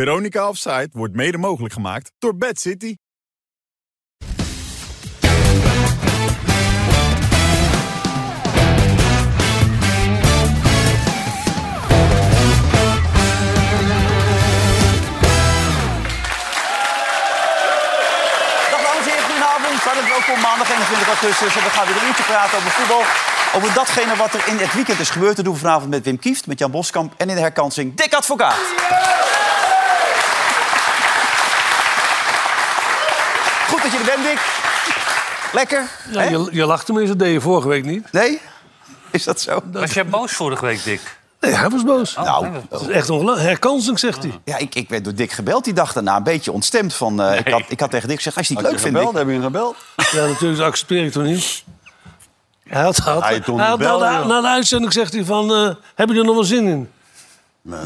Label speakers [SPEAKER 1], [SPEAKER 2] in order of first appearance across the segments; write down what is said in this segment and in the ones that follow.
[SPEAKER 1] Veronica Offside wordt mede mogelijk gemaakt door Bad City.
[SPEAKER 2] Dag dames en heren, goedenavond. Hartelijk welkom maandag 21 augustus. En we gaan weer een uurtje praten over voetbal. Over datgene wat er in het weekend is gebeurd. Dat doen we vanavond met Wim Kieft, met Jan Boskamp en in de herkansing Dick Advocaat. Goed dat je er bent, Dick. Lekker?
[SPEAKER 3] Ja,
[SPEAKER 2] hè?
[SPEAKER 3] je, je lachte me eens, dat deed je vorige week niet.
[SPEAKER 2] Nee? Is dat zo?
[SPEAKER 4] Was jij boos vorige week, Dick?
[SPEAKER 3] Nee, hij was boos.
[SPEAKER 2] nou,
[SPEAKER 3] dat is echt ongelooflijk. Herkansing, zegt hij.
[SPEAKER 2] ja, ik, ik werd door Dick gebeld die dag daarna. Een beetje ontstemd van... eh, ik, had, ik had tegen Dick gezegd, als je het niet leuk vindt... Dick,
[SPEAKER 5] heb je gebeld?
[SPEAKER 3] Ja, natuurlijk, dat accepteer ik toch niet. Hij had, had,
[SPEAKER 5] Hij
[SPEAKER 3] hij
[SPEAKER 5] had toen
[SPEAKER 3] had
[SPEAKER 5] gebeld,
[SPEAKER 3] na,
[SPEAKER 5] joh.
[SPEAKER 3] na de uitzending zegt hij van... eh, heb je er nog wel zin in?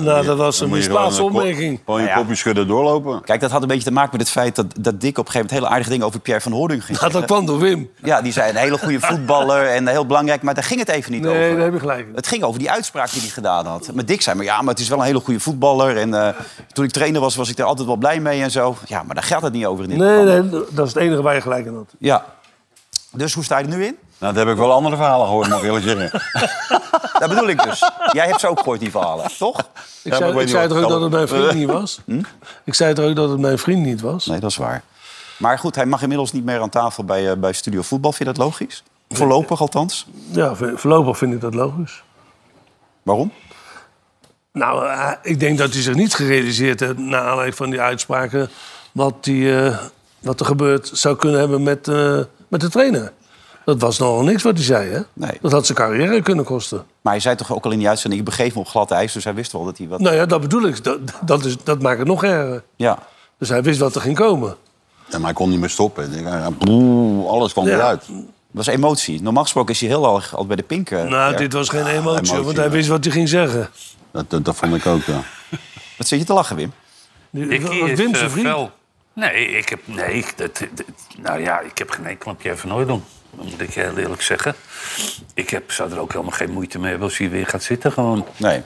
[SPEAKER 3] Nou, dat was een
[SPEAKER 5] Moet je gewoon
[SPEAKER 3] misplaatste
[SPEAKER 5] een kop-
[SPEAKER 3] opmerking.
[SPEAKER 5] Gewoon je
[SPEAKER 2] Nou ja.
[SPEAKER 5] kopje schudden doorlopen.
[SPEAKER 2] Kijk, dat had een beetje te maken met het feit dat, dat Dick op een gegeven moment hele aardige dingen over Pierre van Hoorn ging.
[SPEAKER 3] Nou, dat kwam door Wim.
[SPEAKER 2] Ja, die zei een hele goede voetballer en heel belangrijk, maar daar ging het even niet
[SPEAKER 3] Nee,
[SPEAKER 2] over.
[SPEAKER 3] daar heb je gelijk. in.
[SPEAKER 2] Het ging over die uitspraak die hij gedaan had. Maar Dick zei, maar ja, maar het is wel een hele goede voetballer. En eh, toen ik trainer was, was ik er altijd wel blij mee en zo. Ja, maar daar gaat het niet over in dit
[SPEAKER 3] Nee,
[SPEAKER 2] geval.
[SPEAKER 3] nee, dat is het enige waar je gelijk in had.
[SPEAKER 2] Ja. Dus hoe sta je er nu in?
[SPEAKER 5] Nou, dat heb ik wel andere verhalen gehoord, mag ik eerlijk zeggen.
[SPEAKER 2] Dat bedoel ik dus. Jij hebt ze ook gehoord, die verhalen, toch?
[SPEAKER 3] Ik
[SPEAKER 5] maar ik
[SPEAKER 3] zei,
[SPEAKER 5] weet
[SPEAKER 3] ik
[SPEAKER 5] niet
[SPEAKER 3] zei
[SPEAKER 5] wat Hm?
[SPEAKER 3] toch ook dat
[SPEAKER 5] vertellen.
[SPEAKER 3] het mijn vriend niet was? Ik zei toch ook dat het mijn vriend niet was?
[SPEAKER 2] Nee, dat is waar. Maar goed, hij mag inmiddels niet meer aan tafel bij, eh, bij Studio Voetbal. Vind je dat logisch? Voorlopig althans.
[SPEAKER 3] Ja, vo- voorlopig vind ik dat logisch.
[SPEAKER 2] Waarom?
[SPEAKER 3] Nou, eh, ik denk dat hij zich niet gerealiseerd heeft... na aanleiding van die uitspraken... wat, die, eh, wat er gebeurd zou kunnen hebben met, eh, met de trainer. Dat was nogal niks wat hij zei, hè?
[SPEAKER 2] Nee.
[SPEAKER 3] Dat had zijn carrière kunnen kosten.
[SPEAKER 2] Maar hij zei toch ook al in die uitzending, ik begeef me op glad ijs. Dus hij wist wel dat hij wat...
[SPEAKER 3] Nou ja, dat bedoel ik. Dat, dat, is, dat maakt het nog erger.
[SPEAKER 2] Ja.
[SPEAKER 3] Dus hij wist wat er ging komen.
[SPEAKER 5] Ja, maar hij kon niet meer stoppen. Ik- ja, broe, alles kwam
[SPEAKER 3] Ja.
[SPEAKER 5] eruit.
[SPEAKER 2] Dat was emotie. Normaal gesproken is hij heel erg altijd bij de pinken.
[SPEAKER 3] Nou, dit was
[SPEAKER 2] Ah,
[SPEAKER 3] geen emotie,
[SPEAKER 5] emotie,
[SPEAKER 3] want hij
[SPEAKER 5] ja.
[SPEAKER 3] wist wat hij ging zeggen.
[SPEAKER 5] Dat, dat, dat vond ik ook, ja.
[SPEAKER 2] Wat zit je te lachen, Wim?
[SPEAKER 3] Die-
[SPEAKER 4] Dickie
[SPEAKER 3] wat
[SPEAKER 4] is,
[SPEAKER 3] Wim zijn
[SPEAKER 4] eh,
[SPEAKER 3] vriend.
[SPEAKER 4] fel. Nee, ik heb, nee ik- dat, dat- nou ja, ik heb geen enkel op Pierre van Hooydonk. Dat moet ik je heel eerlijk zeggen. Ik heb, zou er ook helemaal geen moeite mee hebben als hij weer gaat zitten. Gewoon.
[SPEAKER 2] Nee,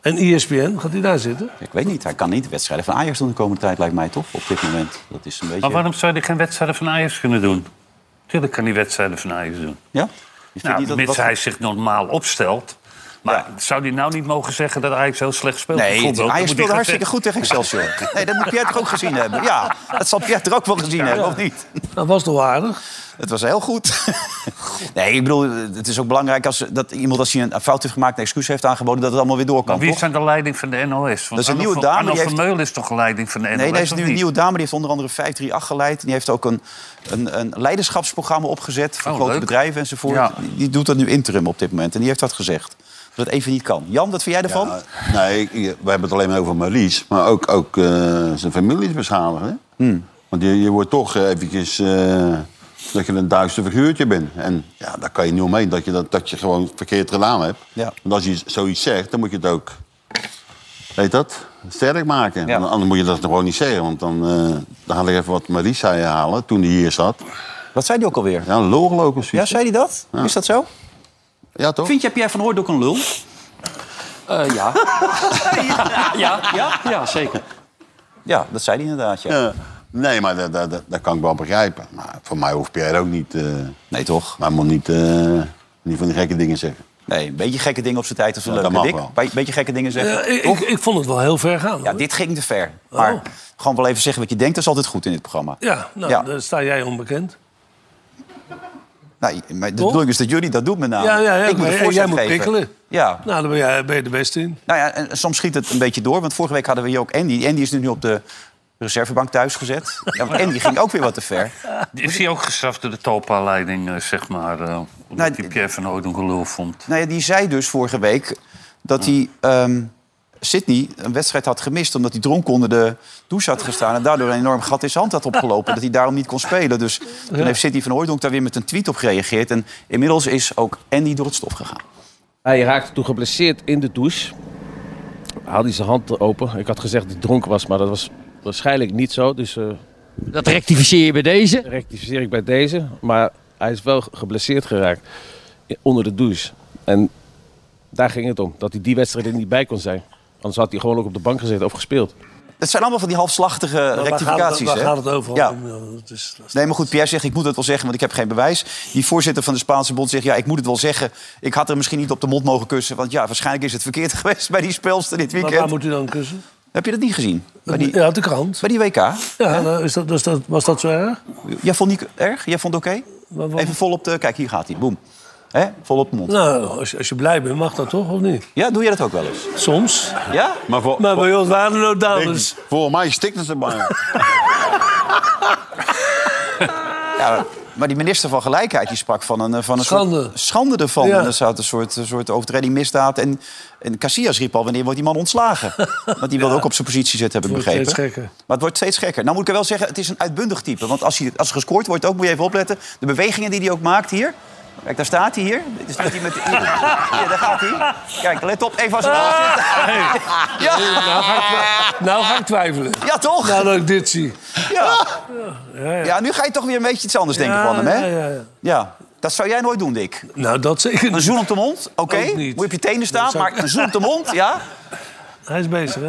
[SPEAKER 3] En E ESPN, gaat hij daar zitten?
[SPEAKER 2] ik weet niet. Hij kan niet de wedstrijden van Ajax doen de komende tijd, lijkt mij toch? Op dit moment. Dat is een beetje...
[SPEAKER 4] Maar waarom zou hij geen wedstrijden van Ajax kunnen doen? Tuurlijk kan hij wedstrijden van Ajax doen.
[SPEAKER 2] Ja? Je vindt
[SPEAKER 4] Nou,
[SPEAKER 2] niet dat
[SPEAKER 4] mits
[SPEAKER 2] wat-
[SPEAKER 4] hij zich normaal opstelt. Maar
[SPEAKER 2] Ja.
[SPEAKER 4] zou hij nou niet mogen zeggen dat Ajax heel slecht speelt?
[SPEAKER 2] Nee,
[SPEAKER 4] bijvoorbeeld? Dan
[SPEAKER 2] Ajax
[SPEAKER 4] moet hij
[SPEAKER 2] speelde
[SPEAKER 4] gaan
[SPEAKER 2] hartstikke goed tegen Excelsior. Nee, dat moet Pierre toch ook gezien hebben? Ja, dat zal Pierre er ook wel gezien hebben, of niet?
[SPEAKER 3] Dat was toch aardig?
[SPEAKER 2] Het was heel goed. Nee, ik bedoel, het is ook belangrijk als, dat iemand als hij een fout heeft gemaakt... een excuus heeft aangeboden, dat het allemaal weer door kan,
[SPEAKER 4] Maar wie
[SPEAKER 2] toch?
[SPEAKER 4] is aan de leiding van de NOS? Want
[SPEAKER 2] Dat is een
[SPEAKER 4] Arno
[SPEAKER 2] nieuwe
[SPEAKER 4] van-
[SPEAKER 2] dame,
[SPEAKER 4] Arno
[SPEAKER 2] die
[SPEAKER 4] van
[SPEAKER 2] heeft-
[SPEAKER 4] Meulen is toch leiding van de NOS?
[SPEAKER 2] Nee, daar is
[SPEAKER 4] of
[SPEAKER 2] nu een
[SPEAKER 4] niet?
[SPEAKER 2] nieuwe dame. Die heeft onder andere 538 geleid. Die heeft ook een, een, een leiderschapsprogramma opgezet... voor
[SPEAKER 4] Oh,
[SPEAKER 2] grote
[SPEAKER 4] leuk.
[SPEAKER 2] bedrijven enzovoort.
[SPEAKER 4] Ja.
[SPEAKER 2] Die, die doet dat nu interim op dit moment. En die heeft dat gezegd. Dat het even niet kan. Jan, wat vind jij ervan?
[SPEAKER 5] Ja, nee, ik- ik- we hebben het alleen maar over Marlies. Maar ook, ook eh, zijn familie is beschadigd, hè?
[SPEAKER 2] Hmm.
[SPEAKER 5] Want je, je wordt toch eh, eventjes... eh, dat je een duister figuurtje bent. En ja, daar kan je niet omheen dat je, dat, dat je gewoon verkeerd gedaan hebt.
[SPEAKER 2] Ja.
[SPEAKER 5] Want als je zoiets zegt, dan moet je het ook... Weet dat? Sterk maken.
[SPEAKER 2] Ja.
[SPEAKER 5] Want Anders moet je dat gewoon niet zeggen. Want dan, eh dan haal ik even wat Marie zei halen toen die hier zat.
[SPEAKER 2] Wat zei die ook alweer?
[SPEAKER 5] Ja, een lolgeloof of
[SPEAKER 2] Ja,
[SPEAKER 5] zoiets.
[SPEAKER 2] zei hij dat? Is dat zo?
[SPEAKER 5] Ja, toch?
[SPEAKER 2] Vind jij Pierre van Hooyd ook een lul? Eh,
[SPEAKER 6] ja. ja. ja. Ja, zeker.
[SPEAKER 2] Ja, dat zei hij inderdaad, ja.
[SPEAKER 5] Ja. Nee, maar dat, dat, dat, dat kan ik wel begrijpen. Maar voor mij hoeft Pierre ook niet... eh,
[SPEAKER 2] Nee, toch?
[SPEAKER 5] Maar hij moet niet, eh, niet van die gekke dingen zeggen.
[SPEAKER 2] Nee, een beetje gekke dingen op zijn tijd. Of een
[SPEAKER 5] Ja, dat
[SPEAKER 2] leuke
[SPEAKER 5] mag
[SPEAKER 2] dik. Een beetje gekke dingen zeggen.
[SPEAKER 3] Ja, ik,
[SPEAKER 2] toch?
[SPEAKER 3] ik, ik vond het wel heel ver gaan.
[SPEAKER 2] Ja,
[SPEAKER 3] hoor.
[SPEAKER 2] dit ging te ver. Maar
[SPEAKER 3] Oh.
[SPEAKER 2] gewoon wel even zeggen wat je denkt. Dat is altijd goed in dit programma.
[SPEAKER 3] ja, nou,
[SPEAKER 2] Ja.
[SPEAKER 3] daar sta jij onbekend.
[SPEAKER 2] Nou, maar de
[SPEAKER 3] Toch?
[SPEAKER 2] bedoeling is dat jullie dat doen met name.
[SPEAKER 3] Ja, ja, ja,
[SPEAKER 2] Nou, ik moet
[SPEAKER 3] maar
[SPEAKER 2] een
[SPEAKER 3] jij
[SPEAKER 2] voorzet
[SPEAKER 3] moet
[SPEAKER 2] geven.
[SPEAKER 3] prikkelen.
[SPEAKER 2] Ja,
[SPEAKER 3] Nou, daar ben jij ben je de beste in.
[SPEAKER 2] nou ja, en soms schiet het een beetje door. Want vorige week hadden we hier ook Andy. Andy is nu op de reservebank thuis gezet. Ja, want Andy ging ook weer wat te ver.
[SPEAKER 4] Is hij ook gestraft door de Talpa-leiding, eh, zeg maar? eh omdat
[SPEAKER 2] d-
[SPEAKER 3] Nou,
[SPEAKER 4] hij Pierre van Hooyd een gelul vond.
[SPEAKER 2] Nou ja, die zei dus vorige week dat hij ehm, Sydney een wedstrijd had gemist... omdat hij dronken onder de douche had gestaan... en daardoor een enorm gat in zijn hand had opgelopen... dat hij daarom niet kon spelen. Dus toen heeft Sydney van Hooijdonk daar weer met een tweet op gereageerd... en inmiddels is ook Andy door het stof gegaan.
[SPEAKER 7] Hij raakte toen geblesseerd in de douche. Haalde hij zijn hand open. Ik had gezegd dat hij dronken was, maar dat was waarschijnlijk niet zo. Dus eh
[SPEAKER 6] Dat rectificeer je bij deze.
[SPEAKER 7] rectificeer ik bij deze. Maar hij is wel geblesseerd geraakt i- onder de douche. En daar ging het om. Dat hij die wedstrijd er niet bij kon zijn. Anders had hij gewoon ook op de bank gezeten of gespeeld.
[SPEAKER 2] Het zijn allemaal van die halfslachtige rectificaties.
[SPEAKER 3] Daar
[SPEAKER 2] hè?
[SPEAKER 3] gaat het over.
[SPEAKER 2] Ja.
[SPEAKER 3] om, joh. Dat is, dat is-
[SPEAKER 2] Nee, maar goed, Pierre zegt, ik moet het wel zeggen, want ik heb geen bewijs. Die voorzitter van de Spaanse bond zegt, ja, ik moet het wel zeggen. Ik had er misschien niet op de mond mogen kussen. Want ja, waarschijnlijk is het verkeerd geweest bij die speelster dit
[SPEAKER 3] Maar
[SPEAKER 2] weekend.
[SPEAKER 3] waar moet u dan kussen?
[SPEAKER 2] Heb je dat niet gezien? Bij die,
[SPEAKER 3] Ja, de krant.
[SPEAKER 2] bij die WK?
[SPEAKER 3] Ja, nou, is dat, is dat, was dat zo erg?
[SPEAKER 2] Jij vond niet erg? Jij vond het oké?
[SPEAKER 3] Wat- wat-
[SPEAKER 2] Even vol op de... Kijk, hier gaat hij. Boom. Hè? Vol op de mond.
[SPEAKER 3] Nou, als je, als je blij bent, mag dat toch, of niet?
[SPEAKER 2] Ja, doe je dat ook wel eens?
[SPEAKER 3] Soms.
[SPEAKER 2] Ja?
[SPEAKER 5] Maar, voor,
[SPEAKER 3] Maar bij ons waren er
[SPEAKER 5] ik-
[SPEAKER 3] dames.
[SPEAKER 5] volgens mij stikt het erbij.
[SPEAKER 2] ja maar die minister van Gelijkheid die sprak van een, eh, van een
[SPEAKER 3] Schande.
[SPEAKER 2] soort schande ervan.
[SPEAKER 3] Ja.
[SPEAKER 2] En er zat een soort, een soort overtreding, misdaad. En, en Casillas riep al, wanneer wordt die man ontslagen? Want die wilde ook op zijn positie zitten, heb ik
[SPEAKER 3] Wordt steeds
[SPEAKER 2] begrepen.
[SPEAKER 3] gekker.
[SPEAKER 2] Maar het wordt steeds gekker. Nou moet ik er wel zeggen, het is een uitbundig type. Want als, hij, als er gescoord wordt, ook moet je even opletten. De bewegingen die hij ook maakt hier. Kijk, daar staat hij hier. Dit is dat hij met hier, Hier, daar gaat hij. Kijk, let op, even als een
[SPEAKER 3] Ah. Nou ga, ik, twa- nou ga ik twijfelen.
[SPEAKER 2] Ja, toch?
[SPEAKER 3] Nou dat ik dit zie.
[SPEAKER 2] Ja. Ja, nu ga je toch weer een beetje iets anders denken
[SPEAKER 3] Ja,
[SPEAKER 2] van hem, hè?
[SPEAKER 3] ja, ja, ja.
[SPEAKER 2] Ja. dat zou jij nooit doen, Dick.
[SPEAKER 3] Nou, dat zeker
[SPEAKER 2] Een
[SPEAKER 3] niet.
[SPEAKER 2] zoen op de mond, oké.
[SPEAKER 3] Ook
[SPEAKER 2] Moet
[SPEAKER 3] niet.
[SPEAKER 2] je op je tenen staan,
[SPEAKER 3] zou ik-
[SPEAKER 2] maar een zoen op de mond, ja.
[SPEAKER 3] Hij is bezig, hè?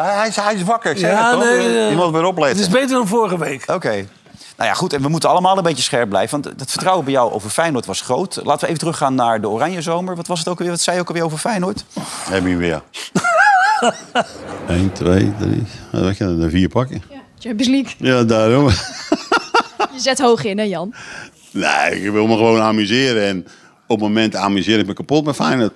[SPEAKER 5] Hij, hij is, hij is wakker, ik zeg
[SPEAKER 3] Ja,
[SPEAKER 5] het toch?
[SPEAKER 3] nee, ja.
[SPEAKER 5] Je moet weer
[SPEAKER 3] Het
[SPEAKER 5] opletten.
[SPEAKER 3] is beter dan vorige week.
[SPEAKER 2] Oké. Nou ja, goed, en we moeten allemaal een beetje scherp blijven. Want het vertrouwen bij jou over Feyenoord was groot. Laten we even teruggaan naar de Oranje Zomer. Wat was het ook alweer? Wat zei je ook alweer over Feyenoord?
[SPEAKER 5] Heb je weer. 1, 2, 3. Dat kan er vier pakken.
[SPEAKER 8] Ja, Champions League.
[SPEAKER 5] Ja, daarom.
[SPEAKER 8] Je zet hoog in, hè Jan?
[SPEAKER 5] Nee, ik wil me gewoon amuseren. En op het moment amuseer ik me kapot met Feyenoord.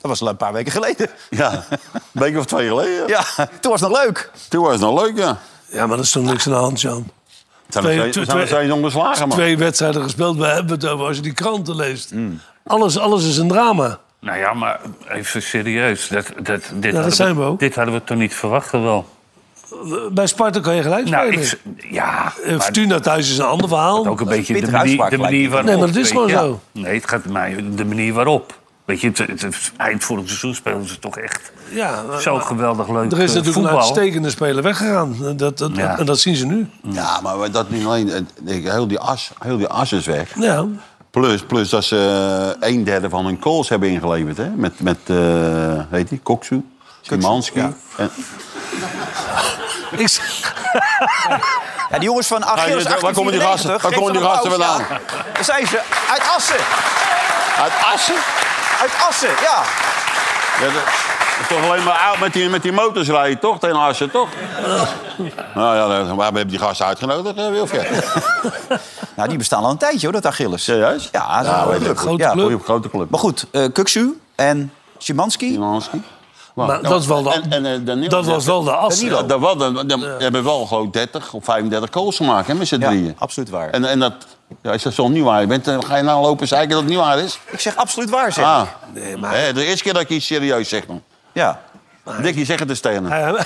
[SPEAKER 2] Dat was een paar weken geleden.
[SPEAKER 5] Ja, een week of twee geleden.
[SPEAKER 2] Ja, toen was het nog leuk.
[SPEAKER 5] Toen was het nog leuk, ja.
[SPEAKER 3] Ja, maar dat is toch niks aan de hand, Jan.
[SPEAKER 5] Zijn
[SPEAKER 3] Twee-
[SPEAKER 5] er
[SPEAKER 3] twee-
[SPEAKER 5] steeds- zijn er ongeslagen, man.
[SPEAKER 3] Twee wedstrijden gespeeld, we hebben het over als je die kranten leest.
[SPEAKER 2] Hmm.
[SPEAKER 3] Alles, alles is een drama.
[SPEAKER 4] Nou ja, maar even serieus. Dat, dat, dit, hadden
[SPEAKER 3] zijn we ook.
[SPEAKER 4] dit hadden we toch niet verwacht, wel.
[SPEAKER 3] Bij Sparta kan je gelijk
[SPEAKER 4] Nou,
[SPEAKER 3] spelen.
[SPEAKER 4] ik, z- ja,
[SPEAKER 3] Eh,
[SPEAKER 4] maar
[SPEAKER 3] Fortuna thuis is een ander verhaal.
[SPEAKER 4] ook een beetje de
[SPEAKER 2] pittige
[SPEAKER 4] manier,
[SPEAKER 2] uitspraak
[SPEAKER 4] de
[SPEAKER 2] lijkt
[SPEAKER 4] manier waarop.
[SPEAKER 3] Nee, maar dat is
[SPEAKER 4] weet
[SPEAKER 3] gewoon
[SPEAKER 4] je.
[SPEAKER 3] zo.
[SPEAKER 4] Nee, het gaat mij de manier waarop. Weet je, het, het, het eind vorig seizoen speelden ze toch echt
[SPEAKER 3] Ja, maar-
[SPEAKER 4] zo geweldig
[SPEAKER 3] Er is
[SPEAKER 4] leuk eh,
[SPEAKER 3] natuurlijk een
[SPEAKER 4] voetbal.
[SPEAKER 3] uitstekende speler weggegaan. Dat, dat, dat-
[SPEAKER 4] Ja.
[SPEAKER 3] En dat zien ze nu.
[SPEAKER 5] Ja, maar dat niet alleen. Het- Heel die as, heel die as is weg.
[SPEAKER 3] Ja,
[SPEAKER 5] Plus, plus dat ze eh, een derde van hun calls hebben ingeleverd. Hè? Met, met eh, heet die, Koksu, Simanski. En-
[SPEAKER 3] ik, z-
[SPEAKER 2] Ja, die jongens van Achilles
[SPEAKER 5] Ja, waar komen die gasten-
[SPEAKER 2] 1894,
[SPEAKER 5] waar komen die
[SPEAKER 2] geef ze een
[SPEAKER 5] gasten
[SPEAKER 2] applaus, ja. Daar zijn ze. Uit Assen.
[SPEAKER 5] Uit Assen?
[SPEAKER 2] Uit Assen, ja.
[SPEAKER 5] Ja, dat, toch alleen maar uit met die, met die motors rijden, toch? Tegen Assen, toch? nou ja, dan- we hebben die gasten uitgenodigd, eh, Wilfred.
[SPEAKER 2] Nou, die bestaan al een tijdje, hoor, dat Achilles.
[SPEAKER 5] Serieus? Nou,
[SPEAKER 2] Ja, dat is wel
[SPEAKER 5] weet
[SPEAKER 2] leuk.
[SPEAKER 5] ik.
[SPEAKER 3] Grote
[SPEAKER 2] ja.
[SPEAKER 3] club.
[SPEAKER 5] Goeie grote club.
[SPEAKER 2] Maar goed, eh Kuksu en Szymanski.
[SPEAKER 5] Simanski. Nou,
[SPEAKER 3] maar dat is wel de,
[SPEAKER 5] En- en, eh, Danilo.
[SPEAKER 3] dat was wel de as.
[SPEAKER 5] Ja, dat wel, dan, dan hebben we wel gewoon 30 of 35 goals gemaakt hè, met z'n
[SPEAKER 2] Ja,
[SPEAKER 5] drieën.
[SPEAKER 2] absoluut waar.
[SPEAKER 5] En, en dat, ja, als dat zo niet waar bent, dan ga je nou lopen zeiken dat het niet waar is.
[SPEAKER 2] Ik zeg absoluut waar, zeg.
[SPEAKER 5] Ah, Hè, de eerste keer dat ik iets serieus zeg, man.
[SPEAKER 2] Ja.
[SPEAKER 5] Dikkie, zeg het eens tegen hem.
[SPEAKER 3] Ja,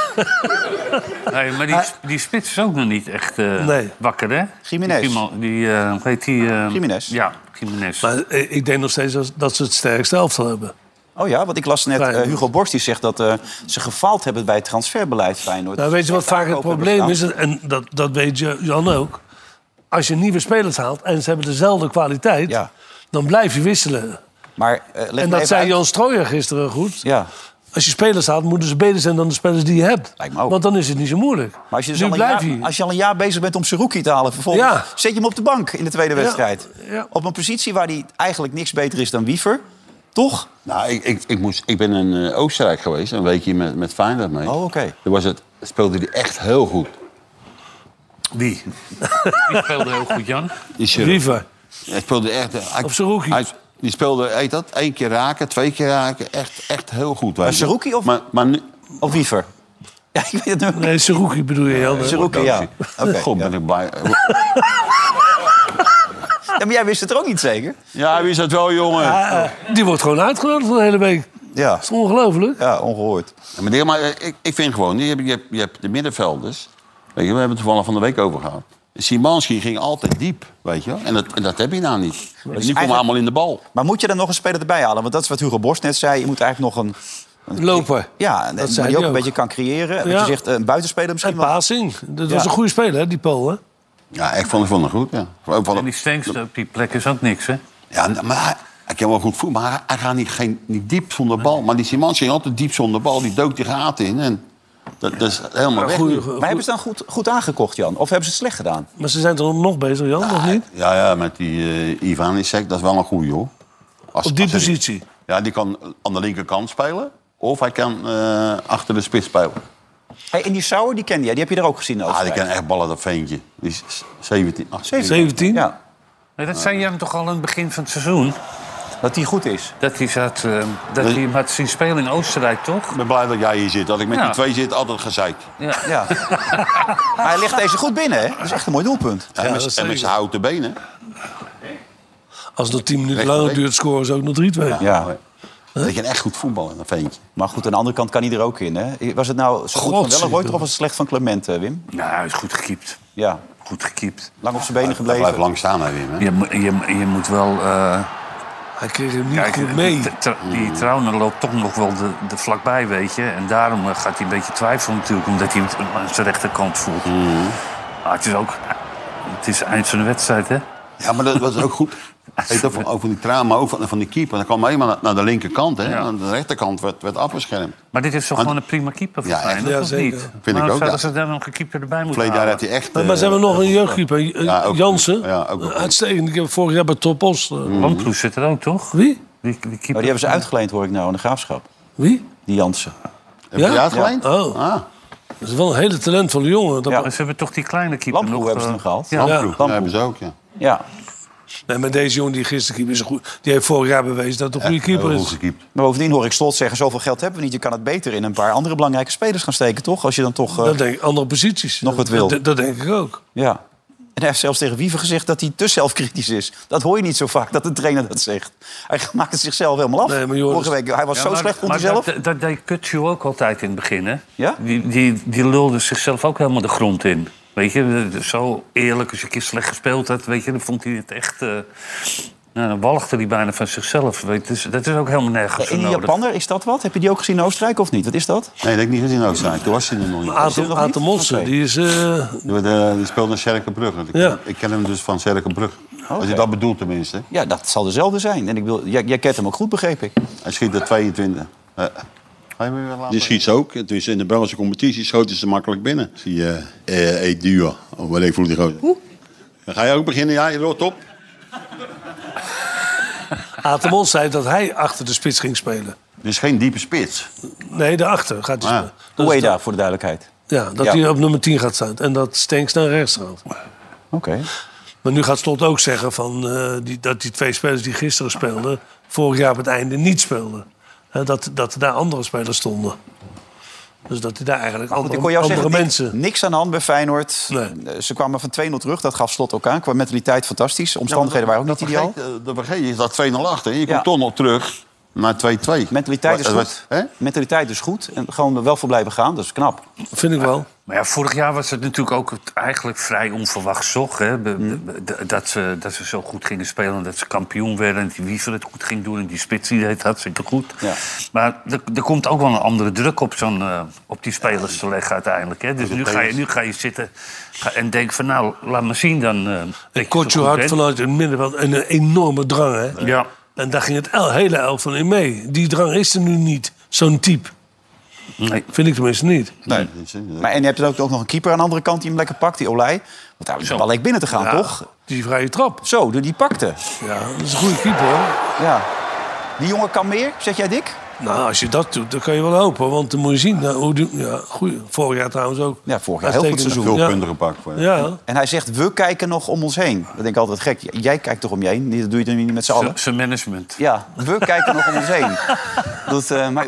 [SPEAKER 4] Nee, maar die, die spits is ook nog niet echt eh,
[SPEAKER 3] Nee.
[SPEAKER 4] wakker, hè?
[SPEAKER 2] Jiménez.
[SPEAKER 4] Die, Gimo- die eh, hoe heet die? eh,
[SPEAKER 2] Jiménez.
[SPEAKER 4] Ja, Jiménez.
[SPEAKER 3] maar eh, ik denk nog steeds dat- dat ze het sterkste elftal hebben.
[SPEAKER 2] Oh ja, want ik las net eh, Hugo Borst die zegt dat eh, ze gefaald hebben bij het transferbeleid Feyenoord.
[SPEAKER 3] Nou, weet je wat vaak het probleem is? En dat, dat weet je, Jan ook. Als je nieuwe spelers haalt en ze hebben dezelfde kwaliteit...
[SPEAKER 2] Ja.
[SPEAKER 3] dan blijf je wisselen.
[SPEAKER 2] Maar eh, leg me
[SPEAKER 3] En
[SPEAKER 2] even
[SPEAKER 3] dat zei
[SPEAKER 2] uit.
[SPEAKER 3] Jan Strooijer gisteren goed.
[SPEAKER 2] Ja,
[SPEAKER 3] Als je spelers haalt, moeten ze beter zijn dan de spelers die je hebt.
[SPEAKER 2] Lijkt me ook.
[SPEAKER 3] Want dan is het niet zo moeilijk.
[SPEAKER 2] maar als je, dus
[SPEAKER 3] nu
[SPEAKER 2] al een
[SPEAKER 3] blijf
[SPEAKER 2] jaar,
[SPEAKER 3] je.
[SPEAKER 2] als je al een jaar bezig bent om Seruki te halen... vervolgens
[SPEAKER 3] Ja.
[SPEAKER 2] zet je hem op de bank in de tweede wedstrijd.
[SPEAKER 3] ja.
[SPEAKER 2] Op een positie waar hij eigenlijk niks beter is dan Wiever. Toch?
[SPEAKER 5] Nou, ik, ik, ik, moest, ik ben in eh, Oostenrijk geweest, een weekje met, met Feyenoord mee.
[SPEAKER 2] Oh, oké.
[SPEAKER 5] Toen was het, speelde hij echt heel goed.
[SPEAKER 4] Wie? Die speelde heel goed, Jan.
[SPEAKER 5] Die Sherlock.
[SPEAKER 3] Liever.
[SPEAKER 5] Hij speelde echt... eh, Hij,
[SPEAKER 3] Op zijn rookie.
[SPEAKER 5] hij- Die speelde, heet dat, één keer raken, twee keer raken. Echt, echt heel goed. weet
[SPEAKER 2] Maar
[SPEAKER 5] je.
[SPEAKER 2] zijn rookie of-
[SPEAKER 5] Maar, maar nu,
[SPEAKER 2] Of Wiever? Ja, ik weet het nu.
[SPEAKER 3] Nee, Seruki bedoel je, Jan. hè?
[SPEAKER 2] Seruki, ja. Oké.
[SPEAKER 5] God,
[SPEAKER 2] ja.
[SPEAKER 5] ben ik blij.
[SPEAKER 2] Ja, Maar jij wist het er ook niet zeker?
[SPEAKER 5] Ja, wie is dat wel, jongen?
[SPEAKER 3] Ah, eh, die wordt gewoon uitgenodigd voor de hele week.
[SPEAKER 2] Ja,
[SPEAKER 3] Dat is ongelooflijk.
[SPEAKER 2] ja ongehoord.
[SPEAKER 5] Ja, maar, nee, maar eh, ik, ik vind gewoon, je hebt, je hebt, je hebt de middenvelders. Weet je, we hebben het toevallig van de week over gehad. Simanski ging altijd diep, weet je wel. En dat, en dat heb je nou niet.
[SPEAKER 3] dus
[SPEAKER 5] Die komen
[SPEAKER 2] eigenlijk-
[SPEAKER 5] allemaal in de bal.
[SPEAKER 2] Maar moet je dan nog een speler erbij halen? Want dat is wat Hugo Borst net zei. Je moet eigenlijk nog een...
[SPEAKER 3] Lopen.
[SPEAKER 2] Ja, en- maar
[SPEAKER 3] zei
[SPEAKER 2] die ook,
[SPEAKER 3] hij
[SPEAKER 2] een
[SPEAKER 3] ook.
[SPEAKER 2] beetje kan creëren. Want
[SPEAKER 3] Ja.
[SPEAKER 2] je zegt, eh, een buitenspeler
[SPEAKER 3] En
[SPEAKER 2] misschien wel.
[SPEAKER 3] Pasing. Dat was
[SPEAKER 2] Ja.
[SPEAKER 3] een goede speler, hè, die Paul. Hè?
[SPEAKER 5] Ja, ik vond, ik vond het goed, ja. Ik vond
[SPEAKER 4] En die
[SPEAKER 5] het-
[SPEAKER 4] Stengs op die plek is ook niks, hè?
[SPEAKER 5] ja maar hij, hij kan wel goed voelen, maar hij, hij gaat niet, geen, niet diep zonder bal. Maar die Simanski ging altijd diep zonder bal. Die dook die gaten in. En Dat, dat is helemaal weg.
[SPEAKER 3] goeie-
[SPEAKER 5] nu.
[SPEAKER 3] goeie-
[SPEAKER 2] Maar hebben ze dan goed, goed aangekocht, Jan? Of hebben ze het slecht gedaan?
[SPEAKER 3] Maar ze zijn er nog bezig, Jan, of niet?
[SPEAKER 5] Ja, ja, met die eh Ivan dat is wel een goeie, hoor. Als-
[SPEAKER 3] Op die
[SPEAKER 5] als hij-
[SPEAKER 3] positie.
[SPEAKER 5] Ja, die kan aan de linkerkant spelen. Of hij kan eh, achter de spits spelen.
[SPEAKER 2] Hey, en die Sauer, die kende jij. Die heb je er ook gezien in
[SPEAKER 5] Ah, die
[SPEAKER 2] Oostenrijk.
[SPEAKER 5] kan echt ballen, dat veentje. Die is 17, 18.
[SPEAKER 3] 17?
[SPEAKER 2] Ja,
[SPEAKER 4] Maar dat zei Jan toch al aan het begin van het seizoen?
[SPEAKER 2] dat die goed is.
[SPEAKER 4] Dat hij, zat, eh, dat hij hem had zien spelen in Oostenrijk, toch?
[SPEAKER 5] Ik ben blij dat jij hier zit. Dat ik met
[SPEAKER 4] Ja.
[SPEAKER 5] die twee zit, altijd gezeik.
[SPEAKER 2] Ja. maar hij ligt deze goed binnen, hè? Dat is echt een mooi doelpunt.
[SPEAKER 5] en
[SPEAKER 3] dat
[SPEAKER 5] met, en met
[SPEAKER 3] zeker.
[SPEAKER 5] zijn houten benen.
[SPEAKER 3] Als het nog 10 minuten
[SPEAKER 5] Recht-
[SPEAKER 3] langer duurt, scoren ze ook nog 3-2.
[SPEAKER 2] Ja.
[SPEAKER 5] Dat kan echt goed voetballen, dat veentje.
[SPEAKER 2] Maar goed, aan de andere kant kan hij er ook in, hè? Was het nou zo goed van
[SPEAKER 3] Godzijdank.
[SPEAKER 2] Wellenreuter of was het slecht van Clement, eh, Wim?
[SPEAKER 4] Nou, hij is goed gekiept.
[SPEAKER 2] Ja,
[SPEAKER 4] Goed gekiept.
[SPEAKER 2] lang op zijn benen
[SPEAKER 5] Hij blijft
[SPEAKER 2] gebleven.
[SPEAKER 5] lang staan, hè, Wim. Hè?
[SPEAKER 4] Je, mo- je, je moet wel... eh,
[SPEAKER 3] Hij kreeg hem niet
[SPEAKER 4] Kijk, eh,
[SPEAKER 3] goed mee.
[SPEAKER 4] Die, tra- die Trauner loopt toch nog wel de, de vlakbij, weet je. En daarom eh, gaat hij een beetje twijfelen natuurlijk, omdat hij het aan zijn rechterkant voelt. Maar het is ook... Het is eind van de wedstrijd, hè?
[SPEAKER 5] Ja, maar dat was ook goed. Heet dat van, over die traan, maar ook van, van die keeper. Dan kwam hij helemaal naar, naar de linkerkant. Hè?
[SPEAKER 4] Ja.
[SPEAKER 5] Aan de rechterkant werd, werd afgeschermd.
[SPEAKER 4] Maar dit is toch
[SPEAKER 5] Want-
[SPEAKER 4] gewoon een prima keeper voor
[SPEAKER 5] Ja,
[SPEAKER 4] mij,
[SPEAKER 5] echt.
[SPEAKER 4] dat
[SPEAKER 3] Ja,
[SPEAKER 4] of
[SPEAKER 3] zeker.
[SPEAKER 4] niet?
[SPEAKER 5] ik
[SPEAKER 4] Waarom
[SPEAKER 5] ook,
[SPEAKER 4] zouden
[SPEAKER 5] ja.
[SPEAKER 4] ze daar nog een keeper erbij moeten
[SPEAKER 5] Verleden jaar
[SPEAKER 4] halen?
[SPEAKER 5] had hij echt...
[SPEAKER 3] Maar,
[SPEAKER 5] eh,
[SPEAKER 3] maar ze hebben nog een jeugdkeeper. eh,
[SPEAKER 5] ja, ook-
[SPEAKER 3] Jansen.
[SPEAKER 5] ja, ook nog.
[SPEAKER 3] Uitstekend. Ik heb vorig jaar bij Topos. eh,
[SPEAKER 4] Lamproes zit er ook, toch?
[SPEAKER 3] Wie?
[SPEAKER 4] Die, die keeper.
[SPEAKER 2] Mhm. Oh, die hebben ze uitgeleend, hoor ik nou, aan de graafschap.
[SPEAKER 3] Wie?
[SPEAKER 2] Die Jansen.
[SPEAKER 5] Heb je
[SPEAKER 3] Ja?
[SPEAKER 5] die uitgeleend?
[SPEAKER 3] Oh.
[SPEAKER 5] Ah,
[SPEAKER 3] Dat is wel een hele talentvolle jongen. Dat
[SPEAKER 2] Ja.
[SPEAKER 4] Ze hebben toch die kleine keeper
[SPEAKER 2] Lamproe
[SPEAKER 4] nog...
[SPEAKER 2] hebben ze
[SPEAKER 4] eh,
[SPEAKER 2] hem gehaald.
[SPEAKER 4] Ja.
[SPEAKER 5] Lamproe.
[SPEAKER 2] Lamproe.
[SPEAKER 5] Ja, hebben ze ook, ja.
[SPEAKER 2] Ja,
[SPEAKER 3] Nee, maar deze jongen die gisteren keeper is een goed. Die heeft vorig jaar bewezen dat het een goede keeper
[SPEAKER 5] Heel goed
[SPEAKER 3] is.
[SPEAKER 5] gekiept.
[SPEAKER 2] maar bovendien hoor ik Slot zeggen... zoveel geld hebben we niet, je kan het beter in een paar andere belangrijke spelers gaan steken, toch? Als je dan toch... eh,
[SPEAKER 3] Dat denk ik, andere posities.
[SPEAKER 2] Nog wat
[SPEAKER 3] Dat-
[SPEAKER 2] wil.
[SPEAKER 3] Dat, dat denk ik ook.
[SPEAKER 2] Ja. En hij heeft zelfs tegen Wiever gezegd dat hij te zelfkritisch is. Dat hoor je niet zo vaak, dat een trainer dat zegt. Hij maakt het zichzelf helemaal af.
[SPEAKER 3] Nee, maar Joris-
[SPEAKER 2] Vorige week, hij was
[SPEAKER 4] Ja,
[SPEAKER 2] zo
[SPEAKER 4] maar-
[SPEAKER 2] slecht voor
[SPEAKER 4] maar
[SPEAKER 2] zichzelf.
[SPEAKER 4] Dat, dat deed Kutsu ook altijd in het begin, hè?
[SPEAKER 2] Ja?
[SPEAKER 4] Die, die, die lulde zichzelf ook helemaal de grond in. Weet je, zo eerlijk als je een keer slecht gespeeld had, weet je, dan vond hij het echt... eh, nou, dan walgde hij bijna van zichzelf. Weet je, dus dat is ook helemaal nergens voor
[SPEAKER 2] En die
[SPEAKER 4] nodig.
[SPEAKER 2] Japanner, is dat wat? Heb je die ook gezien in Oostenrijk of niet? Wat is dat?
[SPEAKER 5] Nee, dat heb ik niet gezien in Oostenrijk. Toen was hij er nog niet.
[SPEAKER 2] Is hij er nog
[SPEAKER 3] Aten, Aten
[SPEAKER 2] niet?
[SPEAKER 3] Monster,
[SPEAKER 2] Oké.
[SPEAKER 3] die is... eh,
[SPEAKER 5] Die, werd, eh, die speelde in Serkenbrugge. Ik,
[SPEAKER 3] Ja.
[SPEAKER 5] ik ken hem dus van Serkenbrugge. Als je dat bedoelt tenminste.
[SPEAKER 2] Ja, dat zal dezelfde zijn. En ik wil, jij, jij kent hem ook goed, begreep ik.
[SPEAKER 5] Hij schiet er 22. Eh, ga je me weer laten?
[SPEAKER 9] Die schiet ze ook. Dus in de Belgische competitie schoten ze makkelijk binnen. Zie je, eh Edua. Of wat ik vroeg die gozer. Dan ga je ook beginnen, ja, je rot op.
[SPEAKER 3] Aten Mons zei dat hij achter de spits ging spelen.
[SPEAKER 5] Dus geen diepe spits.
[SPEAKER 3] Nee, daarachter gaat hij
[SPEAKER 5] Ah.
[SPEAKER 3] spelen. Dat is
[SPEAKER 2] Ueda, voor de duidelijkheid.
[SPEAKER 3] de- ja, dat
[SPEAKER 2] Ja.
[SPEAKER 3] hij op nummer 10 gaat staan. En dat Stenks naar rechts gaat.
[SPEAKER 2] Oké.
[SPEAKER 3] Maar nu gaat Slot ook zeggen van, eh, die, dat die twee spelers die gisteren speelden... vorig jaar op het einde niet speelden. Hè, dat, dat er daar andere spelers stonden. Dus dat hij daar eigenlijk
[SPEAKER 2] Want
[SPEAKER 3] andere,
[SPEAKER 2] ik kon jou
[SPEAKER 3] andere
[SPEAKER 2] zeggen,
[SPEAKER 3] mensen...
[SPEAKER 2] niks, niks aan de hand bij Feyenoord.
[SPEAKER 3] Nee.
[SPEAKER 2] Eh, Ze kwamen van 2-0 terug, dat gaf Slot ook aan. Qua mentaliteit fantastisch. Omstandigheden waren ook
[SPEAKER 5] Dat
[SPEAKER 2] niet ideaal.
[SPEAKER 5] vergeet, eh, dat vergeet je, is dat 2-0 achter. Je komt
[SPEAKER 2] Ja.
[SPEAKER 5] toch nog terug naar 2-2.
[SPEAKER 2] Mentaliteit is
[SPEAKER 5] Dat
[SPEAKER 2] goed.
[SPEAKER 5] werd- hè?
[SPEAKER 2] Mentaliteit is goed. En gewoon er wel voor blijven gaan, dat is knap.
[SPEAKER 3] Vind ik wel.
[SPEAKER 4] Maar ja, vorig jaar was het natuurlijk ook het eigenlijk vrij onverwachts, toch? Hè? Be- be- de- dat, ze, dat ze zo goed gingen spelen en dat ze kampioen werden... en die Wiever het goed ging doen en die Spits die deed het hartstikke goed.
[SPEAKER 2] Ja.
[SPEAKER 4] Maar er, er komt ook wel een andere druk op, zo'n, eh, op die spelers te leggen uiteindelijk. Hè? Dus nu ga, je, nu ga je zitten ga- en denk van nou, laat maar zien dan... eh, dat je
[SPEAKER 3] En Kortje
[SPEAKER 4] zo goed
[SPEAKER 3] had
[SPEAKER 4] bent.
[SPEAKER 3] vanuit het middenveld een eh, enorme drang, hè?
[SPEAKER 4] Ja.
[SPEAKER 3] En daar ging het el- hele elf van in mee. Die drang is er nu niet, zo'n type.
[SPEAKER 4] Nee.
[SPEAKER 3] Vind ik tenminste niet.
[SPEAKER 5] Nee.
[SPEAKER 2] Maar, en je hebt dan ook nog een keeper aan de andere kant die hem lekker pakt, die Olij. Want daar is wel lekker binnen te gaan, Nou, toch?
[SPEAKER 3] Die vrije trap.
[SPEAKER 2] Zo, die die pakte.
[SPEAKER 3] Ja, dat is een goede keeper, hoor.
[SPEAKER 2] Ja. Die jongen kan meer, zeg jij Dick?
[SPEAKER 3] Nou, als je dat doet, dan kan je wel hopen. Want dan moet je zien nou, hoe die... Ja, goeie. Vorig jaar trouwens ook.
[SPEAKER 2] Ja, vorig jaar heel goed
[SPEAKER 3] Uitstekend.
[SPEAKER 5] Veel
[SPEAKER 2] seizoen.
[SPEAKER 5] punten gepakt. eh. Voor.
[SPEAKER 3] Ja. ja.
[SPEAKER 2] En hij zegt, we kijken nog om ons heen. Dat denk ik altijd gek. J- Jij kijkt toch om je heen? Dat doe je dan niet met z'n allen?
[SPEAKER 4] Z- Zijn management.
[SPEAKER 2] Ja, we kijken nog om ons heen. Dat, eh maar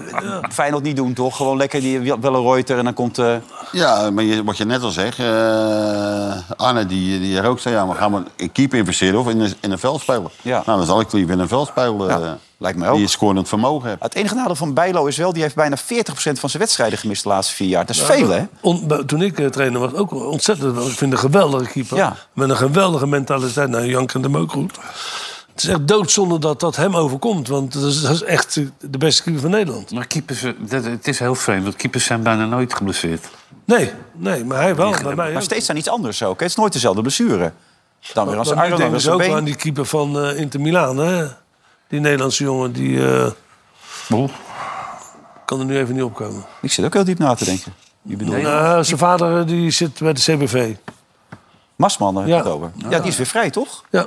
[SPEAKER 2] Feyenoord niet doen, toch? Gewoon lekker die Wel- Wellenreuter en dan komt... eh,
[SPEAKER 5] Ja, maar je, wat je net al zegt, eh, Arne die, die er ook zei, ja, maar gaan we in keeper investeren of in een, in een veldspeler?
[SPEAKER 2] Ja.
[SPEAKER 5] Nou, dan zal ik liever in een veldspeler.
[SPEAKER 2] Ja,
[SPEAKER 5] eh,
[SPEAKER 2] lijkt mij ook.
[SPEAKER 5] Die een scorend vermogen heeft.
[SPEAKER 2] Het enige nadeel van Bijlo is wel... die heeft bijna 40% van zijn wedstrijden gemist de laatste vier jaar. Dat is veel, hè?
[SPEAKER 3] On- bij- toen ik eh, trainer was, ook ontzettend. wel. Ik vind een geweldige keeper.
[SPEAKER 2] Ja.
[SPEAKER 3] Met een geweldige mentaliteit. Nou, Jan kent hem ook goed. Het is echt doodzonde dat dat hem overkomt. Want dat is, dat is echt eh, de beste keeper van Nederland.
[SPEAKER 4] Maar keepers, eh, dat, het is heel vreemd, want keepers zijn bijna nooit geblesseerd.
[SPEAKER 3] Nee, nee, maar hij wel. Bij mij
[SPEAKER 2] Maar
[SPEAKER 3] ook.
[SPEAKER 2] steeds aan iets anders ook. hè? Het is nooit dezelfde blessure. Dan weer als
[SPEAKER 3] Maar ik
[SPEAKER 2] Arno, dan
[SPEAKER 3] denk
[SPEAKER 2] weer als
[SPEAKER 3] dus
[SPEAKER 2] een
[SPEAKER 3] ook wel aan
[SPEAKER 2] been.
[SPEAKER 3] die keeper van eh, Inter Milaan. Hè? Die Nederlandse jongen, die eh,
[SPEAKER 4] Boel.
[SPEAKER 3] kan er nu even niet opkomen.
[SPEAKER 2] Ik zit ook heel diep na te denken. Je bedoelt
[SPEAKER 3] Nou, zijn vader eh, die zit bij de CBV.
[SPEAKER 2] Masman, daar heb je
[SPEAKER 3] Ja.
[SPEAKER 2] het over. Ja, die is weer vrij, toch?
[SPEAKER 3] Ja.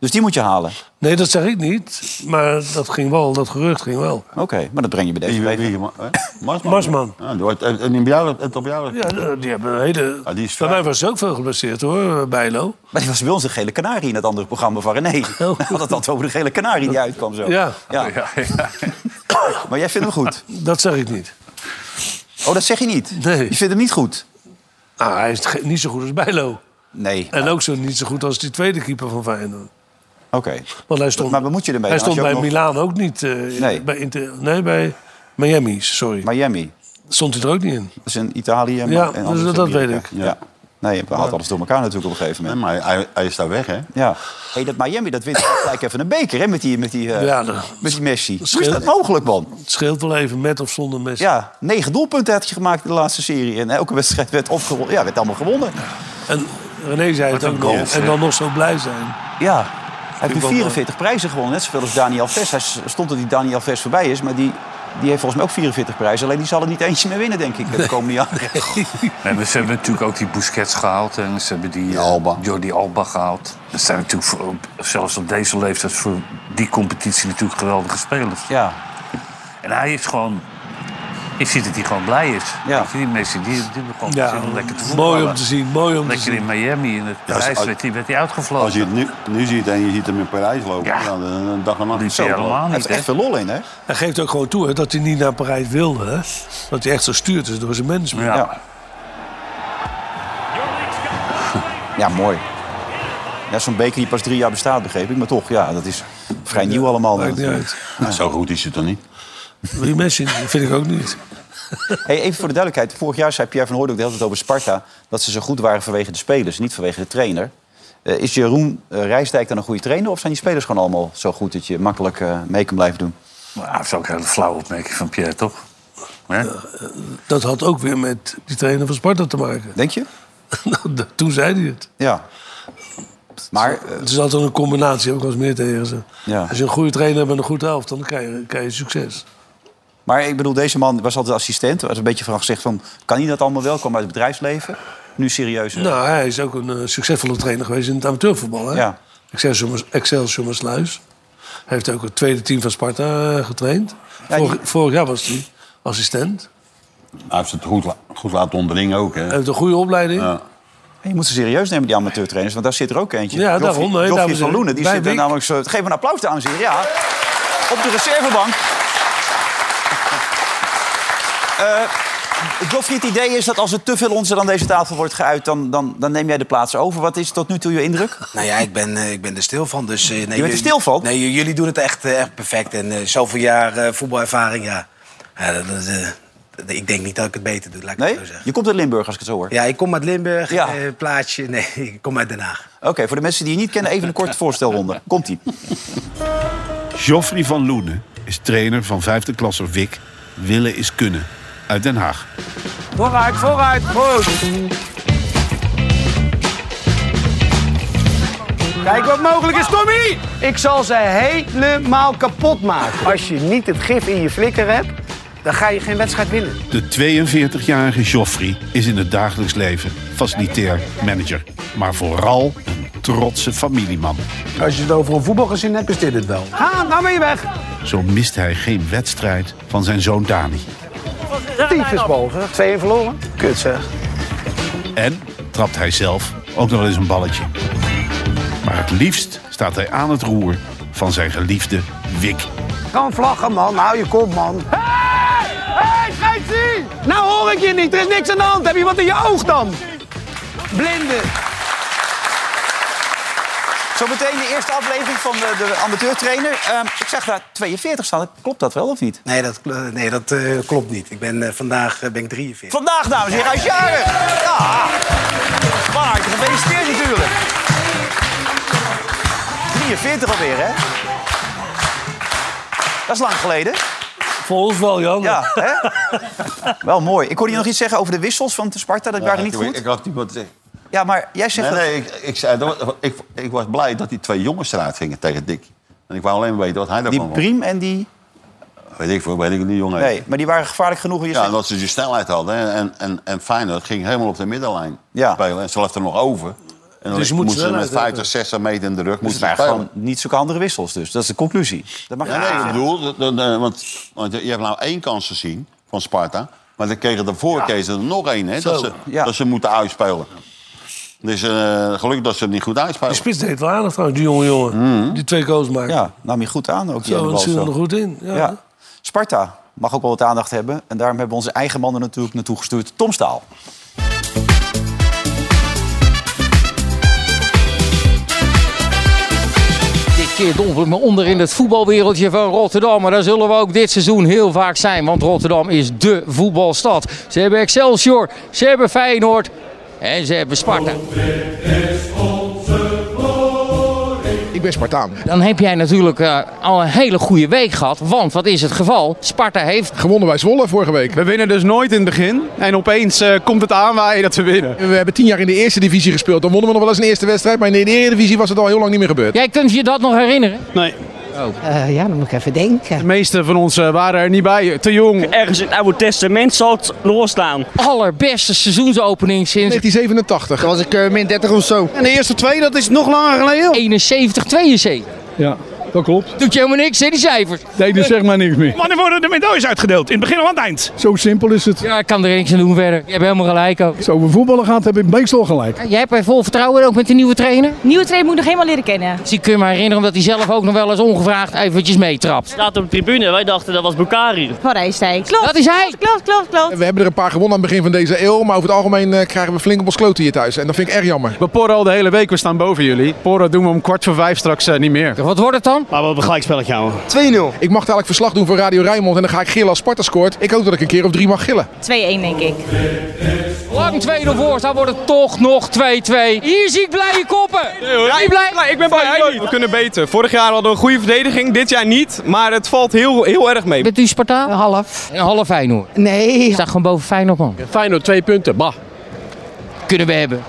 [SPEAKER 2] Dus die moet je halen.
[SPEAKER 3] Nee, dat zeg ik niet. Maar dat ging wel, dat gerucht ging wel.
[SPEAKER 2] Oké, maar dat breng je bij deze
[SPEAKER 5] Wie, wie,
[SPEAKER 2] bij.
[SPEAKER 5] wie, ma- hè? Marsman.
[SPEAKER 3] Marsman.
[SPEAKER 5] Ja, die wordt- en, en in bejaarden- en op bejaarden-
[SPEAKER 3] Ja, eh, die hebben een hele...
[SPEAKER 2] Ah,
[SPEAKER 5] Ja, die is
[SPEAKER 3] Bij mij was ook veel geblesseerd hoor, eh, Bijlo.
[SPEAKER 2] Maar die was bij ons de gele kanarie in het andere programma van René. We hadden het altijd over de gele kanarie die uitkwam zo.
[SPEAKER 3] Oh. Ja.
[SPEAKER 4] Ja, ja.
[SPEAKER 2] Maar jij vindt hem goed.
[SPEAKER 3] Dat zeg ik niet.
[SPEAKER 2] Oh, dat zeg je niet?
[SPEAKER 3] Nee.
[SPEAKER 2] Je vindt hem niet goed?
[SPEAKER 3] Nou, hij is ge- niet zo goed als Bijlo.
[SPEAKER 2] Nee.
[SPEAKER 3] En ook zo niet zo goed als die tweede keeper van Feyenoord.
[SPEAKER 2] Oké.
[SPEAKER 3] Want hij stond,
[SPEAKER 2] Maar bemoet je ermee
[SPEAKER 3] hij
[SPEAKER 2] dan als
[SPEAKER 3] stond
[SPEAKER 2] je
[SPEAKER 3] bij
[SPEAKER 2] ook nog-
[SPEAKER 3] Milaan ook niet. eh,
[SPEAKER 2] Nee.
[SPEAKER 3] Bij Inter- nee, bij Miami, sorry.
[SPEAKER 2] Miami.
[SPEAKER 3] Stond hij er ook niet in.
[SPEAKER 2] Dat is in Italië. maar-
[SPEAKER 3] Ja,
[SPEAKER 2] en
[SPEAKER 3] dus
[SPEAKER 2] anders
[SPEAKER 3] dat
[SPEAKER 2] in Amerika.
[SPEAKER 3] weet ik.
[SPEAKER 2] Ja. Nee, we hadden alles door elkaar natuurlijk op een gegeven
[SPEAKER 5] Nee,
[SPEAKER 2] moment.
[SPEAKER 5] maar hij, hij is daar weg, hè?
[SPEAKER 2] Ja. hey, dat Miami, dat wint gelijk even een beker, hè? Met die, met die, eh,
[SPEAKER 3] Ja, dat
[SPEAKER 2] met die Messi. Hoe is
[SPEAKER 3] scheelt-
[SPEAKER 2] dat mogelijk, man?
[SPEAKER 3] het scheelt wel even met of zonder Messi.
[SPEAKER 2] Ja, negen doelpunten had je gemaakt in de laatste serie. En elke wedstrijd werd, opgewonnen. ja, werd allemaal gewonnen.
[SPEAKER 3] En René zei het ook nog. En dan nog zo blij zijn.
[SPEAKER 2] Ja. Hij heeft
[SPEAKER 3] wel
[SPEAKER 2] nu 44 prijzen gewonnen. Net zoveel als Dani Alves. Hij s- stond dat die Dani Alves voorbij is. Maar die, die heeft volgens mij ook 44 prijzen. Alleen die zal er niet eentje meer winnen, denk ik, de komende jaren.
[SPEAKER 4] Nee, maar ze dus hebben natuurlijk ook die Busquets gehaald. En ze hebben die eh,
[SPEAKER 5] Alba.
[SPEAKER 4] Jordi Alba gehaald. Dat zijn natuurlijk voor, op- zelfs op deze leeftijd voor die competitie natuurlijk geweldige spelers.
[SPEAKER 2] Ja.
[SPEAKER 4] En hij is gewoon... Je ziet dat hij gewoon blij is.
[SPEAKER 2] Ja.
[SPEAKER 4] Weet je, die mensen die, die hebben gewoon
[SPEAKER 3] Ja,
[SPEAKER 4] zin om lekker te
[SPEAKER 3] mooi
[SPEAKER 4] voetballen.
[SPEAKER 3] om te zien. Mooi om te
[SPEAKER 4] Lekker in
[SPEAKER 3] zien.
[SPEAKER 4] Miami, in het
[SPEAKER 5] als-
[SPEAKER 4] Parijs,
[SPEAKER 5] als-
[SPEAKER 4] werd hij werd hij uitgevlogen.
[SPEAKER 5] Als je het nu, nu ziet en je ziet hem in Parijs lopen,
[SPEAKER 4] Ja.
[SPEAKER 5] ja. dan een dag en
[SPEAKER 4] liep
[SPEAKER 5] nacht.
[SPEAKER 4] hij helemaal
[SPEAKER 2] Hij
[SPEAKER 4] niet,
[SPEAKER 2] heeft
[SPEAKER 4] hè?
[SPEAKER 2] echt veel lol in, hè?
[SPEAKER 3] Hij geeft ook gewoon toe hè, dat hij niet naar Parijs wilde. Hè. Dat hij echt gestuurd is door zijn mensen.
[SPEAKER 4] Ja.
[SPEAKER 2] Ja. Ja, mooi. Ja, zo'n beker die pas drie jaar bestaat, begreep ik. Maar toch, ja, dat is vrij nieuw allemaal.
[SPEAKER 3] Maakt niet
[SPEAKER 2] natuurlijk.
[SPEAKER 3] uit.
[SPEAKER 5] Nou, zo goed is het dan niet.
[SPEAKER 3] Die Messi vind ik ook niet.
[SPEAKER 2] Hey, even voor de duidelijkheid. Vorig jaar zei Pierre van Hooydonk de hele tijd over Sparta... dat ze zo goed waren vanwege de spelers, niet vanwege de trainer. Eh, is Jeroen eh, Rijsdijk dan een goede trainer... of zijn die spelers gewoon allemaal zo goed dat je makkelijk eh, mee kan blijven doen?
[SPEAKER 4] Maar dat is ook een hele flauwe opmerking van Pierre, toch? Hè?
[SPEAKER 3] Dat had ook weer met die trainer van Sparta te maken.
[SPEAKER 2] Denk je?
[SPEAKER 3] Nou, dat- Toen zei hij het.
[SPEAKER 2] Ja. Maar, eh,
[SPEAKER 3] Het is altijd een combinatie, heb ik als meer tegen ze.
[SPEAKER 2] Ja.
[SPEAKER 3] Als je een goede trainer hebt en een goede helft, dan krijg je, krijg je succes.
[SPEAKER 2] maar ik bedoel, deze man was altijd assistent. Er was een beetje van gezegd van... kan hij dat allemaal wel? Kwam uit het bedrijfsleven. Nu serieus. eh,
[SPEAKER 3] Nou, hij is ook een eh, succesvolle trainer geweest in het amateurvoetbal. Hè?
[SPEAKER 2] Ja.
[SPEAKER 3] Excelsior, Excelsior Sluis. Hij heeft ook het tweede team van Sparta eh, getraind.
[SPEAKER 2] Ja,
[SPEAKER 3] vorig,
[SPEAKER 2] die-
[SPEAKER 3] vorig jaar was hij assistent.
[SPEAKER 5] Hij heeft het goed, la- goed laten onderling ook,
[SPEAKER 3] Hij
[SPEAKER 10] Eh,
[SPEAKER 5] hè?
[SPEAKER 3] heeft een goede opleiding.
[SPEAKER 5] Ja.
[SPEAKER 2] Je moet ze serieus nemen, die amateurtrainers, want daar zit er ook eentje.
[SPEAKER 3] Ja, daarom, hè,
[SPEAKER 2] Joffie
[SPEAKER 3] dames en
[SPEAKER 2] van Loenen, die
[SPEAKER 3] bij
[SPEAKER 2] zit er
[SPEAKER 3] Wiek.
[SPEAKER 2] namelijk zo... Geef een applaus, dames en heren. Ja, op de reservebank. Eh Joffie, het idee is dat als er te veel onzin aan deze tafel wordt geuit... Dan, dan, dan neem jij de plaats over. Wat is tot nu toe je indruk?
[SPEAKER 11] Nou ja, ik ben, eh, ik ben er stil van. Dus, eh, nee,
[SPEAKER 2] er
[SPEAKER 11] jullie-
[SPEAKER 2] stil van?
[SPEAKER 11] Nee, j- jullie doen het echt, eh, echt perfect. En eh, zoveel jaar eh, voetbalervaring, ja. ja dat, is, eh, dat- ik denk niet dat ik het beter doe, laat ik
[SPEAKER 2] Nee?
[SPEAKER 11] het zo zeggen.
[SPEAKER 2] Je komt uit Limburg, als ik het zo hoor.
[SPEAKER 11] Ja, ik kom uit Limburg,
[SPEAKER 2] Ja.
[SPEAKER 11] eh, plaatsje. Nee, ik kom uit Den Haag.
[SPEAKER 2] Oké, voor de mensen die je niet kennen, even een korte voorstelronde. Komt-ie.
[SPEAKER 10] Joffrey van Loenen is trainer van vijfde klasser Wik. Willen is kunnen. Uit Den Haag.
[SPEAKER 6] Vooruit, vooruit, goed. Kijk wat mogelijk is, Tommy! Ik zal ze helemaal kapot maken. Als je niet het gif in je flikker hebt, dan ga je geen wedstrijd winnen.
[SPEAKER 10] De 42-jarige Joffrey is in het dagelijks leven facilitair manager. Maar vooral een trotse familieman.
[SPEAKER 6] Als je het over een voetbalgezin hebt, is dit het wel. Ga, nou ben je weg.
[SPEAKER 10] Zo mist hij geen wedstrijd van zijn zoon Dani.
[SPEAKER 6] Tyfusbal, zeg. 2 verloren. Kut, zeg.
[SPEAKER 10] En trapt hij zelf ook nog eens een balletje. Maar het liefst staat hij aan het roer van zijn geliefde Wik.
[SPEAKER 6] Gewoon vlaggen, man. Hou je kop, man. Hé, hey, Gijsie! Nou hoor ik je niet. Er is niks aan de hand. Heb je wat in je oog dan? Blinden.
[SPEAKER 2] Zometeen de eerste aflevering van de, de amateurtrainer. Ehm, ik zag daar 42 staan. Klopt dat wel of niet?
[SPEAKER 11] Nee, dat, kl- nee, dat eh, klopt niet. Ik ben, eh, vandaag eh, ben ik 43.
[SPEAKER 2] Vandaag, dames en heren, hij is jarig. Ja. Van harte gefeliciteerd natuurlijk. 43 alweer, hè? Dat is lang geleden.
[SPEAKER 3] Volgens wel, Jan.
[SPEAKER 2] Ja, hè? Wel mooi. Ik hoorde je nog iets zeggen over de wissels van Sparta. Dat waren niet
[SPEAKER 5] Ik, ik
[SPEAKER 2] goed.
[SPEAKER 5] had niet wat te zeggen.
[SPEAKER 2] Ja, maar jij zegt
[SPEAKER 5] Nee,
[SPEAKER 2] dat...
[SPEAKER 5] nee, ik, ik, zei, dat- ik, ik was blij dat die twee jongens eruit gingen tegen Dick. En ik wou alleen weten wat hij daarvan
[SPEAKER 2] Die
[SPEAKER 5] vond.
[SPEAKER 2] Priem en die...
[SPEAKER 5] Weet ik veel, weet ik niet, jongen.
[SPEAKER 2] Nee, maar die waren gevaarlijk genoeg. in Je
[SPEAKER 5] Ja,
[SPEAKER 2] zegt-
[SPEAKER 5] omdat ze die snelheid hadden. hè. En, en, en Feyenoord ging helemaal op de middenlijn
[SPEAKER 2] Ja.
[SPEAKER 5] spelen. En ze lef er nog over. En dan
[SPEAKER 2] Dus je moet
[SPEAKER 5] moesten ze
[SPEAKER 2] snelheid
[SPEAKER 5] met 50,
[SPEAKER 2] hebben.
[SPEAKER 5] 60 meter in de rug
[SPEAKER 2] Dus het
[SPEAKER 5] moesten ze
[SPEAKER 2] waren
[SPEAKER 5] spelen.
[SPEAKER 2] gewoon niet zulke andere wissels. Dus dat is de conclusie. Dat mag je
[SPEAKER 5] Ja,
[SPEAKER 2] niet
[SPEAKER 5] nee, ik
[SPEAKER 2] zeggen.
[SPEAKER 5] bedoel, dat- dat- eh, want, want je hebt nou één kans gezien van Sparta. Maar dan kregen daarvoor kregen ze er nog één, hè, dat,
[SPEAKER 3] Zo,
[SPEAKER 5] ze, dat ze moeten uitspelen. Dus eh, gelukkig dat ze het niet goed uitspelen.
[SPEAKER 3] Die spits deed wel aandacht trouwens, die jonge jongen. Die twee goals maken.
[SPEAKER 2] Mm. Ja, nam je goed aan ook. die ene
[SPEAKER 3] Zo,
[SPEAKER 2] bal
[SPEAKER 3] dat zit er
[SPEAKER 2] zo.
[SPEAKER 3] goed in.
[SPEAKER 2] Ja.
[SPEAKER 4] Oh.
[SPEAKER 3] Ja. Ja.
[SPEAKER 2] Sparta mag ook wel wat aandacht hebben. En daarom hebben we onze eigen mannen natuurlijk naartoe gestuurd. Tom Staal.
[SPEAKER 12] Dit keer domper ik me onder in het voetbalwereldje van Rotterdam. Maar daar zullen we ook dit seizoen heel vaak zijn. Want Rotterdam is dé voetbalstad. Ze hebben Excelsior, ze hebben Feyenoord en ze hebben Sparta. Ik ben Spartaan. Dan heb jij natuurlijk eh, al een hele goede week gehad. Want wat is het geval? Sparta heeft... Gewonnen bij Zwolle vorige week.
[SPEAKER 13] We winnen dus nooit in het begin. En opeens eh, komt het aanwaaien dat we winnen. We hebben tien jaar in de eerste divisie gespeeld. Dan wonnen we nog wel eens een eerste wedstrijd. Maar in de eredivisie was het al heel lang niet meer gebeurd.
[SPEAKER 12] Jij kunt je dat nog herinneren?
[SPEAKER 13] Nee.
[SPEAKER 14] Eh, ja, dan moet ik even denken.
[SPEAKER 13] De meeste van ons eh, waren er niet bij. Te jong. Ergens in het Oude Testament zal het loorstaan.
[SPEAKER 12] Allerbeste seizoensopening sinds...
[SPEAKER 13] 1987.
[SPEAKER 14] was ik min 30 of zo.
[SPEAKER 13] En de eerste twee, dat is nog langer geleden.
[SPEAKER 12] 71, 72.
[SPEAKER 13] Ja, dat klopt.
[SPEAKER 12] Doet je helemaal niks, hè, die cijfers?
[SPEAKER 13] Nee, dus zeg maar niks meer.
[SPEAKER 15] Wanneer worden de medailles uitgedeeld? In het begin of aan het eind?
[SPEAKER 13] Zo simpel is het.
[SPEAKER 12] Ja, ik kan er niks aan doen verder. Je hebt helemaal gelijk ook.
[SPEAKER 13] Zo we voetballen gaat, heb ik meestal gelijk.
[SPEAKER 12] Jij hebt er vol vertrouwen ook met die nieuwe trainer?
[SPEAKER 16] Nieuwe trainer moet nog helemaal leren kennen.
[SPEAKER 12] Dus ik kun je me herinneren omdat hij zelf ook nog wel eens ongevraagd eventjes meetrapt.
[SPEAKER 17] staat op de tribune. Wij dachten dat was Bukari.
[SPEAKER 16] Van Rijstijk. Klopt. Dat is hij. Klopt, klopt, klopt.
[SPEAKER 13] We hebben er een paar gewonnen aan het begin van deze eeuw. Maar over het algemeen eh, krijgen we flink op ons kloten hier thuis. En dat vind ik erg jammer. We porren al de hele week, we staan boven jullie. Porren doen we om kwart voor vijf straks eh, niet meer.
[SPEAKER 12] Wat wordt het dan?
[SPEAKER 13] Maar we hebben een gelijkspelletje houden. 2-0. Ik mag dadelijk verslag doen voor Radio Rijnmond. En dan ga ik gillen als Sparta scoort. Ik hoop dat ik een keer op drie mag gillen.
[SPEAKER 16] 2-1 denk ik.
[SPEAKER 12] Lang 2-0 voor, dan wordt het toch nog 2-2. Hier zie ik blije koppen.
[SPEAKER 18] Ja, ik, blij, ik ben blij. We kunnen beter. Vorig jaar hadden we een goede verdediging, dit jaar niet. Maar het valt heel, heel erg mee.
[SPEAKER 12] Bent u Spartaan? half. Een half Feyenoord? Nee. Staat gewoon boven Feyenoord, man. Feyenoord, twee punten. Bah. Kunnen we hebben.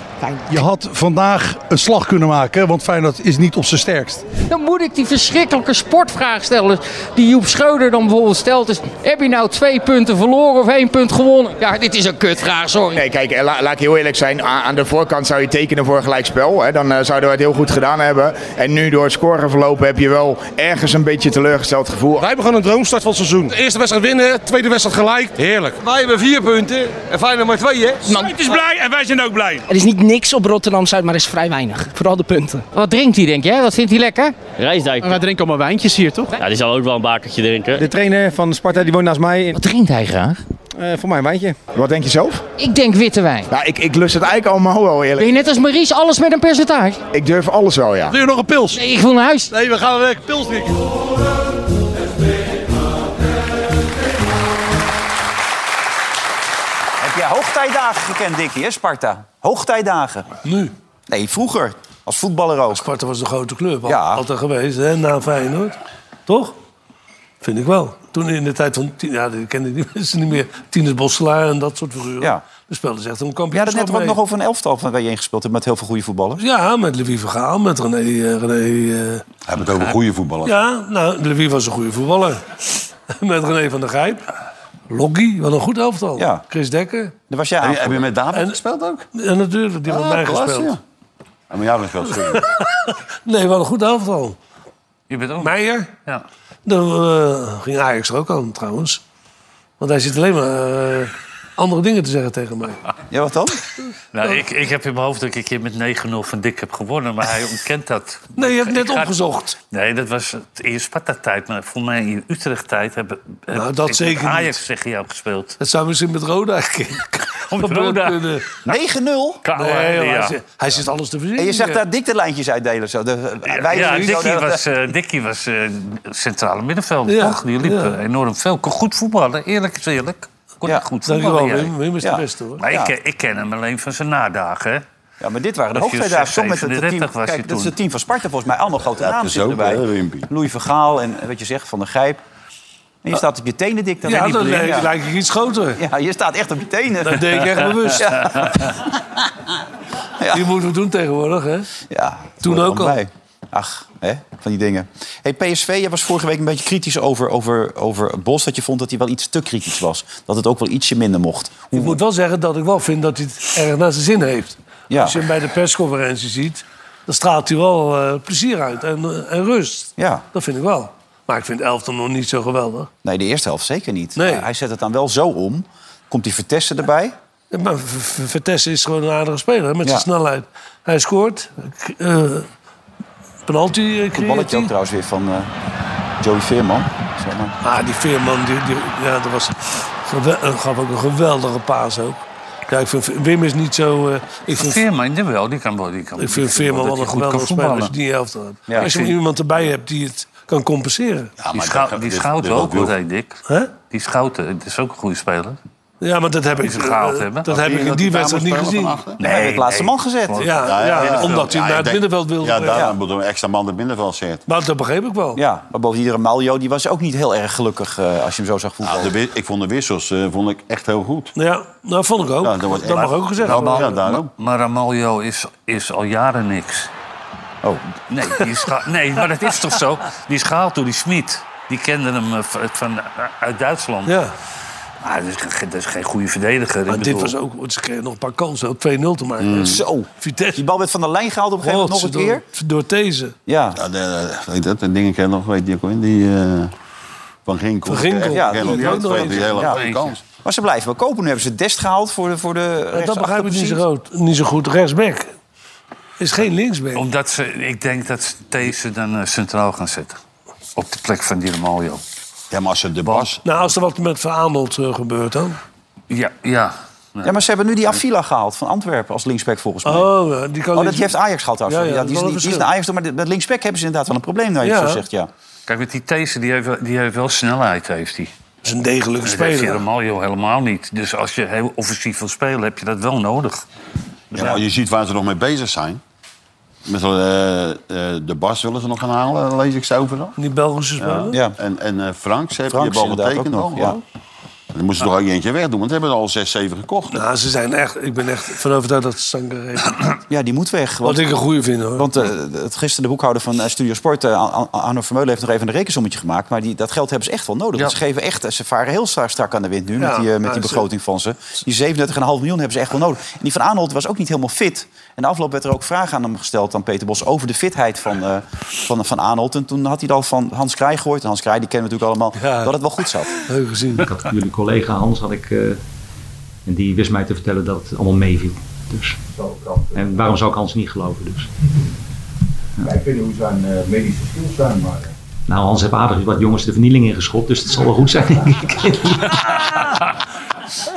[SPEAKER 19] Je had vandaag een slag kunnen maken, want Feyenoord is niet op zijn sterkst.
[SPEAKER 12] Dan moet ik die verschrikkelijke sportvraag stellen die Joep Schreuder dan bijvoorbeeld stelt. Is, heb je nou twee punten verloren of één punt gewonnen? Ja, dit is een kutvraag, sorry.
[SPEAKER 20] Nee, kijk, eh, la- laat ik heel eerlijk zijn. A- aan de voorkant zou je tekenen voor een gelijkspel. Hè. Dan eh, zouden we het heel goed gedaan hebben. En nu door het scoreverloop heb je wel ergens een beetje teleurgesteld gevoel. Wij hebben gewoon een droomstart van het seizoen.
[SPEAKER 21] Eerste wedstrijd winnen, tweede wedstrijd gelijk. Heerlijk. Wij hebben vier punten en Feyenoord maar twee, hè?
[SPEAKER 15] Het is blij en wij zijn ook blij.
[SPEAKER 14] Er is niet niks op Rotterdam-Zuid, maar er is vrij weinig. Vooral de punten.
[SPEAKER 12] Wat drinkt hij, denk jij? Wat vindt hij lekker?
[SPEAKER 17] Rijsdijk.
[SPEAKER 14] Wij drinken allemaal wijntjes hier, toch?
[SPEAKER 17] Ja, die zal ook wel een bakertje drinken.
[SPEAKER 14] De trainer van Sparta die woont naast mij.
[SPEAKER 12] Wat drinkt hij graag?
[SPEAKER 14] Eh, voor mij een wijntje.
[SPEAKER 20] Wat denk je zelf?
[SPEAKER 12] Ik denk witte wijn.
[SPEAKER 20] Nou, ik, ik lust het eigenlijk allemaal wel
[SPEAKER 12] Ben
[SPEAKER 20] eerlijk.
[SPEAKER 12] je net als Maries alles met een percentage?
[SPEAKER 20] Ik durf alles wel, ja.
[SPEAKER 12] Wil je nog een pils? Nee, ik wil naar huis.
[SPEAKER 21] Nee, we gaan weg. Pils drinken.
[SPEAKER 2] Heb jij hoogtijdagen gekend, Dickie, hè, Sparta? Hoogtijdagen.
[SPEAKER 12] Nou.
[SPEAKER 3] Nu?
[SPEAKER 2] Nee, vroeger. Als voetballer ook.
[SPEAKER 3] Sparta was de grote club. al- Altijd geweest, hè, na Feyenoord. Toch? Vind ik wel. Toen in de tijd van... Tien, ja, die kende die mensen niet meer. Tines Bosselaar en dat soort figuren.
[SPEAKER 2] Ja.
[SPEAKER 3] De spelers echt om
[SPEAKER 2] Ja, dat
[SPEAKER 3] kampioenschap
[SPEAKER 2] net ook
[SPEAKER 3] mee.
[SPEAKER 2] nog over een elftal van waar je heen gespeeld hebt met heel veel goede voetballers.
[SPEAKER 3] Ja, met Louis van Gaal, met René... eh, René eh,
[SPEAKER 5] Hebben het over goede voetballers.
[SPEAKER 3] Ja, nou, Louis was een goede voetballer. Met René van der Gijp. Loggie, wat een goed elftal.
[SPEAKER 5] Ja.
[SPEAKER 3] Chris Dekker.
[SPEAKER 2] Daar was jij
[SPEAKER 5] Heb je- heb je met David
[SPEAKER 3] gespeeld ook? Ja, natuurlijk. Die heeft
[SPEAKER 5] Ah,
[SPEAKER 3] met mij
[SPEAKER 5] klasse,
[SPEAKER 3] gespeeld.
[SPEAKER 5] ja. Ja, maar jou gespeeld. sorry.
[SPEAKER 3] Nee, wat een goed elftal.
[SPEAKER 4] Je bent ook...
[SPEAKER 3] Meijer.
[SPEAKER 4] Ja.
[SPEAKER 3] Dan eh, ging Ajax er ook aan, trouwens. Want hij zit alleen maar eh, andere dingen te zeggen tegen mij.
[SPEAKER 2] Ja, wat dan?
[SPEAKER 4] Nou, ik, ik heb in mijn hoofd dat ik een keer met 9-0 van Dick heb gewonnen, maar hij ontkent dat.
[SPEAKER 3] Nee, je hebt
[SPEAKER 4] Ik
[SPEAKER 3] net
[SPEAKER 4] ga-
[SPEAKER 3] opgezocht.
[SPEAKER 4] Nee, dat was het- in je Sparta-tijd, maar voor mij in je Utrecht-tijd hebben
[SPEAKER 3] Nou, dat zeker niet.
[SPEAKER 4] Ajax tegen jou gespeeld.
[SPEAKER 3] Dat zou misschien met Roda een keer gebeurd
[SPEAKER 4] Roda.
[SPEAKER 3] kunnen.
[SPEAKER 2] 9-0? Nee,
[SPEAKER 4] Koude, ja.
[SPEAKER 2] hij
[SPEAKER 4] zit-
[SPEAKER 3] hij zit alles te verzinnen.
[SPEAKER 2] En je zegt daar dik de lijntjes uitdelen. Zo. De, wij
[SPEAKER 4] ja,
[SPEAKER 2] doen zo
[SPEAKER 4] Dickie
[SPEAKER 2] de-
[SPEAKER 4] was, eh Dickie was eh, centrale middenvelder,
[SPEAKER 2] Ja,
[SPEAKER 4] toch? Die liep
[SPEAKER 2] ja.
[SPEAKER 4] eh, enorm veel. Kon goed voetballen, eerlijk is eerlijk. Kon hij goed
[SPEAKER 3] dankjewel,
[SPEAKER 4] voetballen. jij.
[SPEAKER 3] Wim. Wim is de Ja. beste, hoor.
[SPEAKER 4] Maar
[SPEAKER 3] Ja.
[SPEAKER 4] ik, ken- ik ken hem alleen van zijn nadagen, hè?
[SPEAKER 2] Ja, maar dit waren de
[SPEAKER 4] Als je
[SPEAKER 2] hoogtijdagen. Soms met het
[SPEAKER 4] 36
[SPEAKER 2] team,
[SPEAKER 4] was je
[SPEAKER 2] kijk, dat is
[SPEAKER 4] toen.
[SPEAKER 2] het team van Sparta volgens mij. Allemaal grote namen
[SPEAKER 5] is
[SPEAKER 2] zitten
[SPEAKER 5] ook,
[SPEAKER 2] erbij.
[SPEAKER 3] eh,
[SPEAKER 5] hè,
[SPEAKER 2] Louis Vergaal en eh, wat je zegt, Van der Gijp. En je staat op je tenen dik.
[SPEAKER 3] Ah. Ja,
[SPEAKER 2] die
[SPEAKER 3] dan
[SPEAKER 2] blind,
[SPEAKER 3] lijk- lijk ik iets groter.
[SPEAKER 2] Ja, je staat echt op je tenen.
[SPEAKER 3] Dat deed ik echt bewust.
[SPEAKER 2] Ja.
[SPEAKER 3] Die moeten we doen tegenwoordig, hè?
[SPEAKER 2] Ja,
[SPEAKER 3] Toen ook al.
[SPEAKER 2] bij. Ach, hè? van die dingen. Hey, PSV, jij was vorige week een beetje kritisch over, over, over Bos. Dat je vond dat hij wel iets te kritisch was. Dat het ook wel ietsje minder mocht.
[SPEAKER 3] Ik moet wel zeggen dat ik wel vind dat hij het erg naar zijn zin heeft.
[SPEAKER 2] Ja.
[SPEAKER 3] Als je hem bij de persconferentie ziet, dan straalt hij wel eh, plezier uit en, eh, en rust.
[SPEAKER 2] Ja.
[SPEAKER 3] Dat vind ik wel. Maar ik vind Elftal nog niet zo geweldig.
[SPEAKER 2] Nee, de eerste helft zeker niet. Maar Hij zet het dan wel zo om. Komt die Vertessen erbij?
[SPEAKER 3] Ja, Maar V- V- Vitesse is gewoon een aardige speler hè, met
[SPEAKER 2] Ja.
[SPEAKER 3] zijn snelheid. Hij scoort. K- eh, penalty eh,
[SPEAKER 2] Goed
[SPEAKER 3] creëert
[SPEAKER 2] balletje ook
[SPEAKER 3] hij.
[SPEAKER 2] trouwens weer van eh, Joey Veerman. Zeg maar.
[SPEAKER 3] Ah, die Veerman, die, die- ja, dat was gewel- eh, gaf ook een geweldige paas ook. Ja, ik vind, Wim is niet zo... eh, ik vind,
[SPEAKER 4] Veerman, jawel, die kan wel. Die kan,
[SPEAKER 3] ik vind Veerman wel een geweldige speler als je die helft hebt.
[SPEAKER 4] Ja,
[SPEAKER 3] als je
[SPEAKER 4] ik vind-
[SPEAKER 3] iemand erbij hebt die het kan compenseren.
[SPEAKER 4] die schou- die schouten ook, wat hij dik. Die schouten, het is ook een goede speler.
[SPEAKER 3] Ja, maar dat heb
[SPEAKER 4] Die
[SPEAKER 3] ik,
[SPEAKER 4] ze gehaald
[SPEAKER 3] eh,
[SPEAKER 4] hebben.
[SPEAKER 3] dat heb ik in die wedstrijd niet gezien. Ja, Ah, ja, omdat hij
[SPEAKER 5] Ja,
[SPEAKER 3] naar het
[SPEAKER 5] ik denk-
[SPEAKER 3] middenveld wilde.
[SPEAKER 5] Ja,
[SPEAKER 3] Ja.
[SPEAKER 5] daarom bedoel ik extra man naar het middenveld zet.
[SPEAKER 3] Maar dat begreep ik wel.
[SPEAKER 2] Ja, maar bovendien, iedere Maljo die was ook niet heel erg gelukkig eh, als je hem zo zag voetballen.
[SPEAKER 5] Nou,
[SPEAKER 3] Nou,
[SPEAKER 5] de wi- ik vond de wissels eh, vond ik echt heel goed.
[SPEAKER 3] Ja, dat vond ik ook.
[SPEAKER 5] Ja, dat wordt echt-
[SPEAKER 3] mag ook gezegd
[SPEAKER 5] Ja,
[SPEAKER 3] worden.
[SPEAKER 5] ja, daarom.
[SPEAKER 4] Maar Ramaljo is, is al jaren niks.
[SPEAKER 2] Oh.
[SPEAKER 4] Nee, die is geha- nee, maar dat is toch zo? Die is gehaald door die Smit. Die kende hem eh, van, van- uit Duitsland.
[SPEAKER 3] Ja.
[SPEAKER 4] Maar dat is, ge- dat is geen goede verdediger.
[SPEAKER 3] Maar
[SPEAKER 4] ik
[SPEAKER 3] dit
[SPEAKER 4] bedoel.
[SPEAKER 3] was ook, want ze kregen nog een paar kansen, ook 2-0 te maken.
[SPEAKER 4] Mm.
[SPEAKER 2] Zo,
[SPEAKER 3] Vitesse.
[SPEAKER 2] Die bal werd van de lijn gehaald op een gegeven moment nog een keer.
[SPEAKER 3] Door, door deze.
[SPEAKER 2] Ja.
[SPEAKER 5] ja de, eh, weet dat, dat ding ik nog, weet je ook in die... eh, van Ginkel.
[SPEAKER 2] Ginkel.
[SPEAKER 5] Ja, die, die,
[SPEAKER 2] ook nog
[SPEAKER 5] die,
[SPEAKER 2] eens.
[SPEAKER 5] hele
[SPEAKER 2] Ja.
[SPEAKER 5] goede kans.
[SPEAKER 2] Maar ze blijven wel kopen. Nu hebben ze Dest gehaald voor de, voor de
[SPEAKER 3] dat begrijp ik niet zo,
[SPEAKER 2] rechtsachterpositie.
[SPEAKER 3] groot, niet zo goed. Rechtsback. Is geen linksback.
[SPEAKER 4] Omdat ze, ik denk dat ze deze dan eh, centraal gaan zetten. Op de plek van die Ramaljo.
[SPEAKER 5] Ja, maar als ze de bas...
[SPEAKER 3] Nou, als er wat met Van Aanholt eh, gebeurt dan.
[SPEAKER 4] Ja, ja.
[SPEAKER 2] Ja, maar ze hebben nu die Avila gehaald van Antwerpen als linksback volgens mij.
[SPEAKER 3] Oh, ja, die kan
[SPEAKER 2] Oh,
[SPEAKER 3] niet-
[SPEAKER 2] dat die heeft Ajax gehad trouwens.
[SPEAKER 3] Ja,
[SPEAKER 2] Ja,
[SPEAKER 3] ja,
[SPEAKER 2] die, is,
[SPEAKER 3] dat is
[SPEAKER 2] niet-
[SPEAKER 3] wel een
[SPEAKER 2] die is
[SPEAKER 3] verschil.
[SPEAKER 2] naar Ajax, door, maar met linksback hebben ze inderdaad wel een probleem, nou je
[SPEAKER 3] Ja.
[SPEAKER 2] zo zegt. Ja.
[SPEAKER 4] Kijk, met die These, die heeft, wel- die heeft wel snelheid, heeft hij.
[SPEAKER 3] Dat is een degelijke
[SPEAKER 4] Dat heeft
[SPEAKER 3] speler.
[SPEAKER 4] Ramaljo helemaal niet. Dus als je heel offensief wil spelen, heb je dat wel nodig.
[SPEAKER 5] Ja, maar je ziet waar ze nog mee bezig zijn. Met, eh, eh, de Bas willen ze nog gaan halen, lees ik zo overal.
[SPEAKER 3] Die Belgische speler?
[SPEAKER 5] Ja. En, en eh, Franks heb
[SPEAKER 2] Franks
[SPEAKER 5] je bal
[SPEAKER 2] inderdaad
[SPEAKER 5] getekend
[SPEAKER 2] ook
[SPEAKER 5] al.
[SPEAKER 2] nog,
[SPEAKER 5] Ja. Dan moeten ze toch ook eentje wegdoen, want ze hebben er al 6, 7 gekocht.
[SPEAKER 3] Nou, ze zijn echt, ik ben echt van overtuigd dat Sangaré...
[SPEAKER 2] Ja, die moet weg.
[SPEAKER 3] Wat ik een goeie vind, hoor.
[SPEAKER 2] Want eh, het, gisteren de boekhouder van eh, Studio Sport, eh, An- An- Arno Vermeulen, heeft nog even een rekensommetje gemaakt. Maar die, dat geld hebben ze echt wel nodig. Want ze, geven echt, ze varen heel stra- strak aan de wind nu
[SPEAKER 3] Ja,
[SPEAKER 2] met die, eh, met
[SPEAKER 3] maar
[SPEAKER 2] die
[SPEAKER 3] ze-
[SPEAKER 2] begroting van ze. Die 37,5 miljoen hebben ze echt wel nodig. En die van Arnold was ook niet helemaal fit. En de afloop werd er ook vragen aan hem gesteld, aan Peter Bos, over de fitheid van, eh van, van Arnold. En toen had hij het al van Hans Krij gehoord. En Hans Krij, die kennen we natuurlijk allemaal, dat het wel goed zat.
[SPEAKER 3] Leuk gezien.
[SPEAKER 1] Ik had jullie collega Hans had ik, eh, en die wist mij te vertellen dat het allemaal meeviel. Dus. En waarom zou ik Hans niet geloven? Dus.
[SPEAKER 22] Wij kunnen hoe zijn medische skills zijn, maar... eh.
[SPEAKER 1] Nou, Hans heeft aardig wat jongens de vernieling ingeschopt, dus het zal wel goed zijn, denk ik.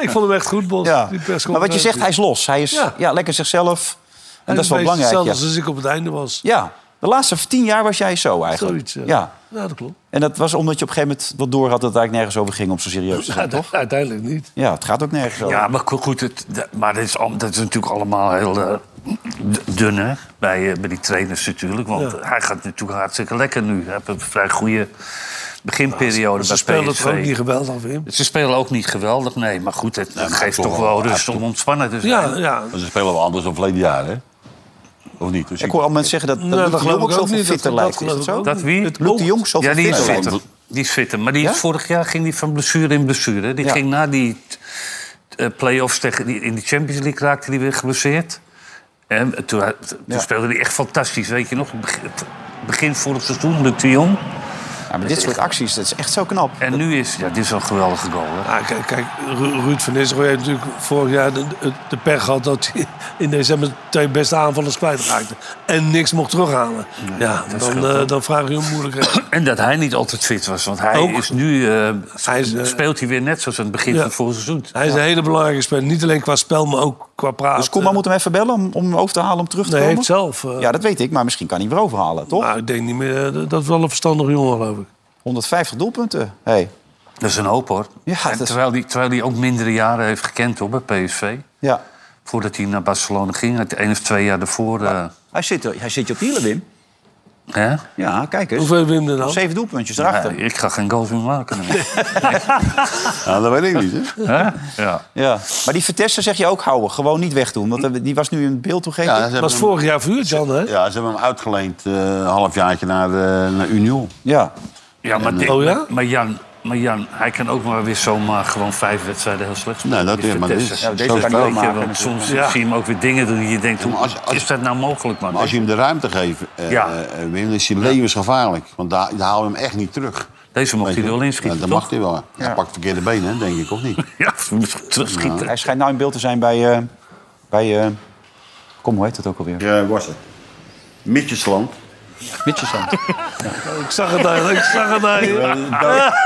[SPEAKER 3] Ik vond hem echt goed, Bos.
[SPEAKER 2] Ja. Maar
[SPEAKER 3] die
[SPEAKER 2] wat je
[SPEAKER 3] persconferentie.
[SPEAKER 2] zegt, hij is los. Hij is ja.
[SPEAKER 3] Ja.
[SPEAKER 2] lekker zichzelf. En
[SPEAKER 3] Hij
[SPEAKER 2] dat is wel
[SPEAKER 3] een
[SPEAKER 2] belangrijk.
[SPEAKER 3] beetje Hetzelfde
[SPEAKER 2] ja.
[SPEAKER 3] als ik op het einde was.
[SPEAKER 2] Ja, de laatste tien jaar was jij zo eigenlijk.
[SPEAKER 3] Zoiets, ja.
[SPEAKER 2] ja.
[SPEAKER 3] Ja, dat klopt.
[SPEAKER 2] En dat was omdat je op een gegeven moment wat door had dat het eigenlijk nergens over ging om zo serieus te zijn, toch?
[SPEAKER 3] Uiteindelijk niet.
[SPEAKER 2] Ja, het gaat ook nergens over.
[SPEAKER 4] Ja, maar go- goed, het, d- maar dat, is, al- dat is natuurlijk allemaal heel eh, d- dun, hè? Bij, eh, bij die trainers natuurlijk. Want
[SPEAKER 3] Ja.
[SPEAKER 4] hij gaat natuurlijk hartstikke lekker nu. Hij heeft een vrij goede beginperiode
[SPEAKER 3] Ze
[SPEAKER 4] bij
[SPEAKER 3] speelden
[SPEAKER 4] PSV.
[SPEAKER 3] het ook niet geweldig, Wim.
[SPEAKER 4] Ze spelen ook niet geweldig, nee. Maar goed, het
[SPEAKER 5] maar
[SPEAKER 4] geeft
[SPEAKER 5] toch
[SPEAKER 4] toch
[SPEAKER 5] wel-
[SPEAKER 4] wel
[SPEAKER 5] hij
[SPEAKER 4] rust
[SPEAKER 5] heeft
[SPEAKER 4] om ontspannen te zijn.
[SPEAKER 3] Ja, ja.
[SPEAKER 5] Maar ze spelen wel anders dan verleden jaar, hè? Of niet? Dus
[SPEAKER 2] Ik hoor al mensen zeggen dat, dat
[SPEAKER 4] Nou,
[SPEAKER 2] Luc
[SPEAKER 4] dat
[SPEAKER 2] de Jong
[SPEAKER 4] geloof
[SPEAKER 2] ook
[SPEAKER 4] ik ook
[SPEAKER 2] zoveel
[SPEAKER 4] niet. Dat-
[SPEAKER 2] fitter
[SPEAKER 4] dat
[SPEAKER 2] lijkt. Is
[SPEAKER 4] geloof
[SPEAKER 2] dat
[SPEAKER 4] ik
[SPEAKER 2] zo?
[SPEAKER 4] ook niet. Dat wie? Het
[SPEAKER 2] Luc de Jong
[SPEAKER 4] Ja,
[SPEAKER 2] zoveel
[SPEAKER 4] die is
[SPEAKER 2] fitter lijkt.
[SPEAKER 4] fitter. Die is fitter. Maar die, vorig jaar ging die van blessure in blessure. hè. Die ging na die eh, play-offs tegen, die, in de Champions League raakte hij weer geblesseerd. En toen, hij- toen speelde hij echt fantastisch. Weet je nog, begin, begin vorig seizoen, Luc de Jong.
[SPEAKER 2] Ja, maar dit soort acties, dat is echt zo knap.
[SPEAKER 4] En nu is, ja, dit is wel een geweldige goal. Hè?
[SPEAKER 3] Ah, kijk, kijk, Ru- Ruud van Nistelrooy heeft natuurlijk vorig jaar de, de pech gehad... dat hij in december twee beste aanvallers kwijtraakte. En niks mocht terughalen. ja,
[SPEAKER 4] dat
[SPEAKER 3] dan,
[SPEAKER 4] scheelt
[SPEAKER 3] eh,
[SPEAKER 4] wel.
[SPEAKER 3] dan vraag je hoe moeilijk het is.
[SPEAKER 4] En dat hij niet altijd fit was. Want hij
[SPEAKER 3] Ook.
[SPEAKER 4] is nu... eh,
[SPEAKER 3] is, eh,
[SPEAKER 4] speelt hij weer net zoals aan het begin
[SPEAKER 3] Ja.
[SPEAKER 4] van het vorige seizoen.
[SPEAKER 3] Hij is
[SPEAKER 4] Ja.
[SPEAKER 3] een hele belangrijke speler. Niet alleen qua spel, maar ook qua praten.
[SPEAKER 2] Dus Koeman moet hem even bellen om, om hem over te halen om terug te
[SPEAKER 3] Nee, hij
[SPEAKER 2] komen?
[SPEAKER 3] heeft zelf... eh,
[SPEAKER 2] Ja, dat weet ik, maar misschien kan hij hem weer overhalen, toch?
[SPEAKER 3] nou, ik denk niet meer... eh, dat is wel een verstandige jongen, geloof ik.
[SPEAKER 2] 150 doelpunten. Hey.
[SPEAKER 4] Dat is een hoop, hoor.
[SPEAKER 2] Ja, dat
[SPEAKER 4] en
[SPEAKER 2] is-
[SPEAKER 4] terwijl hij terwijl die ook mindere jaren heeft gekend hoor, bij PSV.
[SPEAKER 2] Ja.
[SPEAKER 4] Voordat hij naar Barcelona ging, het één of twee jaar daarvoor... eh,
[SPEAKER 2] Hij zit, hij zit je op hielen, Wim.
[SPEAKER 4] Hè?
[SPEAKER 2] Ja, kijk eens.
[SPEAKER 4] Hoeveel Wim er dan?
[SPEAKER 2] Zeven doelpuntjes erachter.
[SPEAKER 4] ik ga geen goals meer maken.
[SPEAKER 2] dat weet ik niet, hè?
[SPEAKER 4] Ja. Ja.
[SPEAKER 2] Ja. Maar die Vitesse zeg je ook houden. Gewoon niet wegdoen. Want eh, die was nu in beeld toen
[SPEAKER 5] Ja, ze hebben hem-
[SPEAKER 3] jaar vuur, Jan, hè?
[SPEAKER 5] Ja, ze hebben hem uitgeleend eh, een halfjaartje naar, eh, naar Union.
[SPEAKER 2] Ja.
[SPEAKER 4] Ja, maar,
[SPEAKER 5] En,
[SPEAKER 4] dit-
[SPEAKER 5] eh,
[SPEAKER 4] maar, Jan, maar Jan, hij kan ook maar weer zomaar gewoon vijf wedstrijden heel slecht spelen.
[SPEAKER 5] Nee, dat
[SPEAKER 4] Die
[SPEAKER 5] is- maar
[SPEAKER 4] Vitesse.
[SPEAKER 5] dit is- Ja, deze zo kan hij ook
[SPEAKER 4] Weet je,
[SPEAKER 5] maken
[SPEAKER 4] want
[SPEAKER 5] natuurlijk.
[SPEAKER 4] Soms
[SPEAKER 5] Ja.
[SPEAKER 4] zie je hem ook weer dingen doen die je denkt, hoe is dat nou mogelijk, man?
[SPEAKER 5] Maar als je hem de ruimte geeft, eh,
[SPEAKER 4] Ja.
[SPEAKER 5] eh, Wim, is hij levensgevaarlijk. Want daar, daar haal je hem echt niet terug.
[SPEAKER 4] Deze mocht
[SPEAKER 5] Weet
[SPEAKER 4] hij
[SPEAKER 5] je?
[SPEAKER 4] er wel inschieten,
[SPEAKER 5] Ja, dat
[SPEAKER 4] toch?
[SPEAKER 5] mag hij wel. Hij
[SPEAKER 4] Ja.
[SPEAKER 5] pakt verkeerde benen, hè, denk ik, of niet?
[SPEAKER 4] Ja, terugschieten.
[SPEAKER 2] Hij schijnt nou in beeld te zijn bij... eh, bij eh, kom, hoe heet dat ook alweer?
[SPEAKER 5] Ja, was het. Mitjesland.
[SPEAKER 2] Mitjesland.
[SPEAKER 3] Ik zag het daar, ik zag het daar.
[SPEAKER 2] Nee,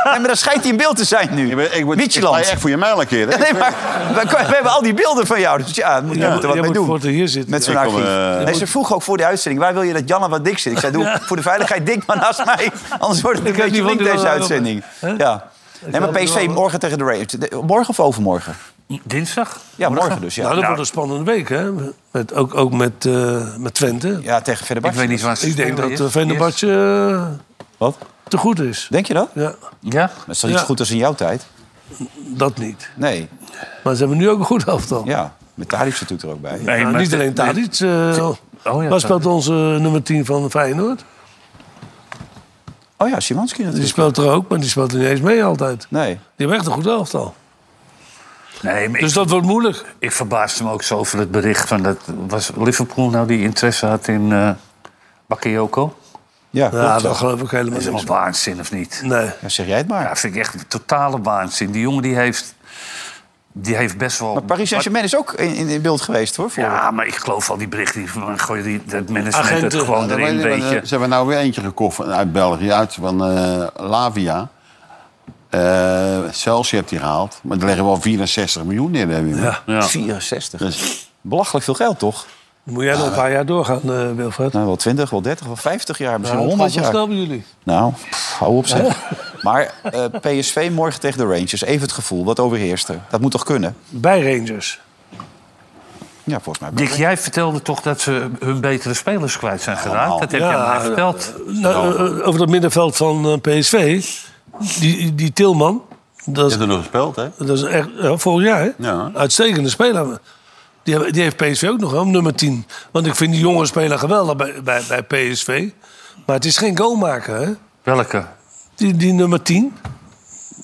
[SPEAKER 2] maar dan schijnt hij in beeld te zijn nu. Ik ben,
[SPEAKER 5] ik sta echt voor je mijl een keer, hè?
[SPEAKER 2] Nee, maar we, we hebben al die beelden van jou. Dus ja, moet,
[SPEAKER 5] Ja,
[SPEAKER 2] je moet er wat
[SPEAKER 5] jij
[SPEAKER 2] mee
[SPEAKER 5] moet
[SPEAKER 2] doen.
[SPEAKER 5] voortaan hier zitten.
[SPEAKER 2] Met zo'n
[SPEAKER 5] Ik kom,
[SPEAKER 2] archief.
[SPEAKER 5] eh,
[SPEAKER 2] nee, ze vroeg ook voor de uitzending. Waar wil je dat Jan en wat dik zit? Ik zei, doe voor de veiligheid dik maar naast mij. Anders wordt het een
[SPEAKER 3] Ik heb
[SPEAKER 2] beetje
[SPEAKER 3] niet
[SPEAKER 2] link
[SPEAKER 3] van die
[SPEAKER 2] deze
[SPEAKER 3] wel-
[SPEAKER 2] uitzending.
[SPEAKER 3] Hè?
[SPEAKER 2] Ja. Nee, maar
[SPEAKER 3] heb die
[SPEAKER 2] PSV
[SPEAKER 3] wel-
[SPEAKER 2] morgen tegen de Ravens. De- Morgen of overmorgen?
[SPEAKER 4] Dinsdag?
[SPEAKER 2] Ja, morgen dus. Ja.
[SPEAKER 3] Nou, dat wordt een spannende week, hè? Met, ook ook met, eh, met Twente.
[SPEAKER 2] Ja, tegen Fenerbahce.
[SPEAKER 4] Ik weet niet waar ze
[SPEAKER 3] Ik denk
[SPEAKER 4] spelen
[SPEAKER 3] dat uh,
[SPEAKER 4] eerst.
[SPEAKER 3] Venebatje
[SPEAKER 2] Wat?
[SPEAKER 3] te goed is.
[SPEAKER 2] Denk je dat?
[SPEAKER 3] Ja.
[SPEAKER 4] Ja?
[SPEAKER 2] Dat is toch niet
[SPEAKER 3] Ja.
[SPEAKER 2] zo goed als in jouw tijd?
[SPEAKER 3] Dat niet.
[SPEAKER 2] Nee.
[SPEAKER 3] Maar ze hebben nu ook een goed elftal.
[SPEAKER 2] Ja, met Tadic natuurlijk er ook bij.
[SPEAKER 3] Nee,
[SPEAKER 2] Ja,
[SPEAKER 3] niet alleen Tadic. eh
[SPEAKER 4] Oh ja,
[SPEAKER 3] waar speelt
[SPEAKER 4] Tadic.
[SPEAKER 3] onze nummer 10 van Feyenoord?
[SPEAKER 2] Oh ja, Simanski natuurlijk.
[SPEAKER 3] Die speelt er ook, maar die speelt er niet eens mee altijd.
[SPEAKER 2] Nee. Die
[SPEAKER 3] hebben echt een goed elftal.
[SPEAKER 4] Nee, maar
[SPEAKER 3] Dus dat wordt moeilijk.
[SPEAKER 4] Ik verbaasde me ook zo over het bericht van dat was Liverpool nou die interesse had in eh Bakayoko.
[SPEAKER 2] Ja,
[SPEAKER 3] klopt, dat ja. geloof ik helemaal
[SPEAKER 4] Dat is
[SPEAKER 3] niks
[SPEAKER 4] allemaal waanzin of niet?
[SPEAKER 3] Nee.
[SPEAKER 2] zeg jij het maar.
[SPEAKER 4] Ja, vind ik echt een totale waanzin. Die jongen die heeft, die heeft best wel.
[SPEAKER 2] Maar Paris Saint-Germain is ook in, in, in beeld geweest, hoor. Voor...
[SPEAKER 4] Ja, maar ik geloof al die berichten van gooi die dat management het
[SPEAKER 5] Ja,
[SPEAKER 4] gewoon
[SPEAKER 5] dan
[SPEAKER 4] erin,
[SPEAKER 5] weet je,
[SPEAKER 4] weet
[SPEAKER 5] maar,
[SPEAKER 4] je.
[SPEAKER 5] eh, Ze hebben nou weer eentje gekocht van- uit België, uit van eh, Lavia. Eh Celsius heeft hij gehaald. Maar er leggen wel 64 miljoen in. Hè, Wim?
[SPEAKER 3] Ja. Ja.
[SPEAKER 2] 64. Belachelijk veel geld, toch?
[SPEAKER 3] Dan moet jij nog een paar jaar doorgaan, eh, Wilfred.
[SPEAKER 2] Nou, wel 20, wel 30, wel 50 jaar, misschien wel
[SPEAKER 3] Ja,
[SPEAKER 2] 100
[SPEAKER 3] dat gaat wel
[SPEAKER 2] jaar.
[SPEAKER 3] snel bij jullie.
[SPEAKER 2] Nou, pff, hou op zeg. Maar eh, PSV morgen tegen de Rangers. Even het gevoel, wat overheerst er? Dat moet toch kunnen?
[SPEAKER 3] Bij Rangers.
[SPEAKER 2] Ja, volgens mij.
[SPEAKER 4] Dick, jij vertelde toch dat ze hun betere spelers kwijt zijn geraakt? Dat heb je aan mij verteld.
[SPEAKER 3] eh, nou, eh, over dat middenveld van eh, PSV. Die, die Tilman. Dat is,
[SPEAKER 5] er nog gespeeld, hè?
[SPEAKER 3] Dat is echt, ja, vorig jaar, hè?
[SPEAKER 5] Ja.
[SPEAKER 3] Uitstekende speler. Die, hebben- die heeft PSV ook nog, hè, om nummer 10. Want ik vind die jonge speler geweldig bij, bij, bij PSV. Maar het is geen goalmaker, hè?
[SPEAKER 4] Welke?
[SPEAKER 3] Die, die nummer 10.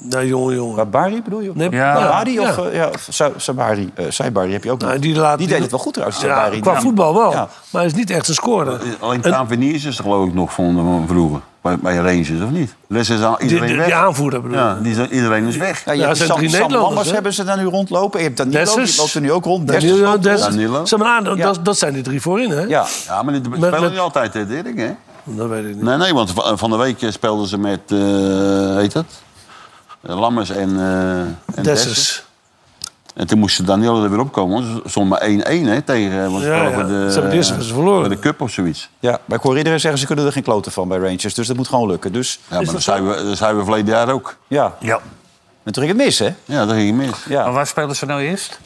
[SPEAKER 3] Nou, jongen, jongen.
[SPEAKER 2] Babari bedoel je?
[SPEAKER 3] Nee,
[SPEAKER 2] Ja. Babari of
[SPEAKER 3] ja.
[SPEAKER 2] eh, ja. of Sa- Sabari, eh, Saibari heb je ook nog.
[SPEAKER 3] Nou, die, laat,
[SPEAKER 2] deed het wel goed trouwens, Sabari.
[SPEAKER 3] Ja, qua
[SPEAKER 2] Ja.
[SPEAKER 3] voetbal wel. Maar hij is niet echt een scorer.
[SPEAKER 5] Alleen Taverniers is er geloof ik nog van, van vroeger. Bij, bij Rangers, of niet? Dus is al
[SPEAKER 3] Die,
[SPEAKER 5] iedereen
[SPEAKER 3] die-
[SPEAKER 5] weg.
[SPEAKER 3] die aanvoerder bedoel ik.
[SPEAKER 5] Ja, die zijn, iedereen is weg.
[SPEAKER 2] Ja, je
[SPEAKER 3] Ja,
[SPEAKER 2] hebt
[SPEAKER 3] zijn
[SPEAKER 2] Sam,
[SPEAKER 3] drie
[SPEAKER 2] Sam
[SPEAKER 3] Nederlanders,
[SPEAKER 2] Lammers
[SPEAKER 3] hè?
[SPEAKER 2] hebben ze daar nu rondlopen. Je hebt Danilo, die
[SPEAKER 3] Dessers.
[SPEAKER 2] loopt er nu ook rond. Dessers
[SPEAKER 3] Danilo,
[SPEAKER 2] loopt
[SPEAKER 3] Dessers.
[SPEAKER 2] rond.
[SPEAKER 3] Zeg maar aan, dat, dat zijn die drie voorin, hè?
[SPEAKER 2] Ja.
[SPEAKER 5] Ja, maar die
[SPEAKER 3] Met-
[SPEAKER 5] spelen
[SPEAKER 3] met-
[SPEAKER 5] niet altijd, hè, Dirk, hè?
[SPEAKER 3] Dat weet ik niet.
[SPEAKER 5] Nee, nee, want va- van de week speelden ze met, eh heet dat? Eh, Lammers en, eh en
[SPEAKER 3] Dessers.
[SPEAKER 5] Dessers. En toen moesten Daniel er weer opkomen. want Ze stonden maar 1-1 hè, tegen... eh, Want ze
[SPEAKER 3] Ja, ja.
[SPEAKER 5] speelden voor
[SPEAKER 3] Ze hebben het eerst
[SPEAKER 5] eh,
[SPEAKER 3] van ze verloren.
[SPEAKER 5] Voor de cup of zoiets.
[SPEAKER 2] Ja, maar ik hoor iedereen zeggen ze kunnen er geen kloten van bij Rangers. Dus dat moet gewoon lukken. Dus,
[SPEAKER 5] Ja, maar dat zijn, we, dat zijn we verleden jaar ook.
[SPEAKER 2] Ja.
[SPEAKER 4] ja.
[SPEAKER 2] En toen ging het mis, hè?
[SPEAKER 5] Ja, dat ging mis.
[SPEAKER 2] Ja.
[SPEAKER 4] Maar waar spelen ze nou eerst?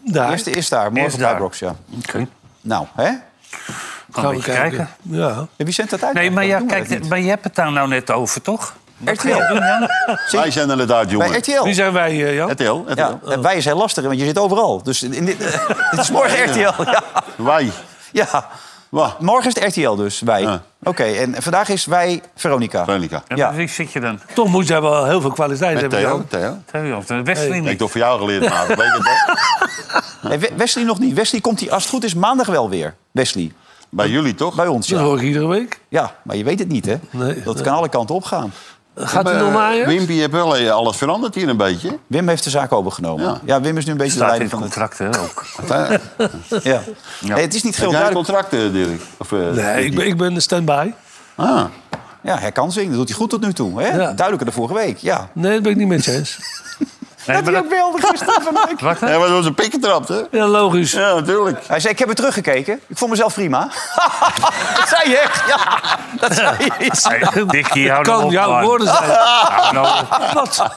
[SPEAKER 3] dus Daar.
[SPEAKER 2] Eerste is daar, morgen
[SPEAKER 4] Eerst
[SPEAKER 2] bij
[SPEAKER 4] daar.
[SPEAKER 2] Brox, ja.
[SPEAKER 4] Oké.
[SPEAKER 2] Nou, hè?
[SPEAKER 4] Gaan we kijken. kijken. Oh.
[SPEAKER 3] Ja.
[SPEAKER 2] En wie zendt dat uit?
[SPEAKER 4] Nee, maar, ja,
[SPEAKER 2] Waarom doen we
[SPEAKER 4] kijk,
[SPEAKER 2] dat niet?
[SPEAKER 4] maar je hebt het daar nou net over, toch? Wat ga
[SPEAKER 2] RTL.
[SPEAKER 4] je doen, Jan?
[SPEAKER 5] Wij zijn er net uit, jongen.
[SPEAKER 2] Bij RTL.
[SPEAKER 3] Wie zijn wij, eh, Jan?
[SPEAKER 5] RTL, RTL.
[SPEAKER 2] Ja, en wij zijn lastig, want je zit overal. Dus in dit, dit is morgen RTL. Ja.
[SPEAKER 5] Wij.
[SPEAKER 2] ja. Morgen is het RTL dus, wij. Oké, en vandaag is wij Veronica.
[SPEAKER 5] Veronica.
[SPEAKER 4] Ja,
[SPEAKER 2] Ja.
[SPEAKER 4] Wie zit je dan?
[SPEAKER 3] Toch moet jij wel heel veel kwaliteit
[SPEAKER 5] Met
[SPEAKER 3] hebben.
[SPEAKER 5] Theo.
[SPEAKER 3] Jan.
[SPEAKER 5] Theo.
[SPEAKER 4] Theo, of de Wesley
[SPEAKER 5] Ik heb
[SPEAKER 4] niet.
[SPEAKER 5] toch voor jou geleerd, maar weet je dat?
[SPEAKER 2] Nee, We- Wesley nog niet. Wesley komt die, als het goed is, maandag wel weer. Wesley.
[SPEAKER 5] Bij jullie toch?
[SPEAKER 2] Bij ons,
[SPEAKER 3] Dat
[SPEAKER 2] ja.
[SPEAKER 3] hoor ik iedere week.
[SPEAKER 2] Ja, maar je weet het niet, hè?
[SPEAKER 3] Nou. Nee.
[SPEAKER 2] Dat kan alle kanten opgaan.
[SPEAKER 3] Gaat hij
[SPEAKER 4] eh,
[SPEAKER 3] nog naar Ajax?
[SPEAKER 5] Wimpy, je hebt wel eh, alles veranderd hier een beetje.
[SPEAKER 2] Wim heeft de zaak overgenomen. Ja,
[SPEAKER 5] Ja.
[SPEAKER 2] Wim is nu een beetje
[SPEAKER 4] Staat
[SPEAKER 2] de
[SPEAKER 4] in het
[SPEAKER 2] leider van het...
[SPEAKER 4] contract, hè, ook.
[SPEAKER 5] Heb
[SPEAKER 2] Ja. Nee, het is niet heel
[SPEAKER 5] jij een
[SPEAKER 2] duidelijk.
[SPEAKER 5] contract, eh, Dirk? Of, eh,
[SPEAKER 3] Nee, ik ben, ik ben stand-by.
[SPEAKER 5] Ah.
[SPEAKER 2] Ja, herkansing. Dat doet hij goed tot nu toe. Hè?
[SPEAKER 3] Ja.
[SPEAKER 2] Duidelijker dan vorige week. Ja.
[SPEAKER 3] Nee, dat ben ik niet met je eens.
[SPEAKER 4] maar
[SPEAKER 2] dat hij
[SPEAKER 4] dat-
[SPEAKER 2] ook wilde gisteren van week.
[SPEAKER 4] Wat?
[SPEAKER 2] Hij was op zijn pik getrapt, hè?
[SPEAKER 4] Ja, logisch.
[SPEAKER 2] Ja, natuurlijk. Hij zei, ik heb het teruggekeken. Ik vond mezelf prima. dat zei je echt. Ja, dat zei je.
[SPEAKER 4] Hey, Dikkie, hou
[SPEAKER 2] Het kan
[SPEAKER 4] nou op,
[SPEAKER 2] jouw
[SPEAKER 4] man.
[SPEAKER 2] woorden zijn.
[SPEAKER 4] Hou nou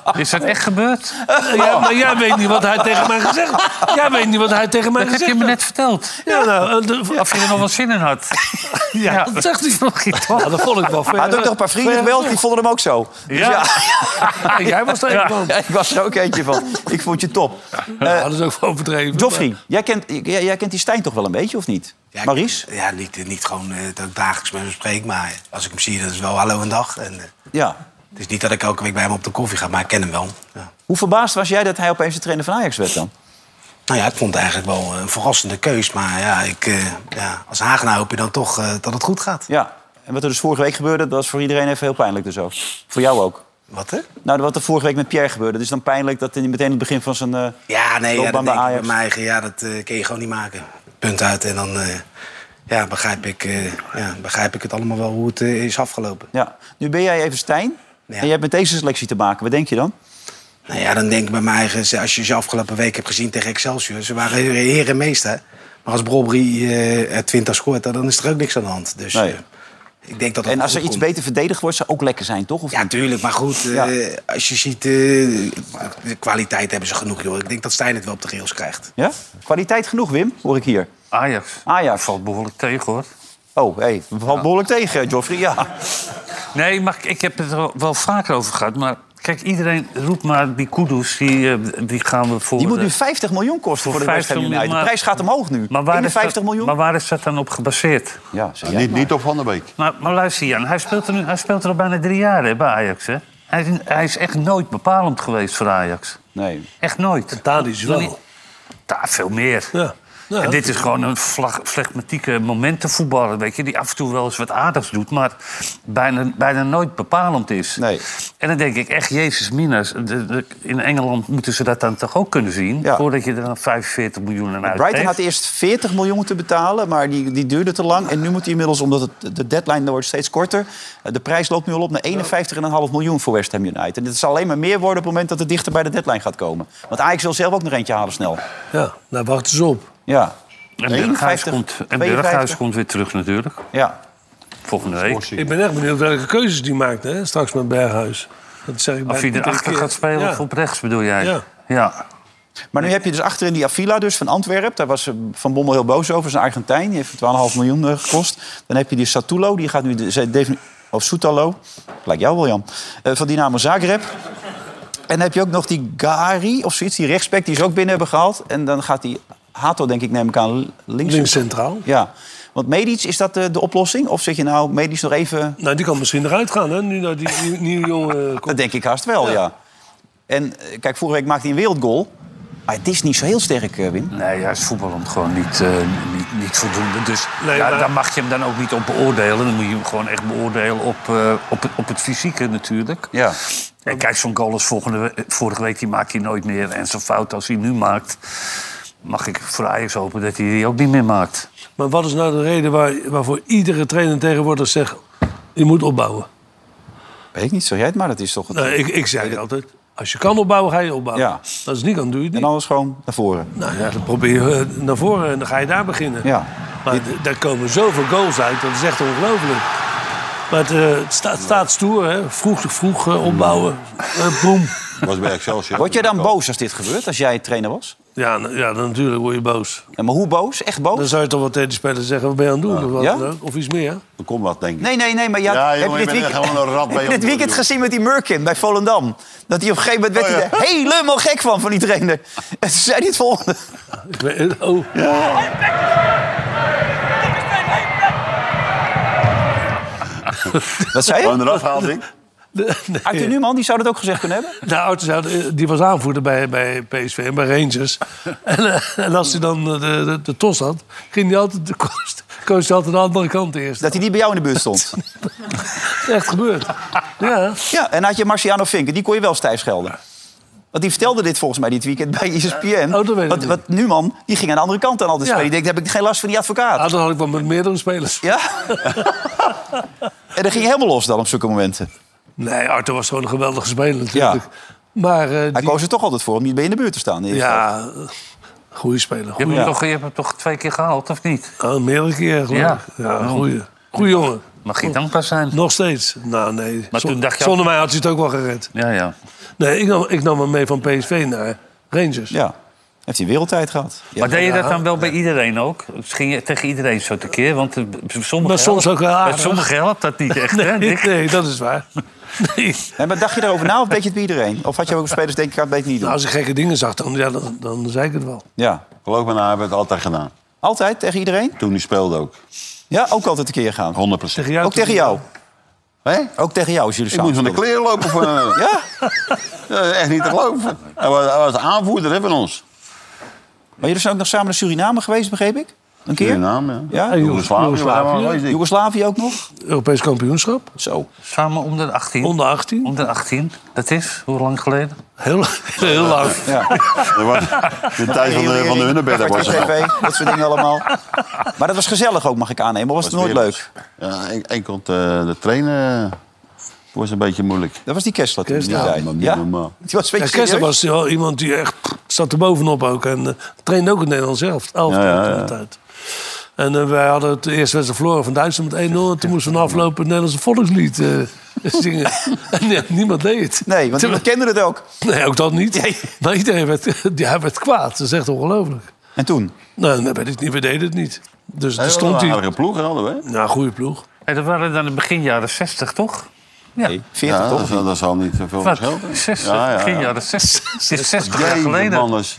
[SPEAKER 4] op. Is dat echt gebeurd?
[SPEAKER 3] Eh, Ja, maar jij weet niet wat hij tegen mij gezegd heeft. Jij weet niet wat hij tegen mij
[SPEAKER 4] Dat heb
[SPEAKER 3] gezegd
[SPEAKER 4] je me net
[SPEAKER 3] heeft.
[SPEAKER 4] verteld.
[SPEAKER 3] Ja, nou, eh, de-
[SPEAKER 4] Of je er nog wel zin in had.
[SPEAKER 3] ja, dat zegt hij nog niet. Ja, Oh, nou, dat vond ik wel
[SPEAKER 2] Hij had ook nog een paar vrienden gebeld, die vonden hem ook zo. Dus
[SPEAKER 3] Ja. Ja, jij was er een
[SPEAKER 2] Ja.
[SPEAKER 3] van.
[SPEAKER 2] Ja, ik was er ook eentje van. Ik vond je top. Eh,
[SPEAKER 3] dat is ook overdreven.
[SPEAKER 2] Joffrey, jij kent, jij, jij kent die Stijn toch wel een beetje, of niet?
[SPEAKER 11] Ja,
[SPEAKER 2] Maurice?
[SPEAKER 11] Ja, niet, eh, niet gewoon eh, dat ik dagelijks met hem spreek, maar als ik hem zie, dat is wel hallo en dag. En, eh,
[SPEAKER 2] Ja.
[SPEAKER 11] het is niet dat ik elke week bij hem op de koffie ga, maar ik ken hem wel.
[SPEAKER 2] Hoe verbaasd was jij dat hij opeens de trainer van Ajax werd dan?
[SPEAKER 11] Nou ja, ik vond het eigenlijk wel een verrassende keus, maar ja, ik, eh, ja, als Hagenaar hoop je dan toch eh, dat het goed gaat.
[SPEAKER 2] Ja. En wat er dus vorige week gebeurde, dat was voor iedereen even heel pijnlijk dus ook. Voor jou ook.
[SPEAKER 11] Wat hè?
[SPEAKER 2] Nou, wat er vorige week met Pierre gebeurde. Dus dan pijnlijk dat hij meteen het begin van zijn eh
[SPEAKER 11] Ja, nee, ja,
[SPEAKER 2] loopbaan
[SPEAKER 11] dat denk
[SPEAKER 2] bij
[SPEAKER 11] ik bij
[SPEAKER 2] Ajax...
[SPEAKER 11] mijn eigen, ja, dat eh kun je gewoon niet maken. Punt uit en dan eh, ja, begrijp, ik, eh, ja, begrijp ik het allemaal wel hoe het eh, is afgelopen.
[SPEAKER 2] Ja. Nu ben jij even Stijn. En je hebt met deze selectie te maken. Wat denk je dan?
[SPEAKER 11] Nou ja, dan denk ik bij mij eigen, als je ze afgelopen week hebt gezien tegen Excelsior, ze waren heer en meester. Maar als Brobry eh, er 20 scoort, dan is er ook niks aan de hand. Dus
[SPEAKER 2] Nee.
[SPEAKER 11] eh, ik denk dat dat
[SPEAKER 2] En als er
[SPEAKER 11] goed
[SPEAKER 2] iets
[SPEAKER 11] komt.
[SPEAKER 2] beter verdedigd wordt, zou ook lekker zijn, toch? Of
[SPEAKER 11] Ja, tuurlijk, maar goed,
[SPEAKER 2] Ja.
[SPEAKER 11] eh, als je ziet, eh, de kwaliteit hebben ze genoeg, joh. Ik denk dat Stijn het wel op de rails krijgt.
[SPEAKER 2] Ja? Kwaliteit genoeg, Wim, hoor ik hier.
[SPEAKER 4] Ajax.
[SPEAKER 2] Ajax.
[SPEAKER 4] Valt behoorlijk tegen, hoor.
[SPEAKER 2] Oh, hé, hey, valt behoorlijk tegen, Joffrey, ja.
[SPEAKER 4] Nee, maar ik- ik heb het er wel- wel vaker over gehad. Maar kijk, iedereen roept maar die kudos, die, eh, die gaan we voor...
[SPEAKER 2] Die moet nu
[SPEAKER 4] eh,
[SPEAKER 2] 50 miljoen kosten voor de West Ham
[SPEAKER 4] 50 miljoen,
[SPEAKER 2] United. De
[SPEAKER 4] maar-
[SPEAKER 2] prijs gaat omhoog nu.
[SPEAKER 4] maar waar is
[SPEAKER 2] 51
[SPEAKER 4] dat-
[SPEAKER 2] miljoen.
[SPEAKER 4] Maar waar is dat dan op gebaseerd?
[SPEAKER 2] Ja,
[SPEAKER 5] niet, niet op Van der Beek.
[SPEAKER 4] Maar, maar luister Jan, hij speelt, er nu, hij speelt er al bijna drie jaar hè, bij Ajax. Hè? Hij, is- hij is echt nooit bepalend geweest voor Ajax.
[SPEAKER 2] Nee.
[SPEAKER 4] Echt nooit.
[SPEAKER 3] Tadic wel.
[SPEAKER 4] Daar veel meer.
[SPEAKER 3] Ja. Ja.
[SPEAKER 4] en dit is gewoon een vlag, flegmatieke momentenvoetballer, weet je, die af en toe wel eens wat aardigs doet, maar bijna, bijna nooit bepalend is. En dan denk ik echt, Jezus Minas, de- de- in Engeland moeten ze dat dan toch ook kunnen zien, voordat je er dan 45 miljoen aan uitgeeft.
[SPEAKER 2] Brighton had eerst 40 miljoen moeten betalen, maar die, die duurde te lang. En nu moet hij inmiddels, omdat het, de deadline wordt steeds korter... eh, de prijs loopt nu al op naar 51,5 miljoen voor West Ham United. En dit zal alleen maar meer worden op het moment dat het dichter bij de deadline gaat komen. Want Ajax wil zelf ook nog eentje halen snel.
[SPEAKER 3] Ja, nou wacht eens op.
[SPEAKER 2] Ja.
[SPEAKER 4] En Berghuis
[SPEAKER 2] 51,
[SPEAKER 4] komt, en
[SPEAKER 2] 52.
[SPEAKER 4] Berghuis komt weer terug natuurlijk.
[SPEAKER 2] Ja.
[SPEAKER 4] Volgende week.
[SPEAKER 3] Ik ben echt benieuwd welke keuzes die maakt, hè, straks met Berghuis. Dat zeg ik
[SPEAKER 4] Of
[SPEAKER 3] bij-
[SPEAKER 4] hij erachter
[SPEAKER 3] keer.
[SPEAKER 4] gaat spelen
[SPEAKER 3] Ja.
[SPEAKER 4] of op rechts bedoel jij?
[SPEAKER 3] Ja.
[SPEAKER 4] ja.
[SPEAKER 2] Maar nu heb je dus achterin die Avila dus van Antwerpen. Daar was eh, Van Bommel heel boos over. Zijn Argentijn. Die heeft 12,5 miljoen eh, gekost. Dan heb je die Satulo. Die gaat nu... De, ze- defini- of Soutalo. Lijkt jou wel, Jan. Eh, van Dynamo Zagreb. En dan heb je ook nog die Gari of zoiets. Die rechtsback die ze ook binnen hebben gehaald. En dan gaat die Hato, denk ik, neem ik aan, links...
[SPEAKER 3] Links centraal.
[SPEAKER 2] Ja. Want Medic, is dat eh, de, de oplossing? Of zeg je nou, Medic nog even...
[SPEAKER 3] Nou, die kan misschien eruit gaan, hè, nu dat die nieuw- nieuwe jongen eh, komt.
[SPEAKER 2] Dat denk ik haast wel, ja. En eh, kijk, vorige week maakte hij een wereldgoal. Maar het is niet zo heel sterk, eh, Wim.
[SPEAKER 4] Nee, hij is voetballend gewoon niet, eh, niet, niet voldoende. Dus
[SPEAKER 3] Nee,
[SPEAKER 4] ja,
[SPEAKER 3] maar-
[SPEAKER 4] daar mag je hem dan ook niet op beoordelen. Dan moet je hem gewoon echt beoordelen op, eh, op, het- op het fysieke natuurlijk.
[SPEAKER 2] Ja.
[SPEAKER 4] En kijk, zo'n goal als volgende, we- vorige week, die maakt hij nooit meer. En zo'n fout als hij nu maakt, mag ik voor Ajax hopen dat hij die ook niet meer maakt.
[SPEAKER 3] Maar wat is nou de reden waar, waarvoor iedere trainer tegenwoordig zegt... je moet opbouwen?
[SPEAKER 2] Weet ik niet, zeg jij het maar. Dat is toch... het-
[SPEAKER 3] Nee, ik, ik zeg altijd, als je kan opbouwen, ga je opbouwen.
[SPEAKER 2] Ja.
[SPEAKER 3] Dat is niet kan, doe je het niet.
[SPEAKER 2] En anders gewoon naar voren.
[SPEAKER 3] Nou ja, dan probeer je eh, naar voren en dan ga je daar beginnen.
[SPEAKER 2] Ja.
[SPEAKER 3] Maar d- daar komen zoveel goals uit, dat is echt ongelooflijk. Maar het, eh, het staat, staat stoer, hè? Vroeg, vroeg eh, opbouwen. Eh boom.
[SPEAKER 5] Was bij Excelsior.
[SPEAKER 2] Word je dan boos als dit gebeurt, als jij trainer was?
[SPEAKER 3] Ja, nou, ja, dan natuurlijk word je boos.
[SPEAKER 2] Ja, maar hoe boos? Echt boos?
[SPEAKER 3] Dan zou je toch wel tegen de spelers zeggen, wat ben je aan het doen? Of, wat
[SPEAKER 2] Ja?
[SPEAKER 3] dan ook? of iets meer.
[SPEAKER 5] Dan komt wat, denk ik.
[SPEAKER 2] Nee, nee, nee, maar ja,
[SPEAKER 5] Ja, jongen,
[SPEAKER 2] heb
[SPEAKER 5] je
[SPEAKER 2] je dit
[SPEAKER 5] bent
[SPEAKER 2] weekend,
[SPEAKER 5] echt gewoon een rat bij
[SPEAKER 2] heb je dit
[SPEAKER 5] ons,
[SPEAKER 2] weekend
[SPEAKER 5] joh.
[SPEAKER 2] gezien met die Murkin bij Volendam? Dat hij op een gegeven moment werd
[SPEAKER 5] Oh, ja.
[SPEAKER 2] hij er helemaal gek van, van die trainer. En toen zei hij het volgende.
[SPEAKER 3] Ik weet- oh.
[SPEAKER 2] Wat zei je?
[SPEAKER 5] Gewoon eraf haalt ik.
[SPEAKER 2] Arthur Newman, die zou dat ook gezegd kunnen hebben.
[SPEAKER 3] De auto zou- eh, die was aanvoerder bij, bij PSV en bij Rangers. en, eh, en als hij dan eh, de, de, de tos had, ging hij altijd, de koos, koos hij altijd de andere kant eerst.
[SPEAKER 2] Dat hij niet bij jou in de buurt stond.
[SPEAKER 3] is echt gebeurd. ja.
[SPEAKER 2] Ja, en had je Marciano Vinken, die kon je wel stijf schelden. Want die vertelde dit volgens mij dit weekend bij E ESPN. wat, wat Numan, die ging aan de andere kant aan altijd
[SPEAKER 3] Ja.
[SPEAKER 2] spelen. Die denkt, heb ik geen last van die advocaat.
[SPEAKER 3] Ah, dan had ik wel met meerdere spelers.
[SPEAKER 2] Ja? en dat ging helemaal los dan op zulke momenten.
[SPEAKER 3] Nee, Arthur was gewoon een geweldige speler natuurlijk. Maar, eh,
[SPEAKER 2] Hij
[SPEAKER 3] die-
[SPEAKER 2] koos er toch altijd voor om niet bij in de buurt te staan.
[SPEAKER 3] Ja, goede speler.
[SPEAKER 4] Je hebt,
[SPEAKER 2] Ja.
[SPEAKER 4] hem toch, je hebt hem toch twee keer gehaald, of niet?
[SPEAKER 3] Oh, meerdere keer, geloof
[SPEAKER 4] Ja. Oh.
[SPEAKER 3] ik. Ja, goeie. Goeie jongen.
[SPEAKER 4] Mag je dankbaar zijn?
[SPEAKER 3] Nog steeds. Nou, nee.
[SPEAKER 4] Maar
[SPEAKER 3] Zon-
[SPEAKER 4] toen dacht je
[SPEAKER 3] Zonder
[SPEAKER 4] ook-
[SPEAKER 3] mij had hij het ook wel gered.
[SPEAKER 4] Ja, ja.
[SPEAKER 3] Nee, ik nam, ik nam hem mee van PSV naar Rangers.
[SPEAKER 2] Ja. Heeft hij wereldtijd gehad.
[SPEAKER 4] maar deed je dat dan wel bij iedereen ook? Dus Ging je tegen iedereen zo tekeer? Want eh, b- sommige
[SPEAKER 3] Maar Nou, soms ook wel aardig.
[SPEAKER 4] Sommigen helpt dat niet echt, hè?
[SPEAKER 3] Nee,
[SPEAKER 4] Dick?
[SPEAKER 3] nee, dat is waar. Nou,
[SPEAKER 2] Nee, maar dacht je daarover na of deed je het bij iedereen? Of had je ook spelers denk ik, had het beter niet doen?
[SPEAKER 3] Nou, als ik gekke dingen zag, dan, ja, dan, dan zei ik het wel.
[SPEAKER 2] Ja.
[SPEAKER 5] Geloof me, nou hebben we het altijd gedaan.
[SPEAKER 2] Altijd? Tegen iedereen?
[SPEAKER 5] Toen hij speelde ook.
[SPEAKER 2] Ja, ook altijd een keer gaan.
[SPEAKER 5] 100 procent.
[SPEAKER 2] ook tegen jou?
[SPEAKER 5] Hé?
[SPEAKER 2] Ook tegen jou als jullie
[SPEAKER 5] Ik moest van de
[SPEAKER 2] samen
[SPEAKER 5] kleren lopen voor... eh,
[SPEAKER 2] ja?
[SPEAKER 5] Echt niet te geloven. Hij was, hij was de aanvoerder hè, van ons.
[SPEAKER 2] Maar jullie zijn ook nog samen naar Suriname geweest, begreep ik? Een keer?
[SPEAKER 5] Suriname, ja.
[SPEAKER 2] Ja?
[SPEAKER 3] Eh,
[SPEAKER 5] En Joegoslavië. Joegoslavië.
[SPEAKER 2] Joegoslavië ook nog?
[SPEAKER 3] Europees kampioenschap.
[SPEAKER 2] Zo.
[SPEAKER 4] Samen onder de 18.
[SPEAKER 3] Onder 18.
[SPEAKER 4] Onder 18. Dat is, hoe lang geleden?
[SPEAKER 3] Heel, heel lang.
[SPEAKER 2] Ja.
[SPEAKER 5] De tijd van de, van de Hunebedden was er nog.
[SPEAKER 2] TV, dat soort dingen allemaal. Maar dat was gezellig ook, mag ik aannemen. Of was het nooit leuk?
[SPEAKER 5] Ja, en- enkel eh, de trainen was een beetje moeilijk.
[SPEAKER 2] Dat was die Kessler toen
[SPEAKER 3] die
[SPEAKER 5] Ja,
[SPEAKER 3] tijd.
[SPEAKER 5] maar niet
[SPEAKER 2] Ja?
[SPEAKER 5] normaal.
[SPEAKER 2] Die was een
[SPEAKER 3] Ja,
[SPEAKER 2] beetje
[SPEAKER 3] Kessler
[SPEAKER 2] serieus.
[SPEAKER 3] was wel iemand die echt pff, zat er bovenop ook. En eh, trainde ook in Nederland zelf. Elf
[SPEAKER 5] Ja, ja,
[SPEAKER 3] toen
[SPEAKER 5] ja.
[SPEAKER 3] de tijd. En eh, wij hadden het eerste wedstrijd verloren van Duitsland met 1-0. En toen moesten we na afloop het Nederlandse volkslied eh, zingen. en ja, niemand deed het.
[SPEAKER 2] Nee, want
[SPEAKER 3] Terwijl-
[SPEAKER 2] niemand kende het ook.
[SPEAKER 3] Nee, ook dat niet. Maar iedereen werd, ja, werd kwaad. Dat is echt ongelooflijk.
[SPEAKER 2] En toen?
[SPEAKER 3] Nou, nee, weet ik niet. We deden het niet. Dus
[SPEAKER 5] Ja,
[SPEAKER 3] er stond
[SPEAKER 5] een
[SPEAKER 3] hij.
[SPEAKER 5] aardige ploeg hadden we.
[SPEAKER 3] Nou, goede ploeg.
[SPEAKER 4] Hey, dat waren dan in begin jaren 60, toch? Ja.
[SPEAKER 2] Nee, 40
[SPEAKER 5] ja,
[SPEAKER 2] toch?
[SPEAKER 5] Dat, zal- dat zal niet zoveel
[SPEAKER 4] Wat?
[SPEAKER 5] verschil
[SPEAKER 4] 60, Nou, begin jaren 60. Het is 60 jaar
[SPEAKER 5] Jeetje,
[SPEAKER 4] geleden.
[SPEAKER 5] man, dat is-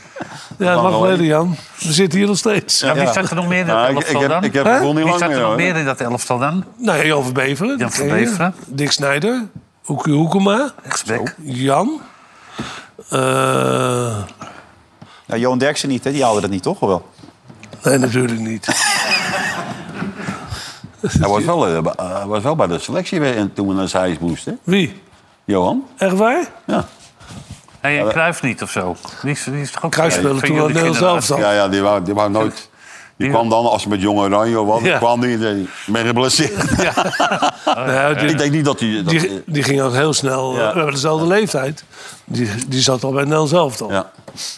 [SPEAKER 3] Ja, dat mag geleden, Jan. We zitten hier nog steeds.
[SPEAKER 4] Ja, wie zat er nog meer in dat
[SPEAKER 5] Ja, Nou, ik-
[SPEAKER 4] elftal
[SPEAKER 5] ik heb-
[SPEAKER 4] dan?
[SPEAKER 5] ik heb
[SPEAKER 4] Hè?
[SPEAKER 5] het gevoel niet
[SPEAKER 4] Wie
[SPEAKER 5] lang
[SPEAKER 4] zat er
[SPEAKER 5] meer,
[SPEAKER 4] nog
[SPEAKER 5] hoor.
[SPEAKER 4] meer in dat elftal dan?
[SPEAKER 3] Nou, Jan van Beveren.
[SPEAKER 4] Jan
[SPEAKER 3] die
[SPEAKER 4] van
[SPEAKER 3] ken je.
[SPEAKER 4] Beveren.
[SPEAKER 3] Dick Snijder. Hoekie Hoekema.
[SPEAKER 4] Rechtsback.
[SPEAKER 3] Jan. Eh,
[SPEAKER 2] Nou, Johan Derksen niet, hè? die haalde dat niet, toch? Of wel?
[SPEAKER 3] nee, natuurlijk niet.
[SPEAKER 5] Hij was wel, eh, bij- eh, hij was wel bij de selectie weer in- toen we naar Zeist moesten.
[SPEAKER 3] Wie?
[SPEAKER 5] Johan?
[SPEAKER 3] Echt waar?
[SPEAKER 5] Ja.
[SPEAKER 4] Nee, en Cruijff niet of zo. Die is, die is toch ook...
[SPEAKER 3] Cruijff
[SPEAKER 4] Ja,
[SPEAKER 3] speelde
[SPEAKER 4] van
[SPEAKER 3] toen wel
[SPEAKER 4] jullie
[SPEAKER 3] Nederlands
[SPEAKER 4] generatie.
[SPEAKER 5] Ja, ja die, wou, die wou nooit... Die kwam dan, als ze met Jong Oranje of wat,
[SPEAKER 3] Ja.
[SPEAKER 5] kwam die en zei, ben geblesseerd.
[SPEAKER 3] Nou, die,
[SPEAKER 5] Ik denk niet dat hij... Dat,
[SPEAKER 3] die, die ging ook heel snel. eh, We hebben dezelfde leeftijd. Die, die zat al bij Nel zelf dan.
[SPEAKER 5] ja.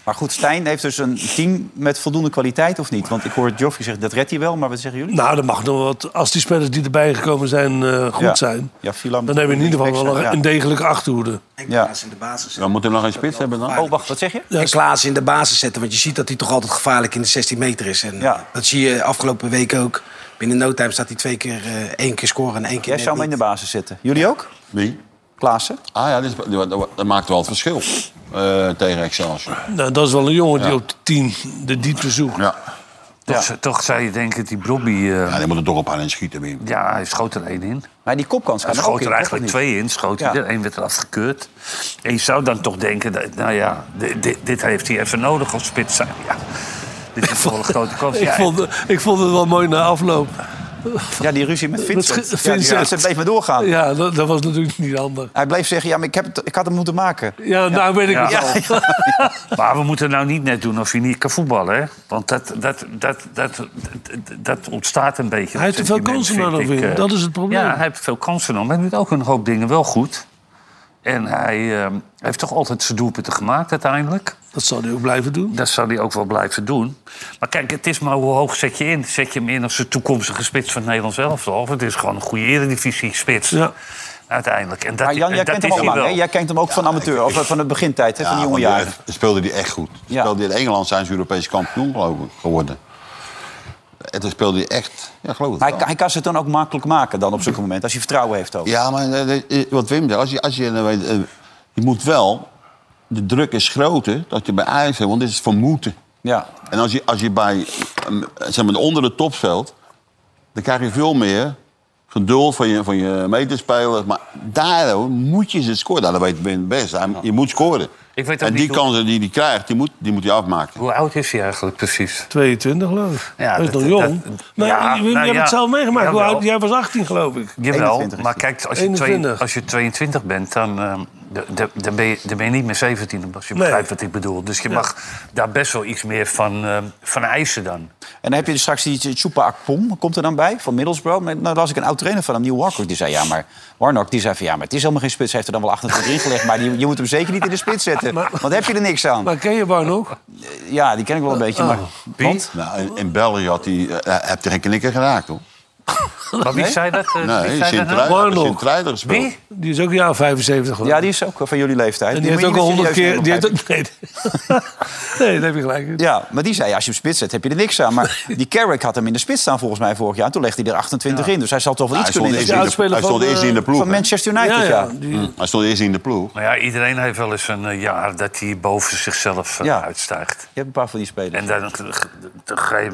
[SPEAKER 2] Maar goed, Stijn heeft dus een team met voldoende kwaliteit, of niet? Want ik hoor Joffrey zeggen, dat redt hij wel, maar wat zeggen jullie?
[SPEAKER 3] Nou, dat mag nog wat. Als die spelers die erbij gekomen zijn eh, goed
[SPEAKER 2] Ja.
[SPEAKER 3] zijn,
[SPEAKER 2] Ja, Filam-
[SPEAKER 3] dan hebben we in ieder geval wel een,
[SPEAKER 2] Ja.
[SPEAKER 3] een degelijke achterhoede.
[SPEAKER 2] Ja.
[SPEAKER 11] in de basis.
[SPEAKER 5] Dan moet hij nog een spits hebben dan.
[SPEAKER 2] Oh, wacht, wat zeg je?
[SPEAKER 11] En Klaas in de basis zetten. Want je ziet dat hij toch altijd gevaarlijk in de 16 meter is. En dat zie je afgelopen week ook. Binnen no time staat hij twee keer, eh, één keer scoren en één keer
[SPEAKER 2] Jij
[SPEAKER 11] net
[SPEAKER 2] zou hem in
[SPEAKER 11] niet.
[SPEAKER 2] de basis zitten. Jullie ook?
[SPEAKER 5] Wie?
[SPEAKER 2] Klaassen?
[SPEAKER 5] Ah ja, dit is- dat, dat- dat maakt wel het verschil eh, tegen Excelsior.
[SPEAKER 3] Nou, dat is wel een jongen die op de 10 de diepte zoekt.
[SPEAKER 5] Ja.
[SPEAKER 4] Toch, toch zou je denken, die Brobby... eh,
[SPEAKER 5] Ja, die moet er toch op aan in schieten. Wim.
[SPEAKER 4] ja, hij schoot er één in.
[SPEAKER 2] Maar die kopkans
[SPEAKER 4] Hij
[SPEAKER 2] kan er ook
[SPEAKER 4] schoot
[SPEAKER 2] in,
[SPEAKER 4] er
[SPEAKER 2] toch,
[SPEAKER 4] eigenlijk
[SPEAKER 2] of niet?
[SPEAKER 4] twee in, schoot hij
[SPEAKER 2] Ja.
[SPEAKER 4] er. Eén werd eraf gekeurd. En je zou dan toch denken, dat, nou ja, dit, dit- dit heeft hij even nodig als spits zijn. Ja. Dit is toch wel een grote kans.
[SPEAKER 3] Ik,
[SPEAKER 4] Ja,
[SPEAKER 3] vond, ik vond het wel mooi na afloop.
[SPEAKER 2] Ja, die ruzie met Vincent.
[SPEAKER 3] Eh, Met Ge-
[SPEAKER 2] Ja, die-
[SPEAKER 3] Vincent.
[SPEAKER 2] ja, ze bleef maar doorgaan.
[SPEAKER 3] Ja, dat, dat was natuurlijk niet handig.
[SPEAKER 2] Hij bleef zeggen, ja, maar ik, heb het, ik had hem moeten maken.
[SPEAKER 3] Ja, nou weet ik
[SPEAKER 4] Ja.
[SPEAKER 3] het al.
[SPEAKER 4] Maar we moeten nou niet net doen of je niet kan voetballen, hè? Want dat, dat, dat, dat, dat, dat ontstaat een beetje.
[SPEAKER 3] Hij heeft
[SPEAKER 4] dat
[SPEAKER 3] te veel
[SPEAKER 4] sentiment,
[SPEAKER 3] kansen
[SPEAKER 4] vind
[SPEAKER 3] nou nog
[SPEAKER 4] ik,
[SPEAKER 3] weer.
[SPEAKER 4] eh.
[SPEAKER 3] Dat is het probleem.
[SPEAKER 4] Ja, hij heeft veel kansen nog. Maar hij doet ook een hoop dingen wel goed. En hij eh, heeft toch altijd zijn doelpunten gemaakt uiteindelijk.
[SPEAKER 3] Dat zal hij ook blijven doen.
[SPEAKER 4] Dat zal hij ook wel blijven doen. Maar kijk, het is maar hoe hoog zet je in. Zet je hem in als de toekomstige spits van het Nederlands elftal? Of het is gewoon een goede eredivisie spits.
[SPEAKER 3] Ja.
[SPEAKER 4] Uiteindelijk. En dat,
[SPEAKER 2] Maar Jan, jij
[SPEAKER 4] dat
[SPEAKER 2] kent
[SPEAKER 4] is
[SPEAKER 2] hem ook
[SPEAKER 4] hij
[SPEAKER 2] lang, hè?
[SPEAKER 4] wel.
[SPEAKER 2] Jij kent hem ook van amateur, of eh, van het begintijd, hè, van die jonge
[SPEAKER 5] want die-
[SPEAKER 2] jaren.
[SPEAKER 5] speelde die echt goed.
[SPEAKER 2] Ja.
[SPEAKER 5] Speelde die in Engeland zijn ze Europees kampioen geloof ik, geworden. En toen speelde hij echt, ja geloof ik.
[SPEAKER 2] Maar hij, hij kan ze het dan ook makkelijk maken dan op zulke moment, als hij vertrouwen heeft ook.
[SPEAKER 5] Ja, maar eh, eh, wat Wim zei, als je, als je, eh, weet, eh, je moet wel, de druk is groter dat je bij Ajax hebt, want dit is vermoeden.
[SPEAKER 2] Ja.
[SPEAKER 5] En als je, als je bij, ehm, zeg maar, onder de top speelt, dan krijg je veel meer geduld van je, van je medespelers. Maar daardoor moet je ze scoren. Nou, dat weet Wim het best. Hij- Je moet scoren.
[SPEAKER 4] Ik weet ook
[SPEAKER 5] en
[SPEAKER 4] niet
[SPEAKER 5] die
[SPEAKER 4] hoe-
[SPEAKER 5] kansen die hij krijgt, die moet, die moet hij afmaken.
[SPEAKER 4] Hoe oud is hij eigenlijk precies?
[SPEAKER 3] 22 geloof ik.
[SPEAKER 4] Ja,
[SPEAKER 3] dat is
[SPEAKER 4] dat-
[SPEAKER 3] nog jong.
[SPEAKER 4] dat-
[SPEAKER 3] Maar
[SPEAKER 4] ja,
[SPEAKER 3] je, je
[SPEAKER 4] nou
[SPEAKER 3] hebt
[SPEAKER 4] ja.
[SPEAKER 3] het zelf meegemaakt. Hoe
[SPEAKER 4] Jawel.
[SPEAKER 3] oud- Jij was 18 geloof ik.
[SPEAKER 4] Jawel,
[SPEAKER 2] 21 is
[SPEAKER 4] maar
[SPEAKER 2] hij.
[SPEAKER 4] kijk, als je, twee-
[SPEAKER 3] 21.
[SPEAKER 4] als je 22 bent, dan, ehm, da- da- dan ben, je, dan ben je niet meer 17, als je begrijpt wat ik bedoel. Dus je mag daar best wel iets meer van, eh, van eisen dan.
[SPEAKER 2] En dan heb je dus straks die Chupa Akpom, komt er dan bij, van Middlesbrough. Maar nou las ik een oud trainer van hem, Neil Warnock, die zei... ja, maar Warnock, die zei van ja, maar het is helemaal geen spits. Hij heeft er dan wel 28 in gelegd, maar die, je moet hem zeker niet in de spits zetten. want dan heb je er niks aan. Maar
[SPEAKER 3] ken je Warnock?
[SPEAKER 2] Ja, die ken ik wel een beetje, maar...
[SPEAKER 3] Oh.
[SPEAKER 5] Piet? Nou, in, in België had hij, eh, heb je geen knikker geraakt, hoor.
[SPEAKER 4] Maar wie
[SPEAKER 5] Nee?
[SPEAKER 4] zei dat? eh,
[SPEAKER 5] Nee,
[SPEAKER 4] wie zei dat nou?
[SPEAKER 5] Sint-Truiden-
[SPEAKER 3] Warnock.
[SPEAKER 5] Sint-Truiden gespeeld. Nou,
[SPEAKER 4] Wie?
[SPEAKER 3] Die is ook een jaar 75 geworden.
[SPEAKER 2] Ja, die is ook van jullie leeftijd.
[SPEAKER 3] En die
[SPEAKER 2] moet
[SPEAKER 3] heeft
[SPEAKER 2] je
[SPEAKER 3] ook
[SPEAKER 2] niet
[SPEAKER 3] al honderd
[SPEAKER 2] serieus
[SPEAKER 3] keer... Die heeft
[SPEAKER 2] nemen,
[SPEAKER 3] ook, nee, nee, dat heb je gelijk.
[SPEAKER 2] Ja, maar die zei, als je hem spits zet, heb je er niks aan. Maar die Carrick had hem in de spits staan volgens mij vorig jaar. En toen legde hij er 28 in. Dus hij zal toch wel
[SPEAKER 5] Nou,
[SPEAKER 2] iets
[SPEAKER 5] hij
[SPEAKER 2] kunnen
[SPEAKER 5] stond eerst in de-
[SPEAKER 2] inzetten.
[SPEAKER 5] hij stond eerst in
[SPEAKER 4] eh,
[SPEAKER 5] de ploeg,
[SPEAKER 2] Van
[SPEAKER 5] hè?
[SPEAKER 2] Manchester United, ja.
[SPEAKER 5] Hm, Hij stond eerst in de ploeg.
[SPEAKER 4] Maar Nou ja, iedereen heeft wel eens een eh, jaar dat hij boven zichzelf eh,
[SPEAKER 2] Ja.
[SPEAKER 4] uitstijgt. Je
[SPEAKER 2] hebt een paar van die spelers.
[SPEAKER 4] En dan, eh, dan, dan ga je...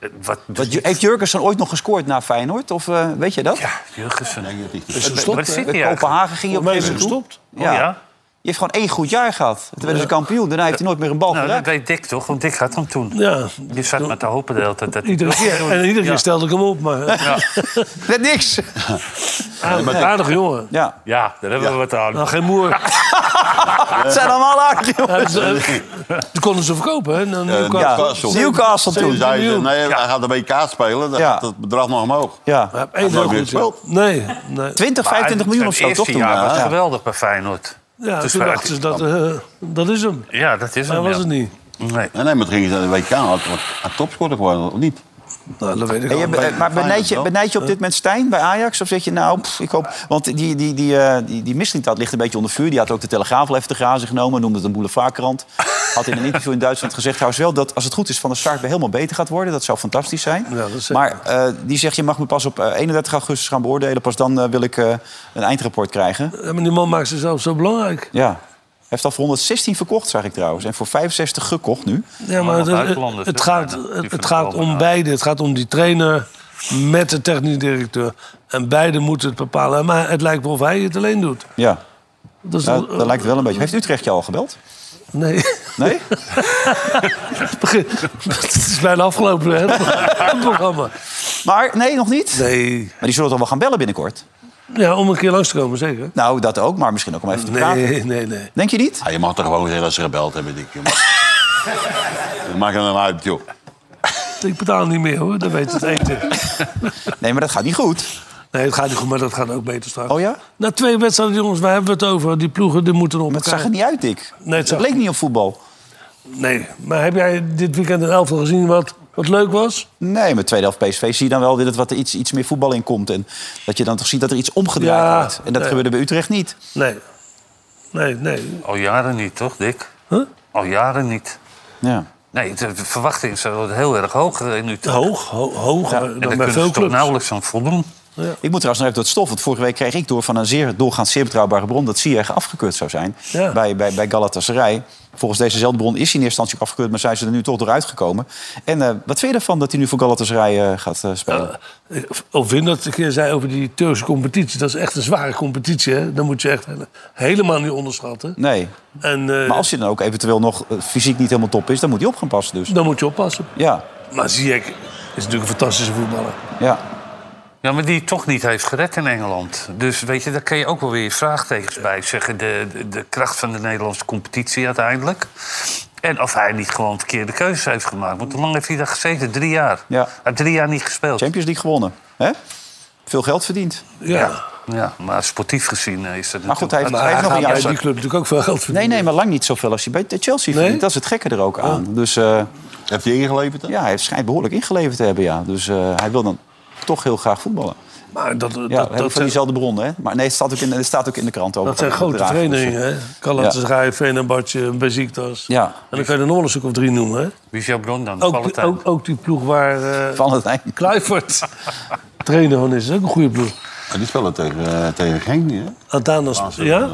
[SPEAKER 4] eh, Wat,
[SPEAKER 2] Wat, heeft Jurgensen ooit nog gescoord na Feyenoord? Of eh, weet je dat? Ja,
[SPEAKER 4] Jurgensen.
[SPEAKER 2] Dus
[SPEAKER 4] Waar zit hij eigenlijk?
[SPEAKER 2] Kopenhagen ging je op een gegeven
[SPEAKER 4] Volgens mij
[SPEAKER 2] moment
[SPEAKER 4] is hij
[SPEAKER 2] toe.
[SPEAKER 4] gestopt. Oh, ja.
[SPEAKER 2] Je heeft gewoon één goed jaar gehad. Toen werden ze kampioen. Daarna heeft hij nooit meer een bal
[SPEAKER 4] Nou, dat
[SPEAKER 2] geraakt.
[SPEAKER 4] weet Dick toch, want Dick had hem toen.
[SPEAKER 3] Ja.
[SPEAKER 4] Je zat maar te hopen de hele tijd. Dat
[SPEAKER 3] Iedere keer. En iedere keer stelde ik hem op, maar...
[SPEAKER 4] Ja.
[SPEAKER 2] Net niks.
[SPEAKER 3] Aardig, aardig jongen.
[SPEAKER 2] Ja.
[SPEAKER 4] Ja, daar hebben we wat aan.
[SPEAKER 3] Nou, geen moer.
[SPEAKER 2] Het zijn allemaal aardig
[SPEAKER 3] Ja,
[SPEAKER 2] jongens.
[SPEAKER 3] dus, eh, Toen konden ze verkopen, hè?
[SPEAKER 4] Eh,
[SPEAKER 3] naar Newcastle.
[SPEAKER 2] Newcastle toen.
[SPEAKER 5] Toen zei ze,
[SPEAKER 3] Miljoen.
[SPEAKER 5] nee, hij gaat een WK spelen. Dan
[SPEAKER 3] Ja.
[SPEAKER 5] gaat het bedrag nog omhoog.
[SPEAKER 2] Ja.
[SPEAKER 5] Hij
[SPEAKER 3] Eén
[SPEAKER 5] heeft nooit meer
[SPEAKER 3] goed, ja.
[SPEAKER 5] gespeeld.
[SPEAKER 3] Nee, nee.
[SPEAKER 4] Ah, Het eerste jaar was geweldig bij Feyenoord.
[SPEAKER 3] Ja,
[SPEAKER 4] Dus
[SPEAKER 3] toen
[SPEAKER 4] waar-
[SPEAKER 3] dachten ze dat, eh, dat is hem.
[SPEAKER 4] Ja, dat is
[SPEAKER 3] Maar
[SPEAKER 4] hem.
[SPEAKER 3] was
[SPEAKER 4] ja.
[SPEAKER 3] het niet.
[SPEAKER 4] Nee.
[SPEAKER 5] Nee, maar het ging naar de WK. Had, had, had topscorer geworden, of niet?
[SPEAKER 3] Nou, dat weet
[SPEAKER 2] En je, eh, maar benijd je, benijd je op dit moment Stijn bij Ajax? Of zeg je nou, pff, ik hoop... Want die, die, die, eh, die, die Mislintat ligt een beetje onder vuur. Die had ook de Telegraaf al even te grazen genomen. Noemde het een boulevardkrant. Had in een interview in Duitsland gezegd... trouwens wel dat als het goed is Van de Sar weer helemaal beter gaat worden. Dat zou fantastisch zijn. maar eh, die zegt, je mag me pas op eh, 31 augustus gaan beoordelen. Pas dan eh, wil ik eh, een eindrapport krijgen.
[SPEAKER 3] Ja, maar die man maakt zichzelf zo belangrijk.
[SPEAKER 2] Ja. Heeft al voor 116 verkocht, zag ik trouwens. En voor 65 gekocht nu.
[SPEAKER 3] Ja, maar het, het, het gaat, het, het gaat om beide. Het gaat om die trainer met de technisch directeur. En beide moeten het bepalen. Maar het lijkt wel of hij het alleen doet.
[SPEAKER 2] Ja,
[SPEAKER 3] Dat, is
[SPEAKER 2] nou,
[SPEAKER 3] wel-
[SPEAKER 2] dat lijkt wel een beetje. Heeft Utrecht je al gebeld?
[SPEAKER 3] Nee.
[SPEAKER 2] Nee?
[SPEAKER 3] Het begin- het is bijna afgelopen, hè, het programma.
[SPEAKER 2] Maar nee, nog niet?
[SPEAKER 3] Nee. Maar
[SPEAKER 2] die zullen toch wel gaan bellen binnenkort?
[SPEAKER 3] Ja, om een keer langs te komen, zeker.
[SPEAKER 2] Nou, dat ook, maar misschien ook om even te praten.
[SPEAKER 3] Nee, nee, nee.
[SPEAKER 2] Denk je niet?
[SPEAKER 5] Ja, je mag toch gewoon zeggen dat ze gebeld hebben, denk ik. Dat maakt hem uit, joh.
[SPEAKER 3] Ik betaal niet meer, hoor. Dat weet het eten.
[SPEAKER 2] Nee, maar dat gaat niet goed.
[SPEAKER 3] Nee, het gaat niet goed, maar dat gaat ook beter straks.
[SPEAKER 2] Oh ja?
[SPEAKER 3] Na twee wedstrijden, jongens, waar hebben we het over? Die ploegen die moeten op elkaar.
[SPEAKER 2] Het zag er niet uit, Dick.
[SPEAKER 3] Nee, het
[SPEAKER 2] het leek niet op voetbal.
[SPEAKER 3] Nee, maar heb jij dit weekend een elftal gezien wat, wat leuk was?
[SPEAKER 2] Nee, met tweede helft PSV zie je dan wel weer dat wat er iets, iets meer voetbal in komt. En dat je dan toch ziet dat er iets omgedraaid
[SPEAKER 3] Ja,
[SPEAKER 2] wordt. En dat
[SPEAKER 3] nee.
[SPEAKER 2] gebeurde bij Utrecht niet.
[SPEAKER 3] Nee. Nee, nee.
[SPEAKER 4] Al jaren niet, toch, Dick? Al jaren niet.
[SPEAKER 2] Ja.
[SPEAKER 4] Nee, de de verwachtingen zijn wel heel erg hoog eh, in Utrecht.
[SPEAKER 3] Hoog, ho- hoger
[SPEAKER 4] En
[SPEAKER 3] dan
[SPEAKER 4] daar
[SPEAKER 3] bij veel
[SPEAKER 4] kunnen ze toch nou-
[SPEAKER 3] clubs.
[SPEAKER 4] nauwelijks aan voldoen.
[SPEAKER 2] Ik moet trouwens nog even tot stof. Want vorige week kreeg ik door van een zeer doorgaans zeer betrouwbare bron... dat Ziyech afgekeurd zou zijn
[SPEAKER 3] Ja.
[SPEAKER 2] bij, bij, bij Galatasaray. Volgens dezezelfde bron is hij in eerste instantie ook afgekeurd... maar zijn ze er nu toch door uitgekomen. En eh, wat vind je ervan dat hij nu voor Galatasaray eh, gaat eh, spelen?
[SPEAKER 3] Of Wim dat een keer zei over die Turkse competitie. Dat is echt een zware competitie, hè? Dat moet je echt hele- helemaal niet onderschatten.
[SPEAKER 2] nee.
[SPEAKER 3] En eh,
[SPEAKER 2] Maar als hij dan ook eventueel nog eh, fysiek niet helemaal top is... dan moet hij op gaan passen dus.
[SPEAKER 3] dan moet je oppassen.
[SPEAKER 2] Ja,
[SPEAKER 3] Maar Ziyech is natuurlijk een fantastische voetballer.
[SPEAKER 2] ja.
[SPEAKER 4] Ja, maar die het toch niet heeft gered in Engeland. Dus weet je, daar kan je ook wel weer je vraagtekens bij zeggen. De, de, de kracht van de Nederlandse competitie uiteindelijk. En of hij niet gewoon verkeerde keuzes heeft gemaakt. Want hoe lang heeft hij daar gezeten? Drie jaar.
[SPEAKER 2] Ja.
[SPEAKER 4] Hij heeft drie jaar niet gespeeld.
[SPEAKER 2] Champions League gewonnen. Hè? Veel geld verdiend.
[SPEAKER 3] Ja.
[SPEAKER 4] ja. maar sportief gezien eh, is dat
[SPEAKER 2] Maar goed, hij heeft,
[SPEAKER 4] natuurlijk-
[SPEAKER 2] hij heeft nog een jaar...
[SPEAKER 3] natuurlijk ook veel geld
[SPEAKER 2] Nee, nee, maar lang niet zoveel als hij bij de Chelsea verdient. Dat is het gekke er ook aan.
[SPEAKER 3] Oh.
[SPEAKER 2] Dus,
[SPEAKER 5] heeft hij ingeleverd?
[SPEAKER 2] Ja, hij schijnt behoorlijk ingeleverd te hebben, ja. Dus eh, hij wil dan toch heel graag voetballen.
[SPEAKER 3] Maar dat,
[SPEAKER 2] Ja,
[SPEAKER 3] dat,
[SPEAKER 2] we hebben
[SPEAKER 3] dat,
[SPEAKER 2] van
[SPEAKER 3] zijn,
[SPEAKER 2] diezelfde bron, hè? Maar nee, het staat ook in, het staat ook in de krant over.
[SPEAKER 3] dat zijn grote verenigingen, hè? Galatasaray, Fenerbahce, Besiktas.
[SPEAKER 2] Ja.
[SPEAKER 3] En dan kan je er nog wel een stuk of drie noemen, hè?
[SPEAKER 4] Wie is jouw bron dan?
[SPEAKER 3] Ook, die-
[SPEAKER 4] Valentijn.
[SPEAKER 3] ook, ook die ploeg waar... eh
[SPEAKER 2] Valentijn.
[SPEAKER 3] Kluivert. Trainer van is ook een goede ploeg.
[SPEAKER 5] Ja, die spelen tegen, eh, tegen Genk, hè?
[SPEAKER 3] Antanas, ja?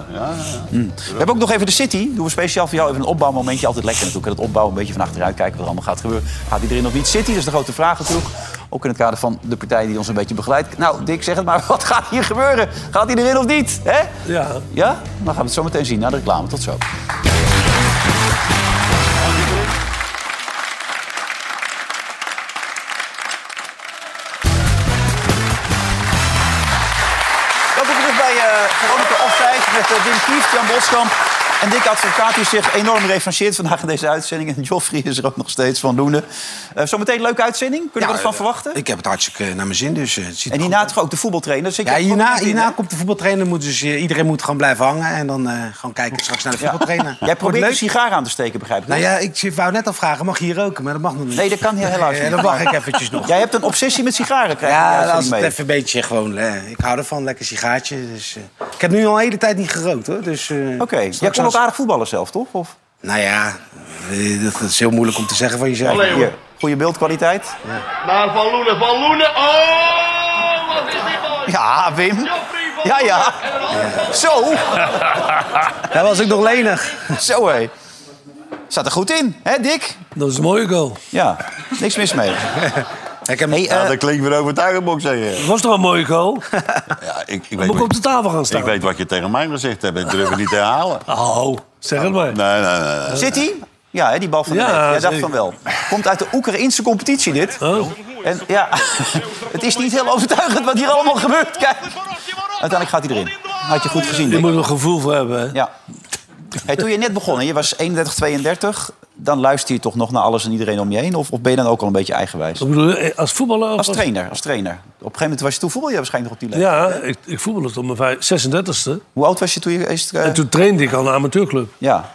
[SPEAKER 2] We hebben ook nog even de City. Doen we speciaal voor jou even een opbouwmomentje. Altijd lekker natuurlijk. Het opbouwen, een beetje van achteruit kijken wat er allemaal gaat gebeuren. Gaat iedereen of niet City? Dat is de grote vraag natuurlijk. Ook in het kader van de partij die ons een beetje begeleidt. Nou, Dick, zeg het maar. Wat gaat hier gebeuren? Gaat hij erin of niet? Hè?
[SPEAKER 3] Ja.
[SPEAKER 2] Ja? Dan gaan we het zo meteen zien na de reclame. Tot zo. Welkom terug bij bij eh, Veronica Offside met eh, Wim Kieft, Jan Boskamp en Dick Advocaat... die zich enorm referentieert vandaag in deze uitzending. En Joffrey is er ook nog steeds van doende. Eh, zometeen een leuke uitzending. Kunnen we er van verwachten?
[SPEAKER 11] eh, Ik heb het hartstikke naar mijn zin, dus eh, het ziet
[SPEAKER 2] En hierna toch ook de voetbaltrainer. Zit je
[SPEAKER 11] Ja,
[SPEAKER 2] ook
[SPEAKER 11] hierna,
[SPEAKER 2] nog in,
[SPEAKER 11] hierna
[SPEAKER 2] hè?
[SPEAKER 11] komt de voetbaltrainer. Moet dus, eh, iedereen moet gewoon blijven hangen. En dan eh gewoon kijken straks naar de voetbaltrainer.
[SPEAKER 2] Jij probeert een
[SPEAKER 11] Wordt leuk.
[SPEAKER 2] sigaar aan te steken, begrijp ik.
[SPEAKER 11] Nou ja, ik zit- wou net al vragen. Mag je hier roken? Maar dat mag nog niet.
[SPEAKER 2] Nee, dat kan hier helaas
[SPEAKER 11] Eh,
[SPEAKER 2] niet.
[SPEAKER 11] dat mag ik eventjes nog.
[SPEAKER 2] Jij hebt een obsessie met sigaren, krijg ik in de
[SPEAKER 11] Ja, als
[SPEAKER 2] uitzending
[SPEAKER 11] het
[SPEAKER 2] mee.
[SPEAKER 11] even een beetje gewoon... eh, ik hou ervan, lekker sigaartje. Dus, eh, ik heb nu al een hele tijd niet gerookt, hoor. Dus, Oké,
[SPEAKER 2] Jij kon ook aardig voetballen zelf, toch? Of?
[SPEAKER 11] Nou ja, eh, dat is heel moeilijk om te zeggen van jezelf.
[SPEAKER 2] Allee, hoor. Goede beeldkwaliteit.
[SPEAKER 7] Naar Van Loenen, Van Loenen. Oh, wat is dit mooi.
[SPEAKER 2] Ja, Wim. Ja, ja. Zo.
[SPEAKER 11] Daar was ik nog lenig.
[SPEAKER 2] Zo, hé. Staat er goed in, hè, Dick?
[SPEAKER 3] Dat is een mooie goal.
[SPEAKER 2] Ja, niks mis mee. eh,
[SPEAKER 11] Ik heb... Nou,
[SPEAKER 5] ja, dat klinkt weer overtuigend, moet ik zeggen.
[SPEAKER 3] Dat was toch een mooie goal?
[SPEAKER 5] Ja, ik, ik
[SPEAKER 3] Dan moet ik op de tafel gaan staan.
[SPEAKER 5] Ik weet wat je tegen mij gezegd hebt. Ik durf het niet te herhalen.
[SPEAKER 3] Oh, zeg het maar.
[SPEAKER 5] Nee, nee, nee. nee.
[SPEAKER 2] Zit hij? Ja, hè, die bal van de
[SPEAKER 5] Ja,
[SPEAKER 2] net. Jij dacht
[SPEAKER 5] zeker.
[SPEAKER 2] van wel. Komt uit de Oekraïnse competitie, dit.
[SPEAKER 3] Oh.
[SPEAKER 2] En ja, het is niet heel overtuigend wat hier allemaal gebeurt. Kijk. Uiteindelijk gaat hij erin. Had je goed gezien,
[SPEAKER 3] Je
[SPEAKER 2] Dick.
[SPEAKER 3] moet er een gevoel voor hebben. Hè?
[SPEAKER 2] Ja. Hey, toen je net begon, hè, je was 31, 32... dan luister je toch nog naar alles en iedereen om je heen? Of, of ben je dan ook al een beetje eigenwijs?
[SPEAKER 3] eh, als voetballer?
[SPEAKER 2] Als trainer, als trainer. Op een gegeven moment was je toen voetbal, je waarschijnlijk nog op die
[SPEAKER 3] Ja, ik, ik voetbalde tot mijn vijf- 36e.
[SPEAKER 2] Hoe oud was je toen je... Is
[SPEAKER 3] En toen trainde ik al een amateurclub.
[SPEAKER 2] Ja.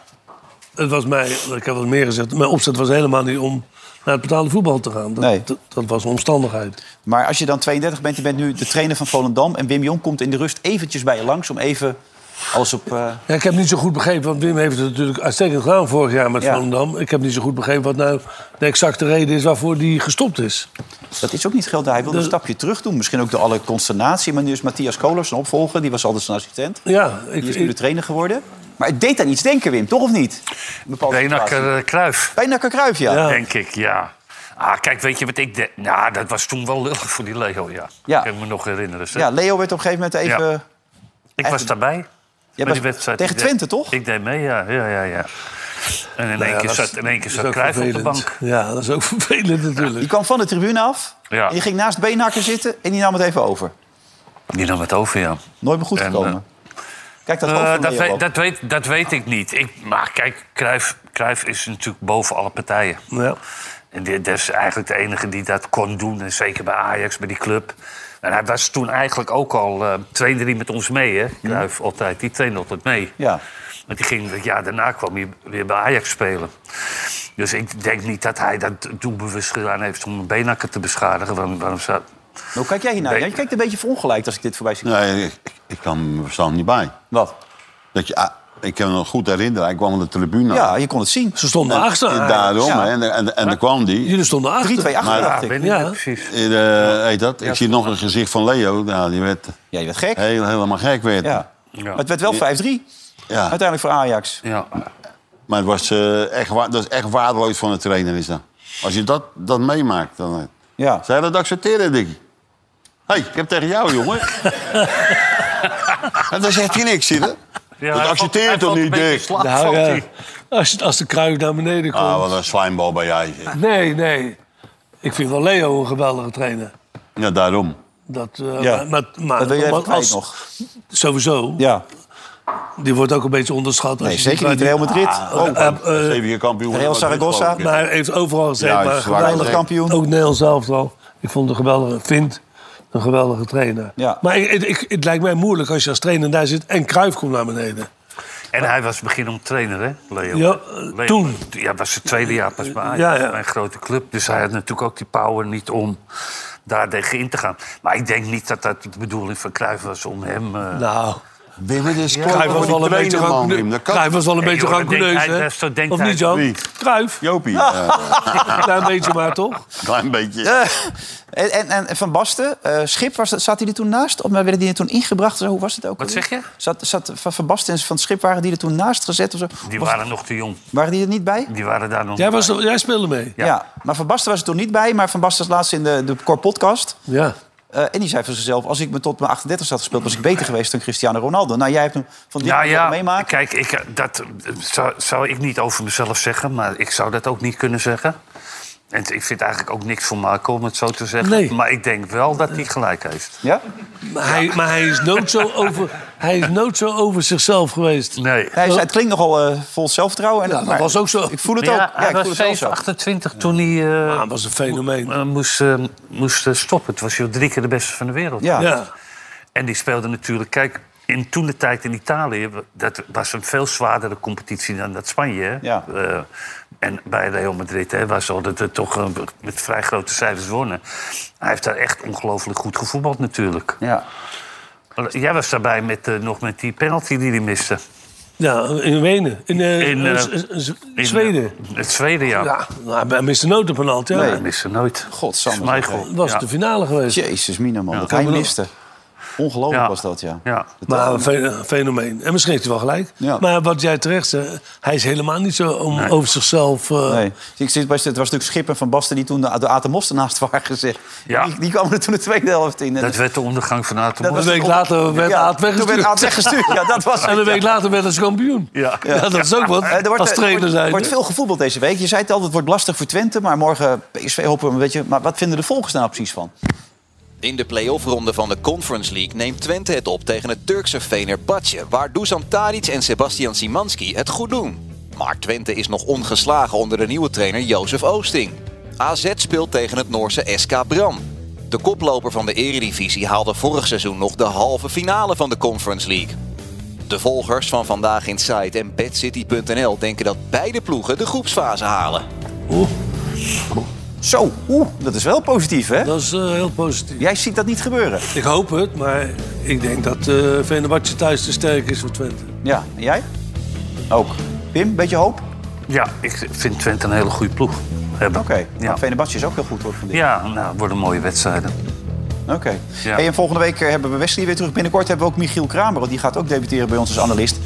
[SPEAKER 3] Het was mij, ik heb wat meer gezegd, mijn opzet was helemaal niet om naar het betaalde voetbal te gaan. Dat,
[SPEAKER 2] Nee.
[SPEAKER 3] dat, dat was een omstandigheid.
[SPEAKER 2] Maar als je dan 32 bent, je bent nu de trainer van Volendam... en Wim Jong komt in de rust eventjes bij je langs om even alles op... eh,
[SPEAKER 3] Ja, ik heb niet zo goed begrepen, want Wim heeft het natuurlijk uitstekend gedaan vorig jaar met
[SPEAKER 2] Ja.
[SPEAKER 3] Volendam. Ik heb niet zo goed begrepen wat nou de exacte reden is waarvoor die gestopt is.
[SPEAKER 2] Dat is ook niet geld. Hij wilde een stapje terug doen. Misschien ook door alle consternatie. Maar nu is Matthias Koler zijn opvolger. Die was altijd zijn assistent.
[SPEAKER 3] Ja,
[SPEAKER 2] ik, die is nu de trainer geworden. Maar het deed aan iets denken, Wim. Toch of niet?
[SPEAKER 4] Benakker Kruif.
[SPEAKER 2] Benakker Kruif, ja.
[SPEAKER 3] Oh.
[SPEAKER 2] ja.
[SPEAKER 4] Denk ik, ja. Ah, kijk, weet je wat ik... De... Nou, dat was toen wel lullig voor die Lego, ja.
[SPEAKER 2] Ja.
[SPEAKER 4] Kan ik me nog herinneren. zeg.
[SPEAKER 2] Leo werd op een gegeven moment even...
[SPEAKER 4] Ja. Ik was daarbij.
[SPEAKER 2] Jij
[SPEAKER 4] Bij
[SPEAKER 2] was
[SPEAKER 4] die wedstrijd.
[SPEAKER 2] tegen
[SPEAKER 4] Ik deed-
[SPEAKER 2] Twente, toch?
[SPEAKER 4] Ik deed mee, ja. ja, ja, ja. En in
[SPEAKER 3] Nou
[SPEAKER 4] één
[SPEAKER 3] ja,
[SPEAKER 4] keer
[SPEAKER 3] dat is-
[SPEAKER 4] zat, in één keer
[SPEAKER 3] is
[SPEAKER 4] zat
[SPEAKER 3] ook
[SPEAKER 4] Kruif op de
[SPEAKER 3] vervelend.
[SPEAKER 4] bank.
[SPEAKER 3] Ja, dat is ook vervelend natuurlijk.
[SPEAKER 2] Die kwam van de tribune af.
[SPEAKER 4] Ja.
[SPEAKER 2] En die ging naast Beenhakker zitten. En die nam het even over.
[SPEAKER 4] Die nam het over, ja.
[SPEAKER 2] Nooit meer goed
[SPEAKER 4] En,
[SPEAKER 2] gekomen. Kijk, dat hoofd
[SPEAKER 4] Eh,
[SPEAKER 2] van
[SPEAKER 4] dat,
[SPEAKER 2] Leo
[SPEAKER 4] weet,
[SPEAKER 2] ook.
[SPEAKER 4] dat, weet, dat weet ik niet. Ik, maar kijk, Cruijff, Cruijff is natuurlijk boven alle partijen.
[SPEAKER 3] Ja.
[SPEAKER 4] En dit- dat is eigenlijk de enige die dat kon doen. En zeker bij Ajax, bij die club. En hij was toen eigenlijk ook al eh, twee, drie met ons mee, hè? Cruijff altijd. Die trainde altijd mee.
[SPEAKER 2] Ja.
[SPEAKER 4] Want die ging het jaar daarna kwam hij weer bij Ajax spelen. Dus ik denk niet dat hij dat doelbewust gedaan heeft om Benakker te beschadigen. Waarom, waarom zou...
[SPEAKER 2] Hoe kijk jij hiernaar? Ja, je kijkt een beetje verongelijkt als ik dit voorbij zie.
[SPEAKER 5] Nee, ik, ik kan me verstand niet bij.
[SPEAKER 2] Wat?
[SPEAKER 5] Dat je, ah, ik kan me nog goed herinneren. Hij kwam op de tribune.
[SPEAKER 2] Nou. Ja, je kon het zien.
[SPEAKER 3] Ze stonden
[SPEAKER 5] En-
[SPEAKER 3] achter.
[SPEAKER 5] en
[SPEAKER 3] eigenlijk.
[SPEAKER 5] Daarom,
[SPEAKER 3] Ja.
[SPEAKER 5] hè, en, en, en dan kwam die.
[SPEAKER 3] Jullie stonden achter.
[SPEAKER 2] 3-2 achter,
[SPEAKER 4] Ah,
[SPEAKER 2] dacht ik.
[SPEAKER 3] Ja,
[SPEAKER 5] Eh, eh, heet dat? Ik zie nog een gezicht van Leo. Nou, die werd,
[SPEAKER 2] ja, die werd gek.
[SPEAKER 5] Heel, helemaal gek werd.
[SPEAKER 2] Ja. Maar het werd wel 5-3. Uiteindelijk voor Ajax.
[SPEAKER 4] Ja.
[SPEAKER 5] Maar het was, eh, echt, wa- dat is echt waardeloos van de trainer. Is dat. Als je dat, dat meemaakt, dan... eh,
[SPEAKER 2] Ja.
[SPEAKER 5] Zou je dat accepteren, Dickie? Hé, hey, ik heb tegen jou, jongen. En dan zegt hij niks, zie je? dat accepteer je toch niet, Dick?
[SPEAKER 3] Nou, ja. als, als de kruif naar beneden komt.
[SPEAKER 5] Ah, wat een slijmbal bij jij.
[SPEAKER 3] Nee, nee. Ik vind wel Leo een geweldige trainer.
[SPEAKER 5] Ja, daarom.
[SPEAKER 3] Dat, eh,
[SPEAKER 5] Ja.
[SPEAKER 3] maar, maar, maar
[SPEAKER 5] Dat wil je even
[SPEAKER 3] maar
[SPEAKER 5] kwijt
[SPEAKER 3] als-
[SPEAKER 5] nog.
[SPEAKER 3] Sowieso.
[SPEAKER 2] Ja.
[SPEAKER 3] Die wordt ook een beetje onderschat.
[SPEAKER 2] Nee, zeker niet. Real Madrid.
[SPEAKER 3] Oh,
[SPEAKER 2] Oh,
[SPEAKER 5] zeven keer kampioen.
[SPEAKER 2] Real Zaragoza.
[SPEAKER 3] Maar hij heeft overal gezegd.
[SPEAKER 2] Ja, hij is
[SPEAKER 3] maar
[SPEAKER 2] zwaar
[SPEAKER 3] geweldig
[SPEAKER 2] gezegd.
[SPEAKER 3] kampioen. Ook Nederlands elftal. Ik vond een geweldige, vind een geweldige trainer.
[SPEAKER 2] Ja.
[SPEAKER 3] Maar ik, ik- het lijkt mij moeilijk als je als trainer daar zit en Kruif komt naar beneden.
[SPEAKER 4] En hij was begin om trainer, hè, Leo?
[SPEAKER 3] Ja, eh, toen.
[SPEAKER 4] Ja, was het tweede jaar pas bij Ajax,
[SPEAKER 3] Ja, ja.
[SPEAKER 4] een grote club. Dus hij had natuurlijk ook die power niet om daar tegen in te gaan. Maar ik denk niet dat dat de bedoeling van Cruijff was om hem... eh,
[SPEAKER 3] Nou.
[SPEAKER 5] Wim, het is
[SPEAKER 3] Cruijff was wel een beetje rancune- Cruijff was wel een
[SPEAKER 4] Nee,
[SPEAKER 3] beetje
[SPEAKER 4] joh, dat denkt
[SPEAKER 3] rancuneus,
[SPEAKER 4] hij-
[SPEAKER 3] hè?
[SPEAKER 4] dat- zo denkt
[SPEAKER 3] Of
[SPEAKER 4] hij.
[SPEAKER 3] niet, Jan?
[SPEAKER 4] Wie?
[SPEAKER 3] Kruif.
[SPEAKER 5] Jopie.
[SPEAKER 2] eh.
[SPEAKER 3] Klein beetje maar, toch?
[SPEAKER 5] Klein beetje.
[SPEAKER 2] en, en, en Van Basten, eh, Schip, was, dat- zat hij er toen naast? Of maar werden die er toen ingebracht? Zo, Hoe was het ook?
[SPEAKER 4] Wat
[SPEAKER 2] alweer?
[SPEAKER 4] zeg je?
[SPEAKER 2] Zat, zat van, van Basten en Van Schip, waren die er toen naast gezet? Of zo?
[SPEAKER 4] Die
[SPEAKER 2] Of-
[SPEAKER 4] waren nog te jong.
[SPEAKER 2] waren die er niet bij?
[SPEAKER 4] Die waren daar nog
[SPEAKER 3] Jij,
[SPEAKER 4] niet
[SPEAKER 3] was,
[SPEAKER 4] bij.
[SPEAKER 3] er- jij speelde mee.
[SPEAKER 2] Ja. maar Van Basten was er toen niet bij. Maar Van Basten is laatst in de, de Cor podcast.
[SPEAKER 3] Ja.
[SPEAKER 2] Eh, en die zei van zichzelf, als ik me tot mijn 38 had gespeeld... was ik beter geweest dan Cristiano Ronaldo. Nou, jij hebt hem van die
[SPEAKER 4] Ja,
[SPEAKER 2] kant
[SPEAKER 4] ja,
[SPEAKER 2] laten meemaken.
[SPEAKER 4] kijk, ik, eh, dat eh, zou, zou ik niet over mezelf zeggen, maar ik zou dat ook niet kunnen zeggen. En t- ik vind eigenlijk ook niks voor Marco, om het zo te zeggen. Maar ik denk wel dat hij gelijk heeft.
[SPEAKER 2] Ja?
[SPEAKER 3] Maar hij, maar hij, is, nooit zo over, hij is nooit zo over zichzelf geweest.
[SPEAKER 4] Nee.
[SPEAKER 2] Hij is, het klinkt nogal eh, vol zelfvertrouwen. En,
[SPEAKER 3] Ja, dat
[SPEAKER 2] maar
[SPEAKER 3] was ook zo.
[SPEAKER 2] Ik voel het
[SPEAKER 3] Ja,
[SPEAKER 2] ook.
[SPEAKER 3] hij
[SPEAKER 2] Ja, ik
[SPEAKER 3] was
[SPEAKER 2] voel het wel zo. Ah,
[SPEAKER 4] 28 toen hij... eh,
[SPEAKER 3] Ah, was een fenomeen.
[SPEAKER 4] mo- eh, moest, eh, moest eh, stoppen. Het was joh, drie keer de beste van de wereld.
[SPEAKER 2] Ja. Ja.
[SPEAKER 4] En die speelde natuurlijk... Kijk, in toen de tijd in Italië... dat was een veel zwaardere competitie dan dat Spanje. hè? Eh, en bij Real Madrid hè, was al dat het toch eh, met vrij grote cijfers wonnen. Hij heeft daar echt ongelooflijk goed gevoetbald natuurlijk.
[SPEAKER 2] Ja.
[SPEAKER 4] Jij was daarbij met, eh, nog met die penalty die hij miste.
[SPEAKER 3] Ja, in Wenen. In, eh,
[SPEAKER 4] In, eh,
[SPEAKER 3] Z- Z-
[SPEAKER 4] in, eh,
[SPEAKER 3] Zweden.
[SPEAKER 4] Het tweede jaar.
[SPEAKER 3] Ja, nou, hij miste nooit een penalty. Ja.
[SPEAKER 4] Nee, hij miste nooit.
[SPEAKER 2] Godsamme.
[SPEAKER 4] Michael.
[SPEAKER 3] Dat was
[SPEAKER 4] Ja.
[SPEAKER 3] de finale geweest.
[SPEAKER 2] Jezus, mina man. dat hij
[SPEAKER 3] Kom maar op.
[SPEAKER 2] miste. Ongelooflijk
[SPEAKER 3] Ja.
[SPEAKER 2] was dat, ja.
[SPEAKER 4] Ja.
[SPEAKER 3] Maar een fe- fenomeen. En misschien heeft hij wel gelijk.
[SPEAKER 2] Ja.
[SPEAKER 3] Maar wat jij terecht zegt, hij is helemaal niet zo om, over zichzelf... eh,
[SPEAKER 2] Nee. Ik zit bij, het was natuurlijk Schipper van Basten die toen de, de Atomos ernaast waren gezegd. Die, die kwamen er toen de tweede helft in. En
[SPEAKER 4] Dat werd de ondergang van Aten
[SPEAKER 2] Dat
[SPEAKER 3] Een
[SPEAKER 2] was
[SPEAKER 3] week
[SPEAKER 2] de-
[SPEAKER 3] later werd
[SPEAKER 2] Ja,
[SPEAKER 3] Aad weggestuurd.
[SPEAKER 2] toen werd Aad weggestuurd. Ja, dat was
[SPEAKER 3] en
[SPEAKER 2] het,
[SPEAKER 3] een week
[SPEAKER 2] ja.
[SPEAKER 3] later werd hij kampioen.
[SPEAKER 4] Ja.
[SPEAKER 3] dat is ook wat.
[SPEAKER 2] Eh, Er wordt,
[SPEAKER 3] als
[SPEAKER 2] eh,
[SPEAKER 3] trainer
[SPEAKER 2] wordt-
[SPEAKER 3] zijn.
[SPEAKER 2] wordt veel gevoetbald deze week. Je zei het al, het wordt lastig voor Twente. Maar morgen PSV hopen we een beetje. Maar wat vinden de volgers nou precies van?
[SPEAKER 8] In de play-offronde van de Conference League neemt Twente het op tegen het Turkse Fenerbahce... waar Dusan Tadic en Sebastian Simanski het goed doen. Maar Twente is nog ongeslagen onder de nieuwe trainer Jozef Oosting. AZ speelt tegen het Noorse SK Bram. De koploper van de Eredivisie haalde vorig seizoen nog de halve finale van de Conference League. De volgers van Vandaag Inside en BadCity.nl denken dat beide ploegen de groepsfase halen.
[SPEAKER 2] Zo, oeh, dat is wel positief, hè?
[SPEAKER 3] Dat is eh, heel positief.
[SPEAKER 2] Jij ziet dat niet gebeuren.
[SPEAKER 3] Ik hoop het, maar ik denk dat eh Venerbahce thuis te sterk is voor Twente.
[SPEAKER 2] Ja, en jij? Ook. Pim, een beetje hoop?
[SPEAKER 4] Ja, ik vind Twente een hele goede ploeg hebben.
[SPEAKER 2] Oké, maar Fenerbahce is ook heel goed hoor, van dit.
[SPEAKER 4] Ja, nou, het worden mooie wedstrijden.
[SPEAKER 2] Oké. Hey, en volgende week eh, hebben we Wesley weer terug. Binnenkort hebben we ook Michiel Kramer. want Die gaat ook debuteren bij ons als analist.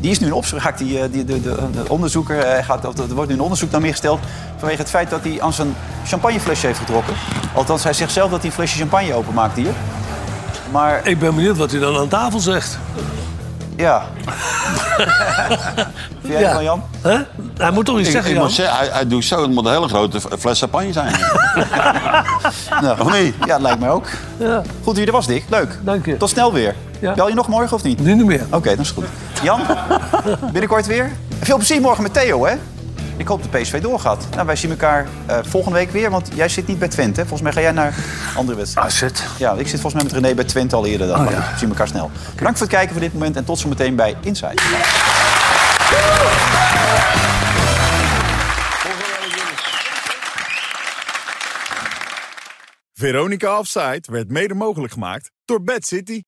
[SPEAKER 2] Die is nu in opzoek. gaat Die, eh, die, de, de, de onderzoeker eh, gaat, of er wordt nu een onderzoek naar meer gesteld. Vanwege het feit dat hij aan zijn champagneflesje heeft getrokken. Althans, hij zegt zelf dat hij een flesje champagne openmaakt hier. Maar
[SPEAKER 3] Ik ben benieuwd wat hij dan aan tafel zegt.
[SPEAKER 2] ja. Vind jij het wel, Jan?
[SPEAKER 3] Hè? Hij moet toch iets
[SPEAKER 5] Ik-
[SPEAKER 3] zeggen,
[SPEAKER 5] ik
[SPEAKER 3] Jan?
[SPEAKER 5] moet zeggen, hij, hij doet zo, het moet een hele grote f- fles champagne zijn.
[SPEAKER 2] Nou,
[SPEAKER 5] Of niet?
[SPEAKER 2] Ja, lijkt mij ook.
[SPEAKER 3] Ja.
[SPEAKER 2] Goed dat je er was, Dick. Leuk.
[SPEAKER 3] Dank je.
[SPEAKER 2] Tot snel weer.
[SPEAKER 3] Ja.
[SPEAKER 2] Bel je nog morgen of niet?
[SPEAKER 3] Nu niet meer.
[SPEAKER 2] Oké, dat is goed. Jan, binnenkort weer. Veel plezier morgen met Theo, hè? Ik hoop dat PSV doorgaat. Nou, wij zien elkaar eh, volgende week weer, want jij zit niet bij Twente. hè? Volgens mij ga jij naar andere wedstrijden.
[SPEAKER 4] Ah, zit.
[SPEAKER 2] Ja, ik zit volgens mij met René bij Twente al eerder. Dan.
[SPEAKER 4] Oh,
[SPEAKER 2] Maar
[SPEAKER 4] ja.
[SPEAKER 2] goed, We zien elkaar snel. Bedankt voor het kijken voor dit moment en tot zometeen bij Inside.
[SPEAKER 9] Veronica Offside werd mede mogelijk gemaakt door Bad City.